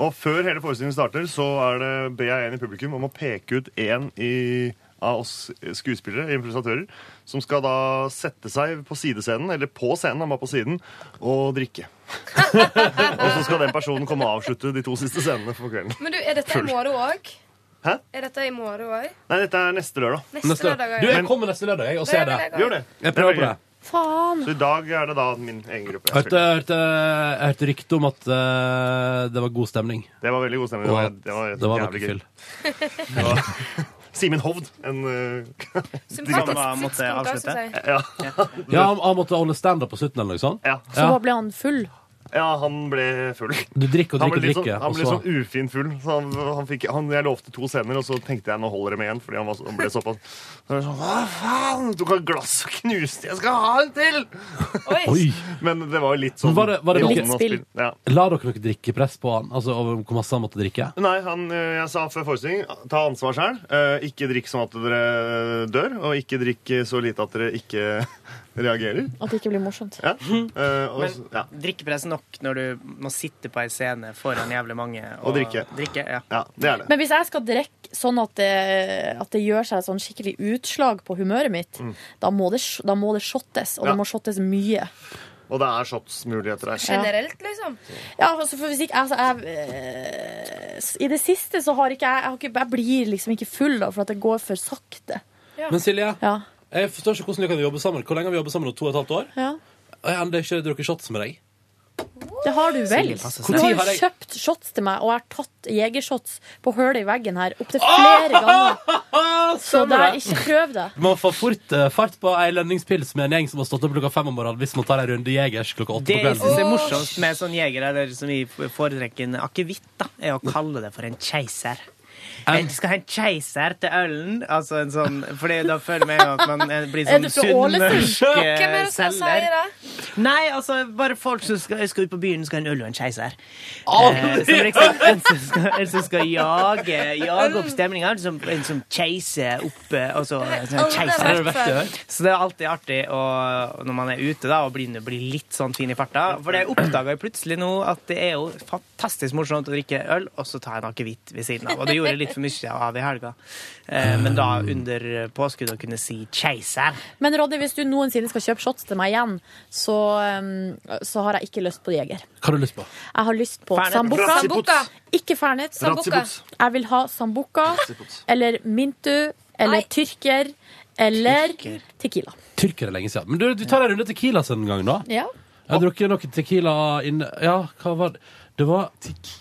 H: Og før hele forestillingen starter, så er det, ber jeg en i publikum om å peke ut én i, av oss skuespillere, improvisatører, som skal da sette seg på sidescenen, eller på scenen, han var på siden, og drikke. og så skal den personen komme og avslutte de to siste scenene for kvelden.
I: Men du, er dette i morgen òg?
H: Hæ?
I: Er dette i morgen òg?
H: Nei, dette er neste lørdag.
I: Neste,
A: Neste
I: lørdag
A: lørdag. Du,
I: òg?
A: jeg kommer neste lørdag jeg, og ser det.
H: Gjør det.
A: Jeg prøver på det.
C: Faen!
H: Så i dag er det da min egen gruppe.
A: Jeg hørte, jeg hørte, jeg hørte rykte om at eh, det var god stemning.
H: Det var veldig god stemning.
A: Og
H: Det var,
A: at
H: det var,
A: det var
H: jævlig
A: noe
H: gøy.
A: fyll.
H: Det var- Simen Hovd. En, øh,
I: Sympatisk
B: Samme måtte
I: tidspunkt, da,
B: avslutte.
I: synes jeg.
H: ja,
A: Ja, han, han måtte holde standup på slutten eller noe sånt.
H: ja.
C: Så da ble han full.
H: ja, han ble full.
A: Du drikker og
H: Han ble
A: drikker
H: litt
A: og
H: sånn,
A: drikker.
H: han
A: og
H: ble
A: så-
H: sånn ufin full. Så han, han fikk, han, jeg lovte to scener, og så tenkte jeg nå holder det med én. Fordi han, var, så- han ble såpass så var det sånn, Hva faen? Tok han glass og knuste? Jeg skal ha en til!
A: Oi!
H: Men det var jo litt sånn
A: Men var det- var det
H: i
A: noe-
H: ånden av
C: Litt spill.
H: Ja.
A: La dere noe drikkepress på han? Altså over hvor masse han måtte drikke?
H: Nei, han, eh, jeg sa før forestilling ta ansvar sjøl. Ikke drikk sånn at dere dør, og ikke drikk så lite at dere ikke reagerer.
C: At det ikke blir morsomt.
H: Ja. Eh, og,
B: Men
H: ja.
B: drikkepress nok når du må sitte på ei scene foran jævlig mange
H: Og drikke.
B: ja.
H: ja, det er det.
C: Men hvis jeg skal drikke sånn at det, at det gjør seg sånn skikkelig utslag på humøret mitt, da, må det, sj- da må det shottes, og
H: Ja.
C: det må shottes mye.
H: Og det er shotsmuligheter her.
I: Generelt, liksom.
C: Ja, altså, for hvis ikke, altså, jeg, eh, s- I det siste så har ikke jeg Jeg, har ikke, jeg blir liksom ikke full, da, for at det går for sakte.
A: Men Silje,
C: Ja.
A: jeg forstår ikke hvordan vi kan jobbe sammen. Hvor lenge har vi jobbet sammen? nå? To og et halvt år?
C: ja.
A: Og jeg har ennå ikke drukket shots med deg.
C: Det har du vel.
B: passer
C: Du har
A: Hvor tid har
C: jo
A: jeg-
C: kjøpt shots til meg, og jeg har tatt jegershots på hullet i veggen her opptil flere ganger. Så der, ikke prøv det.
A: Man får fort eh, fart på ei lønningspils med en gjeng som har stått opp klokka fem om morgenen hvis man tar en runde Jegers klokka åtte
B: Det
A: på
B: jeg
A: kvelden.
B: syns er morsomst med sånn jeger, eller som vi foretrekker en akevitt, da, er å kalle det for en keiser. Jeg skal ha en keiser til ølen. Altså en sånn, fordi da føler jeg at man eh, blir
C: Er
B: sånn
C: du fra
B: sunn
C: Ålesund?
B: norsk eh,
I: Hvem er det som sier
B: selger.
I: det?
B: Nei, altså bare folk som skal, skal ut på byen, skal ha en øl og en keiser. Eh, som liksom, en, som skal, en som skal jage, jage opp stemninga. En som, en som keiser opp eh, altså, en sånn keiser.
A: Det er det verste jeg har.
B: Så det er alltid artig å, når man er ute da, og begynner å bli litt sånn fin i farta. For jeg oppdaga plutselig nå at det er jo fantastisk morsomt å drikke øl og så ta en akevitt ved siden av. Og det gjorde jeg litt for mye av i helga. Eh, Men da under påskudd å kunne si 'keiser'.
C: Men Ronny, hvis du noensinne skal kjøpe shots til meg igjen, så, um, så har jeg ikke lyst på jeger.
A: Hva har du lyst på?
C: Jeg har lyst på
B: Fernet.
C: sambuca.
I: Sambuca.
C: Ikke fernet.
I: Sambuca.
C: Jeg vil ha sambuca eller mintu eller
I: Nei.
C: tyrker eller
B: Tyrker.
C: tequila.
A: Tyrker er lenge siden. Men du, vi tar en runde Tequilas en gang, da.
C: Ja.
A: Jeg har drukket noe Tequila inne Ja, hva var det? Det var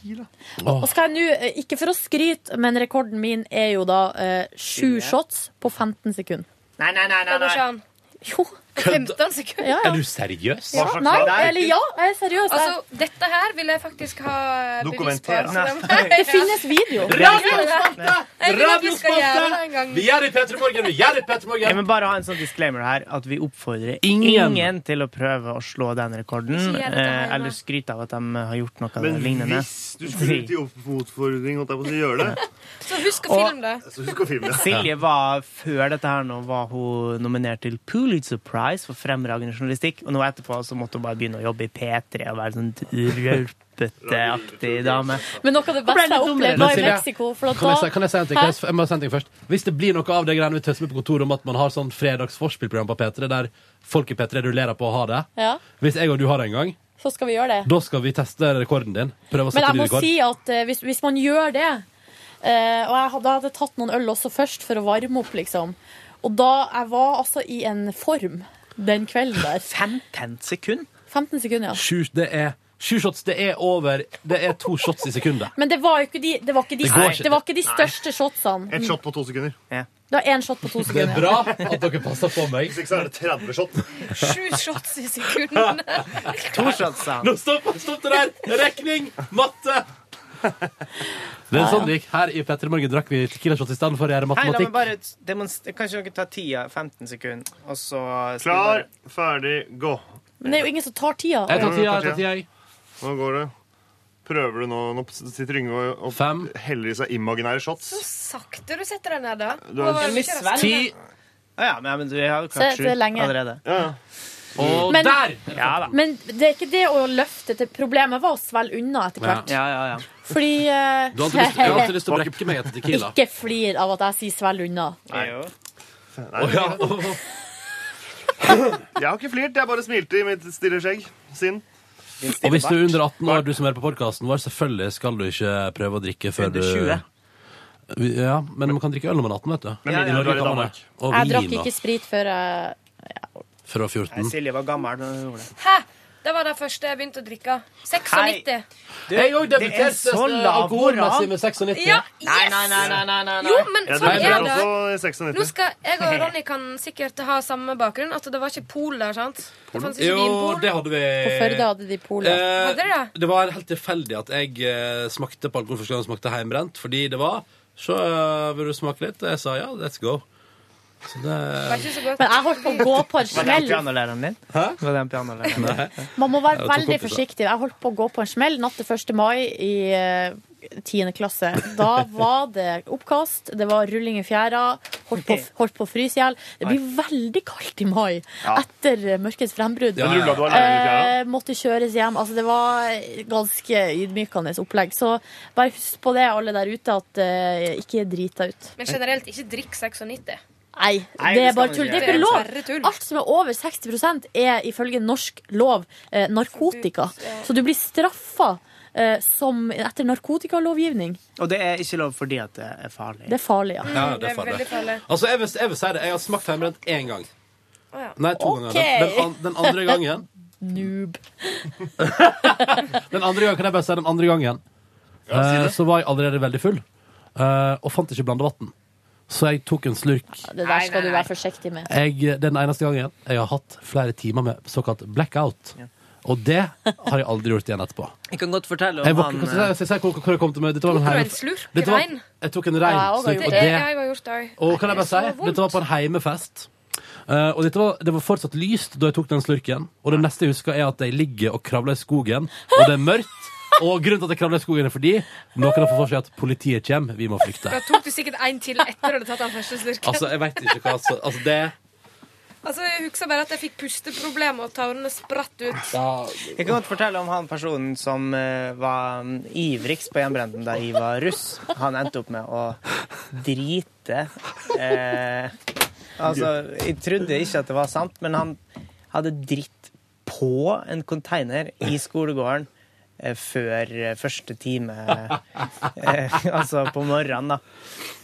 C: Og skal jeg nå, eh, ikke for å skryte, men rekorden min er jo da eh, sju
B: Silje.
C: shots på 15 sekunder.
B: Nei, nei, nei. nei,
I: Det går
B: nei.
I: ikke an.
C: Jo,
I: 15 sekunder.
C: ja,
A: Er
C: ja.
A: du seriøs?
C: ja. Nei,
B: Nei.
C: eller ja, jeg er seriøs. Jeg-
I: Altså, dette her vil jeg faktisk ha bevis på.
H: Dokumentere.
I: altså.
C: Det finnes video.
A: Radiospalte!
I: Jeg vil at vi skal gjøre det en gang.
A: Vi gjør det i P3 Morgen! Vi gjør det i P3
B: Jeg
A: Morgen!
B: vil bare ha en sånn disclaimer her at vi oppfordrer
A: Ingen.
B: ingen, til å prøve å slå den rekorden.
I: Ikke gjør dette her,
B: eh, Eller
I: nei.
B: skryte av at de har gjort noe
H: Men
B: lignende.
H: hvis du skulle ut i oppfordring, holdt jeg på å si, gjør det,
I: Så husk å filme det.
H: så husk å filme det.
B: Silje var før dette her nå var hun nominert til Pulitzer Prize for fremragende journalistikk, og nå etterpå så måtte hun bare begynne å jobbe i P3 og være sånn rølpete-aktig dame.
C: Men noe av det
B: ble
C: beste
B: litt
C: jeg
B: dummere.
C: opplevde, var i
A: Silje,
C: Mexico. For at
A: Kan jeg, si,
C: da
A: kan jeg si en ting? Kan jeg, jeg må si en ting først? Hvis det blir noe av det greiene vi tøsser med på kontoret om at man har sånn fredagsforspillprogram på P3, der folk i P3 rullerer på å ha det
C: Ja,
A: Hvis jeg og du har det en gang,
C: så skal vi gjøre det.
A: da skal vi teste rekorden din. Prøve å
C: Men
A: sette
C: jeg
A: ny
C: må
A: rekord.
C: si at eh, hvis, hvis man gjør det eh, Og jeg hadde, jeg hadde tatt noen øl også først for å varme opp, liksom. Og da Jeg var altså i en form den kvelden der.
B: 15 sekunder?
C: 15 sekunder, ja.
A: Sju, det er sju shots. Det er over Det er to shots i sekundet.
C: Men det var jo ikke de, det var ikke de,
A: Det går ikke.
C: det var ikke de største shotsene.
H: Ett shot på to sekunder.
C: Det var én shot på to
A: Det er
C: sekunder.
A: bra at dere passer på meg.
H: Hvis ikke så er det 30 shot.
I: Sju shots i sekundene.
B: To shots, sa han.
A: Nå stopp, stopp det der! Rekning! Matte! Det er sånn det gikk. Her i Petter Morgen drakk vi Tequila shots i stedet for å gjøre
B: Hei, la meg
A: matematikk.
B: bare demonstrere. Kanskje dere tar tida, 15 sekunder, og så
H: Klar, ferdig, gå.
C: Men det er jo ingen som tar tida.
A: Jeg tar tida,
H: Ja,
A: jeg tar tida. jeg.
H: Nå går det. Prøver du nå? Nå sitter Yngve og- og
A: Fem.
H: heller i seg imaginære shots.
I: Sakte du setter deg ned, da.
H: Du har-
I: Nå var det mye
B: Miss
I: raskere.
A: Ti,
B: Å ja, men, men vi har jo
C: Så
B: klart
C: det
B: sju
C: er lenge.
B: allerede.
A: og
C: Men-
A: der!
B: Ja da.
C: Men det er ikke det å løfte til problemet var å svelge unna etter hvert.
B: Ja, ja, ja.
C: Fordi eh,
A: Du har alltid lyst, jeg har alltid lyst til å brekke meg etter Tequila.
C: Ikke flir av at jeg sier svelg unna.
B: Jo.
A: Å, ja.
H: Jeg har ikke flirt, jeg bare smilte i mitt stille skjegg. Sinn.
A: Og hvis du er under 18 år, du som hører på podkasten vår, selvfølgelig skal du ikke prøve å drikke før
B: Under
A: du
B: 20.
A: Vi- Ja, men man kan drikke øl når man er 18, vet du.
H: Men mindre når du er i
A: kan man
H: Danmark.
A: det. Og
J: Jeg
A: vin,
J: drakk
A: da.
J: ikke sprit før jeg
A: Fra 14.
B: Nei, Silje var gammel da hun gjorde det.
I: Hæ? Det var det første jeg begynte å drikke. 96.
A: Jeg òg
B: det er så lav moral.
A: med 96.
I: Ja, yes!
B: Nei, nei, nei, nei, nei, nei.
I: Jo, men
H: Jeg
I: sånn
H: drikker
I: er det.
H: også 96.
I: Nå skal Jeg og Ronny kan sikkert ha samme bakgrunn. At det var ikke pol der, sant? Det fantes ikke
A: Jo,
I: vinpol.
A: det hadde vi.
J: På Førde hadde de pola.
A: Eh,
I: Hadde dere det?
A: det var helt tilfeldig at jeg eh, smakte på alkohol første gang jeg smakte heimbrent, fordi det var Så eh, vil du smake litt? Og jeg sa ja, let's go. Så det
I: Det var ikke så
C: Men
I: godt.
C: jeg holdt på å gå på
B: Var
C: en
B: det han
C: smell.
B: pianolæreren din? Hæ? Var det han pianolæreren din?
C: Man må
A: Ja,
C: være
A: to
C: veldig
A: kompiser.
C: forsiktig. Jeg holdt på å gå på en smell natt til 1. mai i eh, 10. klasse. Da var det oppkast, det var rulling i fjæra, holdt på, holdt på å fryse i hjel. Det blir veldig kaldt i mai etter eh, mørkets frembrudd.
A: Ja,
H: Men rulla du alene i fjæra?
C: Eh, måtte kjøres hjem. Altså, det var ganske ydmykende opplegg. Så bare husk på det, alle der ute, at eh, ikke drit deg ut.
I: Men generelt, ikke drikk 96.
C: Nei,
B: Nei,
C: det
B: det
C: er
B: skal
C: bare
B: man
C: tull.
B: ikke
C: Det er
I: gjøre.
C: ikke lov.
I: Det er tull.
C: Alt som er over 60 er ifølge norsk lov eh, narkotika. Så du blir straffa eh, som etter narkotikalovgivning.
B: Og det er ikke lov fordi at det er farlig.
C: Det er farlig, ja.
A: ja,
I: Det
A: det
I: er
A: får
I: veldig
A: det.
I: farlig.
A: Altså, jeg vil, jeg vil si det. Jeg har smakt heimbrent én gang.
I: Å, ja.
A: Nei, to
C: Ok.
A: ganger. Den, an, den andre gangen
C: Noob.
A: Den andre gangen, kan jeg bare si den andre gangen eh, Så var jeg allerede veldig full eh, Og fant ikke blanda vann Så jeg tok en slurk
C: Det der skal du være forsiktig med.
A: jeg, Det er den eneste gangen jeg har hatt flere timer med såkalt blackout Og det har jeg aldri gjort igjen etterpå
B: Jeg kan godt fortelle
A: Jeg
B: om
A: våkner,
B: han
A: kan jeg si- si hvor, hvor jeg kom til meg Dette var
I: Tok du
A: heime-
I: en slurk
A: Dette var-
I: rein?
A: Jeg tok en rein
C: Ja, jeg også har
A: slurk Og
I: Det er
A: det,
I: jeg har gjort det òg.
A: og kan jeg bare
I: Det
A: si,
I: er så vondt.
A: dette var på en heimefest. Eh, og dette var, det var fortsatt lyst da jeg tok den slurken. Og det neste jeg husker, er at jeg ligger og kravler i skogen, og det er mørkt. Og grunnen til at jeg kravler i skogen, er fordi noen har fått for seg at politiet kommer. Vi må
I: Da
A: flykte.
I: tok du sikkert en til etter at du hadde tatt den første slurken.
A: Altså, jeg vet ikke hva altså, altså, det
I: Altså, jeg husker bare at jeg fikk pusteproblemer, og tårene spratt ut.
B: Jeg kan godt fortelle om han personen som eh, var mm, ivrigst på hjemmebrenten da jeg var russ. Han endte opp med å drite. Eh, altså, jeg trodde ikke at det var sant, men han hadde dritt på en container i skolegården eh, før eh, første time, eh, altså på morgenen, da.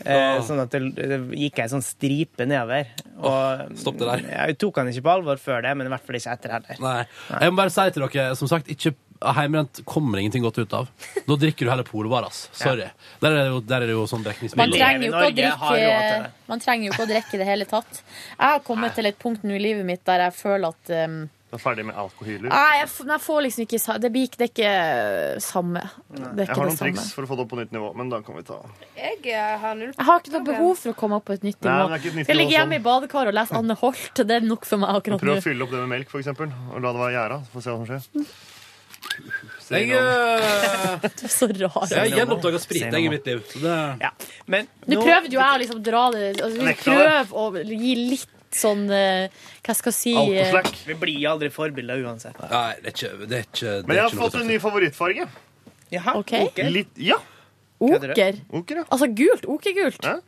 B: Eh, sånn at det, det gikk ei sånn stripe nedover. Og,
A: stopp det der.
B: Jeg tok han ikke på alvor før det, men i hvert fall ikke etter heller.
A: Nei. Jeg må bare si til dere, som sagt, ikke Heimrent kommer ingenting godt ut av. Da drikker du heller polvar, ass. Sorry. Der er det jo, der er det jo sånn
C: Man
A: dekningsmiddel.
B: lever i
C: trenger, jo ikke å
B: Norge, har råd til
C: drikke,
B: det.
C: man trenger jo ikke å drikke i det hele tatt. Jeg har kommet til et punkt nå i livet mitt der jeg føler at um,
H: Du er ferdig med alkohyler?
C: nei, jeg, f- jeg får liksom ikke sa- Det blir ikke det er ikke samme. Det er
H: Jeg
C: ikke
H: har
C: det
H: noen
C: samme.
H: triks for å få det opp på nytt nivå, men da kan vi ta
I: Jeg eh, har null
C: Jeg har ikke noe behov for å komme opp på et nytt
H: Nei,
C: nivå.
H: men det er ikke et
C: Skal jeg
H: nytt nivå sånn.
C: ligge hjemme i badekar og lese Anne Holt. Det er nok for meg akkurat
H: Prøv å
C: nå.
H: fylle opp det med melk, for eksempel, og la det være gjæra. så Får vi se hva som skjer. Se
A: Jeg,
H: om-
A: eh,
C: Du er så rar.
A: jeg har gjenoppdaga sprit jeg, i mitt liv. Så det
B: Ja. Men
C: Nå
B: nå-
C: prøvde jo jeg å liksom dra det altså,
H: Nekta
C: Prøv
H: det.
C: å gi litt sånn eh, Hva skal jeg si eh,
H: Alkoslack.
B: Vi blir aldri forbilder uansett.
A: Nei, det er ikke, det er ikke det er
H: Men jeg har
A: ikke noe
H: fått en ny favorittfarge.
B: Jaha,
C: eh, Ok.
H: Litt, ja,
B: Kødder du?
C: Oker.
H: oker, ja.
C: Altså gult. Okergult.
H: Hæ?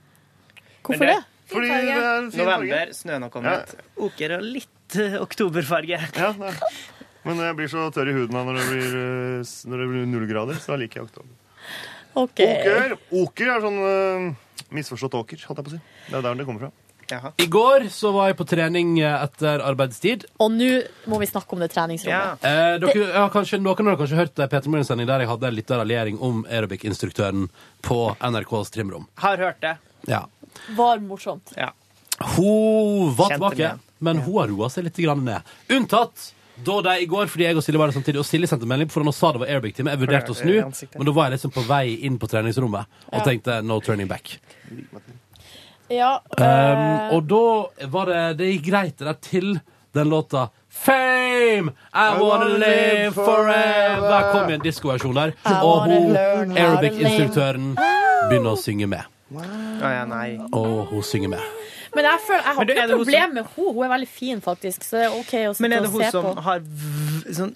B: Men
C: Hvorfor det?
B: det-
H: Fordi det er en fin farge.
B: November, snøen har kommet. Oker og litt eh, oktoberfarge.
H: Ja, det er- men jeg blir så tørr i huden da når det blir, eh, s- når det blir null grader, så da liker jeg oktober.
C: Ok.
H: Oker, oker er sånn eh, misforstått åker, holdt jeg på å si. Det er der det kommer fra.
B: Jaha.
A: I går så var jeg på trening eh, etter arbeidstid.
C: Og nå må vi snakke om det
B: Ja.
C: treningsrommet.
A: Eh, dere, ja, kanskje, noen har kanskje hørt eh, Peter Morgens sending der jeg hadde en liten raljering om aerobic-instruktøren på NRKs trimrom.
B: Har hørt det.
A: Ja.
C: Var morsomt.
B: Ja.
A: Hun var
B: Kjente
A: tilbake,
B: med.
A: men hun har roa seg litt grann ned. Unntatt da de i går, fordi jeg og Silje var der samtidig, og Silje sendte melding for hun sa det var aerobic-time. Jeg vurderte å snu,
B: i ansiktet.
A: men da var jeg liksom på vei inn på treningsrommet og tenkte no turning back.
C: Ja, eh,
A: Um, og da var det Det gikk greit det der til den låta Fame! I wanna live forever! Der kom en diskoversjon der. Og
C: wanna
A: hun
C: learn how to
A: aerobic-instruktøren begynner å synge med.
B: Å ja, nei.
A: Og hun synger med.
C: men jeg, føler, jeg har
B: Men du,
C: ikke
B: er det
C: noe
B: hun
C: problem med henne. Hun er veldig fin, faktisk. Så det er OK å
B: Men
C: sitte
B: er det
C: og
B: hun
C: se
B: som
C: på.
B: har v sånn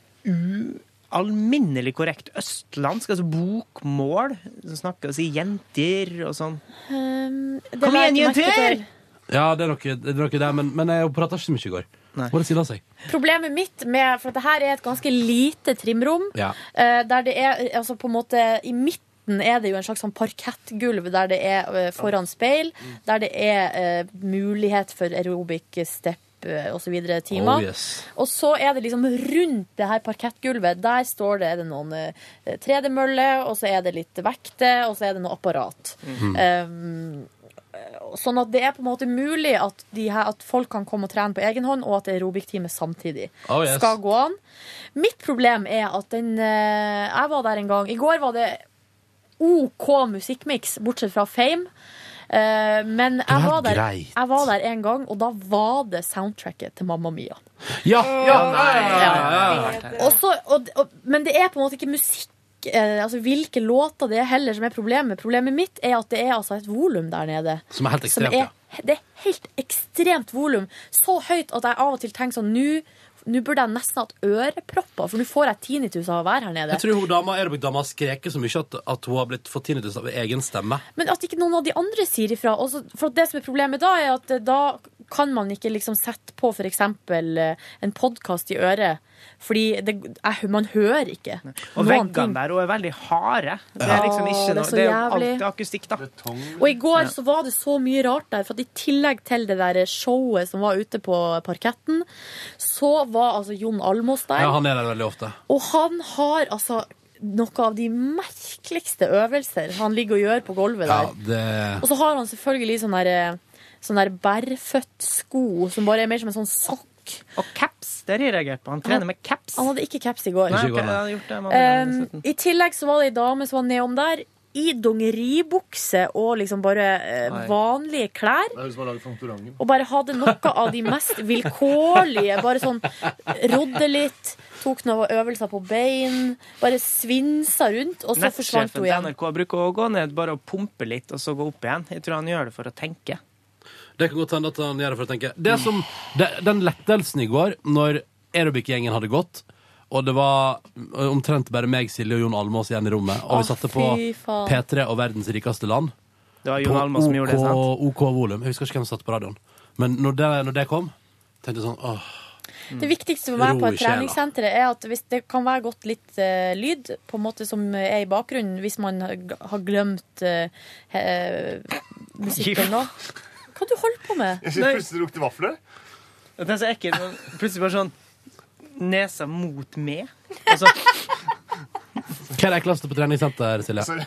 B: ualminnelig korrekt østlandsk, altså bokmål, som snakker og sier jenter og sånn?
C: Um, det
B: Kom
C: la jeg
B: igjen,
C: ikke merke
B: jenter!
C: til.
A: Ja, det er noe, det er noe der, men, men jeg prata ikke så mye i går.
B: Nei.
A: Bare stille seg.
C: Problemet mitt med For at det her er et ganske lite trimrom.
A: Ja.
C: eh, der det er eh, altså på en måte i midten midten er det jo en slags sånn parkettgulv der det er eh, foran speil,
K: Mm.
C: der det er eh, mulighet for aerobic step eh, osv. timer.
K: Oh, yes.
C: Og så er det liksom rundt det her parkettgulvet, der står det, er det noen eh, 3D-møller, og så er det litt vekter, og så er det noe apparat.
K: Mhm.
C: Um, Sånn at det er på en måte mulig at, de her, at folk kan komme og trene på egen hånd, og at aerobic-time samtidig
K: Oh, yes.
C: skal gå an. Mitt problem er at den eh, Jeg var der en gang. I går var det OK musikkmiks, bortsett fra Fame. Eh, men jeg
K: var
C: var, der,
K: greit.
C: jeg var der en gang, og da var det soundtracket til Mamma Mia.
A: Ja! ja,
C: Og så- og, og, men det er på en måte ikke musikk eh, altså Hvilke låter det er heller som er problemet. Problemet mitt er at det er altså et volum der nede.
A: Som er helt ekstremt,
C: er- Det er helt ekstremt volum. Så høyt at jeg av og til tenker sånn Nå nå burde jeg nesten hatt ørepropper, for nå får jeg tinnitus av å være her nede.
A: Jeg tror hun dama, aerobic-dama har skreket så mye at, at hun har blitt fått tinnitus av egen stemme.
C: Men at ikke noen av de andre sier ifra. Også, for at det som er problemet da, er at eh, da kan man ikke liksom sette på f.eks. en podkast i øret. Fordi det, jeg, man hører ikke.
B: Og
C: noen
B: veggene der også er veldig harde. Det
C: Ja.
B: er liksom
C: Åh,
B: ikke
C: det er
B: noe
C: så
B: Det er jo
C: jævlig.
B: alltid akustikk, da.
C: Og i går så var det så mye rart der, for at i tillegg til det der showet som var ute på parketten, så var altså Jon Almås der.
A: Ja, han er der veldig ofte.
C: Og han har altså noe av de merkeligste øvelser han ligger og gjør på gulvet
A: Ja,
C: der.
A: det...
C: Og så har han selvfølgelig sånn der, sånn der bærfødt sko som bare er mer som en sånn sokk.
B: Og caps, det har jeg reagert på. Han trener med caps.
C: Han hadde ikke caps i går.
B: Nei, ok, jeg hadde gjort det, men jeg hadde
C: Um, I tillegg så var det ei dame som var nedom der i dongeribukse og liksom bare eh,
H: Nei.
C: vanlige klær.
H: Det er hun som har laget Fantorangen.
C: Og bare hadde noe av de mest vilkårlige. Bare sånn rodde litt, tok noen øvelser på bein, bare svinsa rundt, og så forsvant hun
B: Nettsjefen til
C: igjen.
B: NRK bruker å gå ned bare og pumpe litt, og så gå opp igjen. Jeg tror han gjør det for å tenke.
A: Det kan godt hende at han gjør det for å tenke. Det som, det, den lettelsen i går, når aerobic-gjengen hadde gått, og det var omtrent bare meg, Silje og Jon Almås igjen i rommet, og vi satte på
B: fy faen.
A: P3 og verdens rikeste land
B: Det var Jon Almaas som gjorde det, sant?
A: OK volum. Jeg husker ikke hvem som satte på radioen. Men når det, når det kom, tenkte jeg sånn åh.
C: Det viktigste for meg
A: Ro i
C: på et
A: sjela.
C: treningssenter er at hvis det kan være godt litt eh, lyd på en måte som er i bakgrunnen, hvis man har glemt eh, eh, musikken nå. Hva du holder på med?
H: Jeg synes plutselig det lukter vafler.
B: Og Det er så ekkelt. men Plutselig bare sånn Nesa mot meg. Altså, Og så
A: Hva er det ekleste på treningssenter, Silje?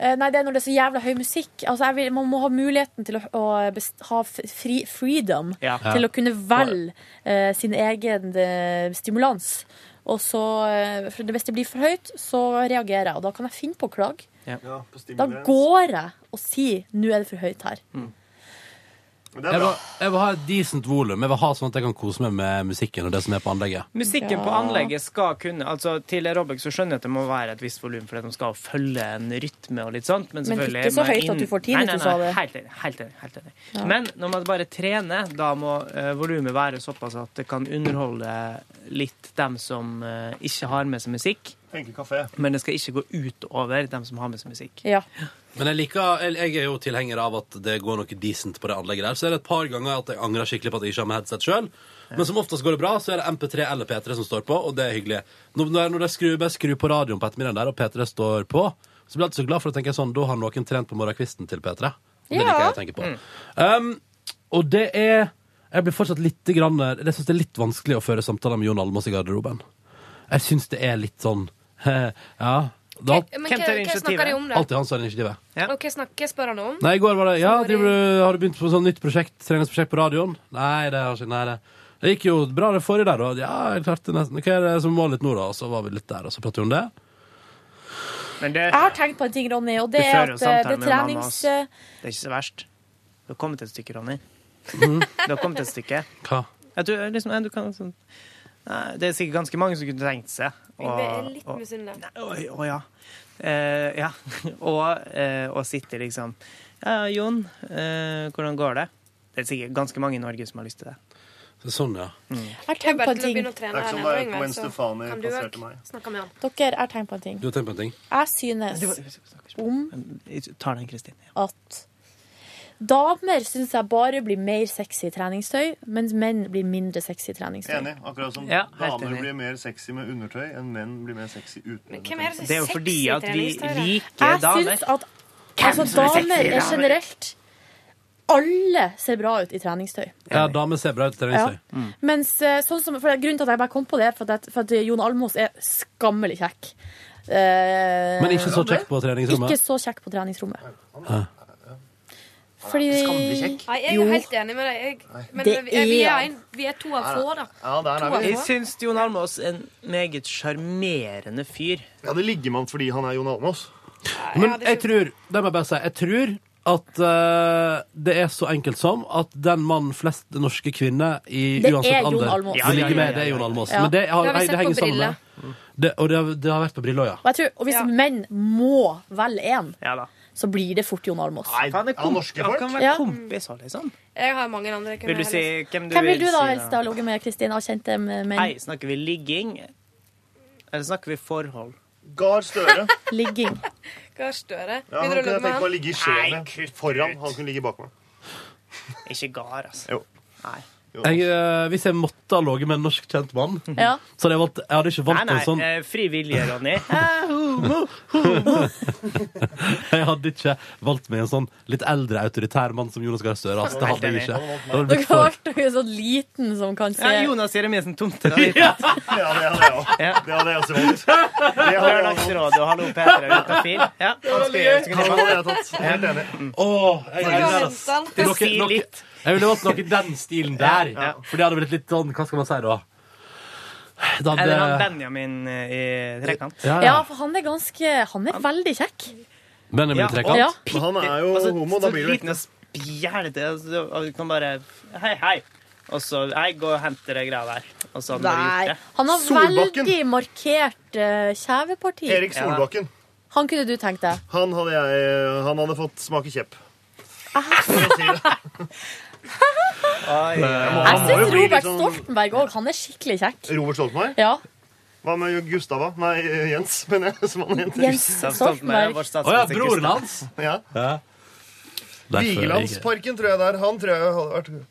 C: Eh, Nei, det er når det er så jævla høy musikk. Altså, jeg vil, man må ha muligheten til å, å best, ha f- fri, freedom
A: Ja.
C: til
A: Ja.
C: å kunne velge eh, sin egen eh, stimulans. Og så, eh, for det- hvis det blir for høyt, så reagerer jeg, og da kan jeg finne på å klage.
H: Ja, på
C: Da
H: stimulans.
C: går jeg og sier 'nå er det for høyt her'.
H: Men det
A: Jeg
H: er bra.
A: vil, jeg vil ha et decent volum. Jeg vil ha sånn at jeg kan kose meg med musikken og det som er på anlegget.
B: Musikken på anlegget skal kunne altså Til aerobic så skjønner jeg at det må være et visst volum, for de skal følge en rytme og litt sånt. Men,
C: Men
B: selvfølgelig
C: ikke så
B: må jeg
C: høyt at du får
B: Nei, nei,
C: tinnitus av
B: nei,
C: det.
B: Helt enig. Helt enig, helt enig.
C: Ja.
B: Men når man bare trener, da må uh, volumet være såpass at det kan underholde litt dem som eh, ikke har med seg musikk.
H: Tenker kafé.
B: Men det skal ikke gå utover dem som har med seg musikk.
A: Men jeg liker, jeg- jeg er jo tilhenger av at det går noe decent på det anlegget der. Så er det et par ganger at jeg angrer skikkelig på at jeg ikke har med headset sjøl. Men som oftest går det bra, så er det MP3 eller P3 som står på, og det er hyggelig. Når, når når jeg skrur, bare skrur på radioen på ettermiddagen der, og P3 står på, så blir jeg alltid så glad for å tenke sånn, da har noen trent på morgenkvisten til P3. Det
K: Ja.
A: liker jeg å tenke på. Um, og det er Jeg blir fortsatt litt grann, Jeg syns det er litt vanskelig å føre samtaler med Jon Almaas i garderoben. Jeg syns det er litt sånn Ja. Da,
I: Men Hvem tar hva- hva snakker de om da?
A: Alltid han som har initiativet.
I: Og hva snakker jeg spør han om?
A: Nei, i går var det Ja, driver du, har du begynt på sånn nytt prosjekt, treningsprosjekt på radioen? Nei, det har ikke Nei, det Det gikk jo bra det forrige der, og ja, jeg klarte nesten Hva er det som var litt nå, da? Og så var vi litt der, og så pratet vi om det.
B: Men det,
C: Jeg har tenkt på en ting, Ronny, og det
B: Du
C: er
B: fører jo
C: at eh,
B: samtalen
C: det
B: med mamma,
C: trenings...
B: ass. det er ikke så verst. Du har kommet et stykke, Ronny. Du har kommet et stykke.
A: Hva?
B: Jeg tror, liksom, nei, du kan, sånn, nei, det er sikkert ganske mange som kunne tenkt seg å-
I: Jeg er litt
B: å-
I: misunnelig.
B: Oi, å ja. Eh, ja. og, eh, og sitter liksom Ja, ja, Jon, eh, hvordan går det? Det er sikkert ganske mange i Norge som har lyst til det.
A: Sånn, ja.
C: Jeg har tenkt på en ting.
I: Begynne å trene
H: Det er ikke som
I: her,
H: da
I: Ingvild,
H: Gwen
I: så
H: Stefani
I: kan du
H: passerte
I: også
H: meg.
I: snakke med han.
C: Dere, jeg har tenkt på en ting.
A: Du har tenkt på en ting?
C: Jeg synes om
B: Jeg tar den, Kristin.
C: at Damer syns jeg bare blir mer sexy i treningstøy, mens menn blir mindre sexy i treningstøy.
H: Enig. Akkurat som
C: Ja, helt
H: damer
C: enig.
H: blir mer sexy med undertøy enn menn blir mer sexy uten undertøy.
C: hvem er det som er Det er jo
B: fordi sexy at vi treningstøy, da? liker
C: Jeg
B: damer.
C: syns at
B: Hvem
C: altså,
B: som er sexy
C: damer er
B: damer?
C: generelt Alle ser bra ut i treningstøy.
A: Ja, damer ser bra ut. Det viser
C: Ja.
A: jeg. Mm.
C: Mens, eh, sånn som, for Grunnen til at jeg bare kom på det, er for at, for at Jon Almås er skammelig kjekk. Eh,
A: Men ikke så kjekk på treningsrommet?
C: Ikke så kjekk på treningsrommet.
A: Ja.
C: Fordi
I: Nei, jeg er
C: Jo.
I: helt enig med deg. Jeg, men
C: Det
I: vi, vi,
B: er
I: er
B: han.
I: en, vi er to av få, da. to av
B: Jeg
I: få.
B: syns Jon Almaas er en meget sjarmerende fyr.
H: Ja, det ligger man fordi han er Jon Almaas.
A: Men jeg tror, det må jeg bare si, jeg tror at eh, det er så enkelt som at den mannen flest norske kvinner i
C: Det er
A: uansett
C: Jon
A: alder
C: Almaas.
A: Det ligger med, det er Jon Almaas.
C: Ja.
A: Men det, har,
C: Det har vi
A: det,
C: sett på
A: henger sammen
C: Brille.
A: med det, Og det har, det har vært på Brilla, ja.
C: Og, jeg tror, og hvis menn må velge én, så blir det fort Jon Almås.
B: Han er kom- han kan være kompis òg, liksom.
C: Jeg har mange andre.
B: Vil du si hvem du
C: Hvem vil
B: vil
C: du da
B: si, da?
C: helst ha ligget med, Kristin? Av kjente menn?
B: Nei, snakker vi ligging? Eller snakker vi forhold?
H: Gahr Støre.
C: Ligging.
I: Gahr Støre.
H: Ja, han
I: Begynner du å
H: kunne
I: ligge med han?
H: jeg tenke meg å ligge i skjeen
B: Nei,
H: med. foran. Han kunne ligge bak meg.
B: Ikke Gahr, altså.
H: Jo.
B: Nei.
A: Jeg, eh, hvis jeg måtte ha ligget med en norsk kjent mann,
B: Ja.
A: så hadde jeg valgt Jeg hadde ikke
B: Nei,
A: valgt
B: nei,
A: en sånn
B: eh, fri vilje, Ronny. Ah, homo, homo.
A: Jeg hadde ikke valgt meg en sånn litt eldre autoritær mann som Jonas Gahr Støre. Altså, det hadde jeg ikke. Det hadde
C: Dere
A: blitt
C: har
A: for.
C: vært noe sånn liten som kan se
B: Ja, Jonas Jeremiassen Tomte. da.
A: Ja.
H: Ja, det hadde jeg òg. Det hadde jeg også valgt. Det hadde jeg også valgt.
B: Lørdagsrådet og Hallo Peter er ute og fin. Ja, han skal gjøre det.
H: Han hadde jeg tatt. Helt enig.
A: Åh, jeg elsker
H: Tenk å
A: det,
H: vente
A: ass.
H: han.
A: Det er noe-
H: Si
A: noe-
H: litt.
A: Jeg ville valgt noe i den stilen der. For det hadde blitt litt sånn Hva skal man si da? Da
B: Eller han
A: hadde
B: Benjamin eh, i Trekant.
A: Ja,
C: Ja, for han er ganske Han er veldig kjekk.
A: Benjamin
B: Ja,
A: i Trekant.
B: og-
H: Men han er jo
B: Altså,
H: homo, da
B: Så
H: blir det
B: liten og spjælete, og så- og du kan bare Hei, hei. Og så Hei, gå og hent dere greia der. Og så hadde han bare
C: Nei.
B: gjort det.
C: Han har
H: Solbakken.
C: veldig markert eh, kjeveparti.
H: Erik Solbakken.
C: Han kunne du tenkt deg.
H: Han hadde, jeg, han hadde fått smake kjepp.
B: Oi,
H: må-
C: Jeg
H: han må jo
C: syns
H: bli litt
C: Robert
H: sånn-
C: Stoltenberg òg. Han er skikkelig kjekk.
H: Robert Stoltenberg?
C: Ja.
H: Hva med Gustava? Nei, Jens, mener jeg. Som han heter.
C: Jens Gustav Stoltenberg. Stoltenberg, vår
A: Å ja, broren hans.
H: Ja.
A: Derfor er jeg-
H: Vigelandsparken, tror jeg det er. Han tror jeg hadde vært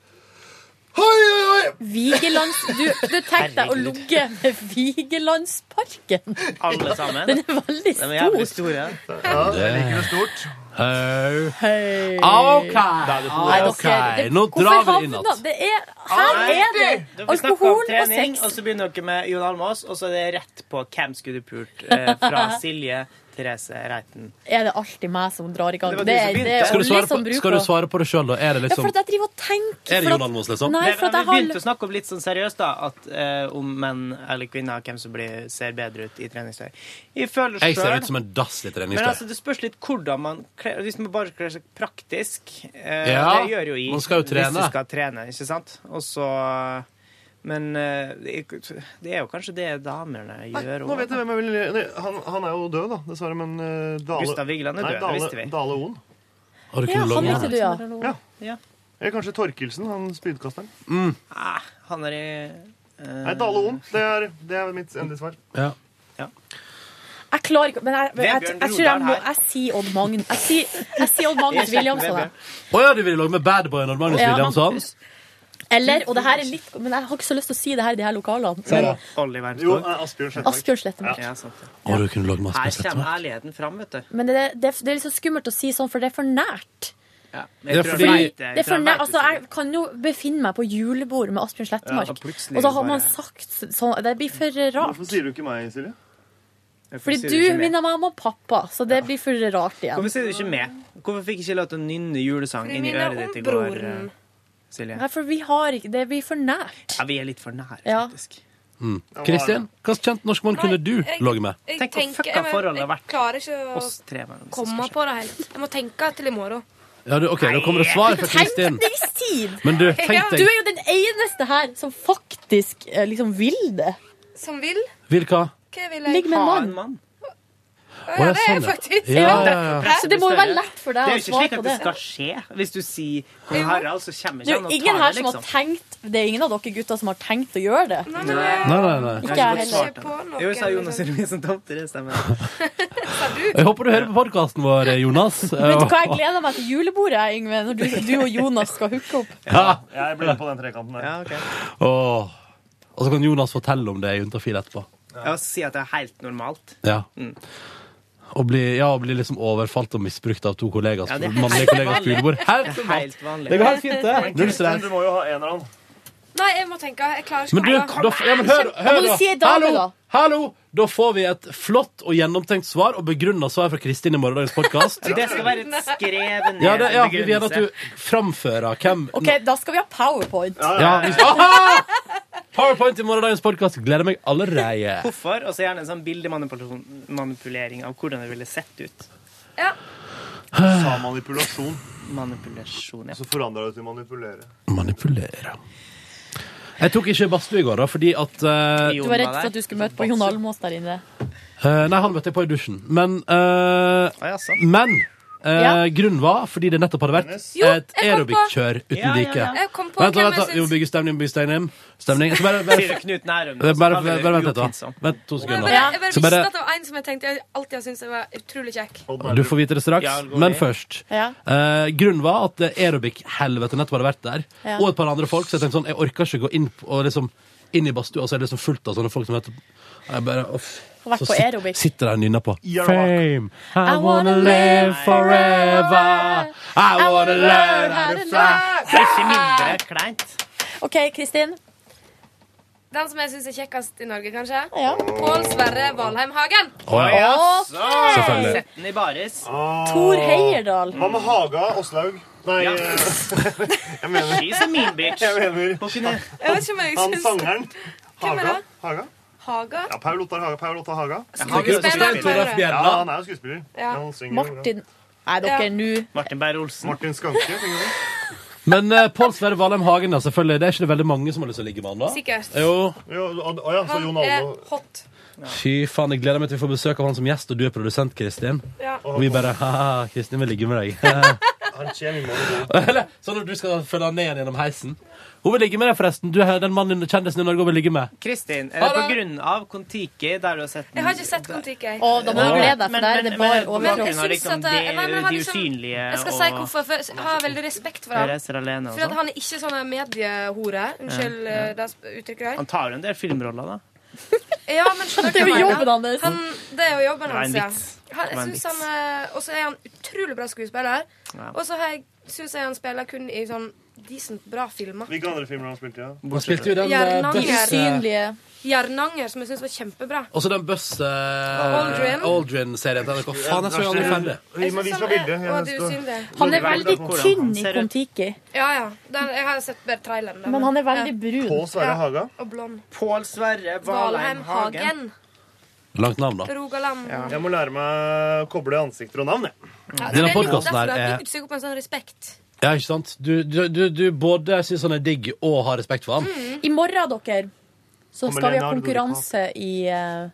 H: Hoi, hoi, hoi!
C: Vigelands... Du, du tenk deg å ligge med Vigelandsparken.
B: Alle sammen.
C: Den er veldig
B: De er
C: stor.
B: jævlig store.
H: Ja, jeg liker det stort.
A: Hei.
C: Hei.
A: Ah, OK,
B: er det på det.
A: OK.
B: Nei, dere-
A: Nå
C: Hvorfor
A: drar vi inn
C: havna-
A: igjen.
C: Det er, her er det
B: Vi snakker
C: alkohol
B: om
C: og
B: trening, altså.
C: sex.
B: og så begynner dere med Jon Almaas, og så er det rett på Hvem skulle du pult? eh, Fra Silje Therese Reiten.
C: Er det alltid meg som drar i gang?
B: Det var
C: Det,
B: du som
C: er- det,
B: begynte.
C: er
A: Skal du
C: Olle
A: svare
C: som
A: på, skal
C: bruker
A: du
C: å-
A: svare på det sjøl, da? Er det
C: Ja, for
A: liksom
C: at jeg driver og tenker
A: Er det
C: for at-
A: Jon Almaas, liksom?
C: Nei,
B: Nei,
C: for
B: men
C: at jeg
B: vi
C: har
B: begynte å snakke om litt sånn seriøst, da. At, eh, om menn eller kvinner, hvem som blir, ser bedre ut i treningstøy. Jeg føler
A: Jeg ser
B: selv-
A: ut som en dass i
B: Men altså,
A: treningstøy.
B: det spørs litt hvordan man kler Hvis man bare kler seg praktisk eh,
A: Ja,
B: Det gjør jo i
A: man skal jo trene.
B: hvis du skal trene, ikke sant? Og så Men eh, det er jo kanskje det damene gjør
H: Nå vet jeg hvem jeg vil nei, han, han er jo død, da, dessverre, men eh, Dale
B: Gustav Vigeland er
H: Nei,
B: død, det
H: Dale,
B: visste vi.
H: Dale Oen.
A: Har du
C: Ja,
A: kunnet
C: han
A: logge
C: likte
A: inn?
C: du, ja.
H: Ja.
B: Ja.
H: Eller kanskje Torkelsen, han spydkasteren.
B: Ah, han er i eh,
H: Nei, Dale Oen. Det er, det er mitt endelige svar.
A: Ja.
C: Jeg klarer ikke Men jeg, jeg, jeg,
H: Vebjørn
C: tror jeg
H: Brodal
C: må
H: her.
C: Jeg sier Odd Magnus. Jeg sier, jeg sier Odd Magnus Williamson. jeg.
A: Å ja, du ville logge med badboyen og Magnus
C: Ja.
A: Williamson?
C: Eller, og det her er litt Men jeg har ikke så lyst til å si det her i de her lokalene.
A: Sier
C: Men
A: det.
B: Oliver
H: Jo, eh, Asbjørn Slettemark.
C: Asbjørn Slettemark.
B: Ja, sant, ja.
A: Å, du kunne logge med
B: Her
A: Asbjørn Slettemark.
B: kommer ærligheten fram, vet du.
C: men det, det, det er litt så skummelt å si sånn, for det er for nært.
B: Ja.
A: Det er
B: tror
A: fordi-
B: han
A: Fordi
B: vet jeg
C: Det er
B: tror
C: for
B: han
C: nært.
B: vet
C: Altså, jeg kan jo befinne meg på julebord med Asbjørn Slettemark,
B: Ja, og
C: og,
B: plutselig
C: så har
B: bare-
C: man sagt sånn Det blir for rart.
H: Hvorfor sier du ikke meg, Silje?
B: Hvorfor
C: Fordi
B: sier
C: du
B: ikke mer?
C: minner meg om han pappa, så det blir for rart igjen.
B: Hvorfor sier du ikke med? Hvorfor fikk ikke jeg lov til å nynne julesang
C: Fordi
B: inn i
C: vi minner
B: øret ditt i
C: om
B: går,
C: broren.
B: eh, Silje?
C: Nei, for vi har ikke Det blir for nært.
B: Ja, vi er litt for nære,
C: Ja.
B: faktisk.
A: Mm. Kristin, hva slags kjent norsk mann kunne du
I: jeg-
A: logge med?
I: Jeg
B: Tenk hvor
I: tenker-
B: fucka
I: jeg- men
B: forholdet har vært.
I: Jeg klarer ikke å
B: Oss tre mann.
I: komme på det helt. Jeg må tenke til i morgen.
A: Ja, du, ok, Nå kommer det svar fra Kristin.
C: Tenkningstid!
A: Men du, tenk
C: Du
A: deg
C: er jo den eneste her som faktisk eh, liksom vil det.
I: Som vil.
A: Vil hva?
I: Hva vil jeg?
C: Ligg med en mann.
I: Ja, det er faktisk
A: sånn, Ja, ja, ja.
C: Så det må jo være lett for deg
B: Det er jo
C: å
B: ikke
C: svare
B: slik
C: på
B: at det
C: det.
B: skal skje. Hvis du sier kong Harald, så kommer
C: Det
B: ikke
C: er
B: han og
C: jo ingen
B: tar
C: her
B: det,
C: som har
B: liksom.
C: tenkt Det er ingen av dere gutter som har tenkt å gjøre det.
B: Nei,
I: eh,
A: Nei, nei, nei.
C: Ikke jeg heller.
B: Jo,
A: liksom.
B: jeg sa Jonas Eliassen Tofte, det stemmer.
A: Jeg håper du hører på podkasten vår, eh, Jonas.
C: Vet du hva, jeg gleder meg til julebordet, jeg, Yngve, når du, du og Jonas skal hooke opp.
A: Eh, Ja.
H: Jeg ble med på den trekanten der.
A: Åh. Og så kan Jonas fortelle om det i Juntafil etterpå.
B: Jeg vil si at det er helt normalt.
A: Ja. Og bli, ja, og bli liksom overfalt og misbrukt av to kollegas,
B: Ja, det er helt
A: mannlige kollegas
B: vanlig.
A: julebord. Helt
B: Det er
A: normalt.
B: helt vanlig.
A: Det går helt fint, det. Null stress.
H: Du må jo ha en eller annen.
I: Nei, jeg må tenke. Jeg klarer
A: Men du,
I: ikke
A: da, ja, men hør,
C: Da
A: hør
C: må du
A: da.
C: si ei dame,
A: Hallo!
C: da.
A: Hallo! Da får vi et flott og gjennomtenkt svar og begrunna svar fra Kristin i morgendagens podkast.
B: Det skal være et skrevet ned
A: Ja, det, ja, vi vil gjerne at
B: begrunnelse.
A: du framfører hvem
C: OK, da skal vi ha powerpoint.
A: ja, vi skal, Aha! Powerpoint i morgendagens podkast. Gleder meg allerede.
B: Hvorfor? Og så gjerne en sånn bildemanipulering av hvordan det ville sett ut.
H: Ta manipulasjon,
B: Manipulasjon, ja.
H: så forandrer det til manipulere.
A: Manipulere. Jeg tok ikke badstue i går, da, fordi at eh,
C: Du var redd for at du skulle møte på Jon Almaas der inne.
A: Eh, nei, han møtte jeg på i dusjen. Men, eh,
B: Å, sånn. jaså.
A: men eh,
C: Ja.
A: grunnen var fordi det nettopp hadde vært
H: Hennes.
I: Jo,
A: et
I: jeg kom på.
A: aerobic-kjør uten
B: Ja, ja,
A: like.
B: ja.
I: Jeg kom på
A: Vent, vent,
I: hvem jeg
A: vent, vi må
I: syns
A: bygge stemning. bygge stemning, stemning. Så bare, bare,
B: Sier du Knut Nærum,
A: bare,
B: så
A: bare,
B: kan vi
A: bare,
B: det
A: bare vent litt, da.
B: utvilsomt.
A: Vent to
I: Jeg
A: sekunder.
I: bare, jeg bare
A: Så
I: visste
A: bare-
I: at det var en som jeg tenkte jeg alltid har syntes var utrolig kjekk.
A: Du får vite det straks.
B: Ja, det går
A: Men
B: ned.
A: først.
C: Ja.
A: Eh, grunnen var at det aerobic-helvete nettopp hadde vært der.
C: Ja.
A: Og et par andre folk. Så jeg tenkte sånn, jeg orker ikke gå inn, på- og liksom, inn i badstua, og så er det liksom fullt av sånne folk som heter jeg bare, uff.
C: Har vært
A: Så
C: på
A: sit-
C: aerobic.
A: sitter der og nynner på
H: Gjør det
A: Fame, I wanna
C: wanna
A: live
C: live
A: forever I wanna learn how to
I: Ah,
A: fly
B: Det er ikke mindre kleint.
C: OK, Kristin.
I: Den som jeg syns er kjekkest i Norge, kanskje.
C: Ja.
I: Pål Sverre Valheim Hagen.
A: Å, ja. Selvfølgelig.
C: OK.
B: Sett den i baris.
C: Tor Heyerdahl.
H: Ah. Hva med Haga Åslaug? Nei,
B: Ja.
H: eh,
B: She's a mean bitch.
H: jeg mener
B: Hun kunne
I: Jeg vet ikke om jeg
H: han
I: syns
H: sangeren.
I: Hvem er
H: Haga?
I: det?
H: Haga?
I: Haga.
H: Ja, Paul Ottar Haga. Paul Ottar Haga.
I: Skuespiller.
A: Tor F.
H: Ja,
A: Bjerna
H: han er jo skuespiller.
I: Ja.
H: Han synger jo bra.
C: Martin Nei, dere,
I: Ja.
C: nå
B: Martin Beyer-Olsen.
H: Martin Skanke. synger han.
A: Men uh, Paul Sverre Valheim Hagen da, selvfølgelig Det er ikke det veldig mange som har lyst til å ligge med han da
I: Sikkert.
A: Jo,
H: Jo, å- å ja, så
I: Han
H: Jon
I: er
H: Almaas
I: hot.
A: fy faen, jeg gleder meg til vi får besøk av han som gjest Og du er produsent, Kristin
I: Ja.
A: Og vi bare, haha, Kristin vil ligge med deg
H: Han kommer i morgen.
A: Eller, sånn at du skal følge han ned igjen gjennom heisen Hun vil ligge med deg forresten Du er den mannen kjendisen i Norge hun vil ligge med
B: Kristin, er det på grunn av Kon-Tiki der du har sett den?
I: Jeg har ikke sett Kon-Tiki. jeg.
C: Å, da må du glede deg, for der er det bare
I: men
C: overkropp.
I: jeg
B: Bakgrunnen er
I: syns
B: liksom
I: at jeg- nei, men
B: det,
I: han
B: de
I: liksom-
B: usynlige
I: Jeg skal si hvorfor, for jeg har veldig respekt for
B: og
I: ham.
B: reiser alene og
I: For at
B: sånn.
I: han er ikke sånn en mediehore. Unnskyld eh, det uttrykket der.
B: Han tar jo en del filmroller, da.
I: Ja, men skjønner
C: Det er
I: du hva
C: jo
I: jeg mener?
C: jobben hans.
I: Han, det er jo jobben
B: Det var en
I: hans, ja.
B: vits.
I: Han,
B: Det var en
I: jeg synes
B: vits.
I: han, eh, og så er han utrolig bra skuespiller.
B: Ja.
I: Og så har jeg- synes jeg han spiller kun i sånn decent bra filmer.
H: Hvilke andre filmer har han spilt i? Ja?
A: Han spilte jo den eh,
I: Jernanger.
A: bøss, eh,
C: Usynlige.
I: Jernanger, som jeg syns var kjempebra.
A: Og så den Buss
I: Aldrin.
A: Aldrin-serien til NRK. Faen, jeg så jo aldri ferdig.
H: Gi meg vis meg
I: han
H: bildet.
I: er,
H: Jeg
I: og
H: har
I: det
H: lyst til å-
I: usynlige.
C: Han er
B: Hvordan
C: veldig
B: han
C: tynn i
B: ser ut.
C: Kon-Tiki,
I: Ja, ja. Den, jeg har sett bare traileren. der,
C: men han er veldig brun.
H: Pål Sverre
I: Ja.
H: Haga.
I: Og blond.
B: Pål Sverre
I: Valheim Hagen.
A: Langt navn, da.
I: Rogaland. Ja.
H: Jeg må lære meg å koble ansikter og navn. jeg.
I: Ja,
A: Denne
I: det er litt
A: podcasten her
I: derfor det
A: er-
I: har bygd seg opp en sånn respekt.
A: Ja, ikke sant? Du, du, du, du både syns han er digg og har respekt for han.
C: I morgen, dere, så
H: Kommer
C: skal vi ha
H: Leonardo
C: konkurranse i, eh,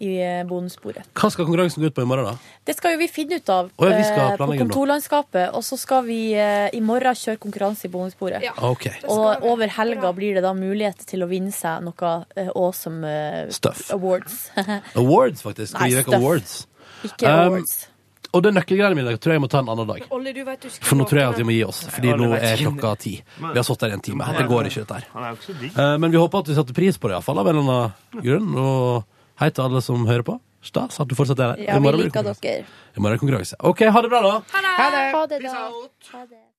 C: i eh, bonusbordet.
A: Hva skal konkurransen gå ut på i morgen, da?
C: Det skal jo vi finne ut av
A: Å ja, vi skal
C: eh, på
A: planlegge nå.
C: kontorlandskapet. Og så skal vi eh, i morgen kjøre konkurranse i bonusbordet.
I: Ja.
A: Ah, OK.
I: Det skal
C: Og
I: vi.
C: over helga blir det da mulighet til å vinne seg noe eh, awesome eh,
A: Stuff.
C: awards.
A: Awards, faktisk. Vi
C: Nei,
A: gir vekk
C: stuff.
A: awards.
C: Ikke
A: Um,
C: awards.
A: Og det nøkkelgreiene mine tror jeg jeg må ta en annen dag.
I: Olli, du vet du skal
A: For nå tror jeg at
I: våkne.
A: vi må gi oss, Fordi
B: Ja, det
A: nå
B: vet
A: er
B: jeg.
A: klokka ti. Vi har stått der i en time. Det går ikke, dette her.
H: Han er jo ikke så digg.
A: Eh, Men vi håper at du setter pris på det, iallfall. Av en eller annen grunn. Og hei til alle som hører på. Stas at du fortsatt er her.
C: Ja, vi
A: blir det
C: liker
A: konkurranse.
C: dere.
A: I morgen er det konkurranse. OK, ha det bra, da.
C: Ha det, da. Ha det.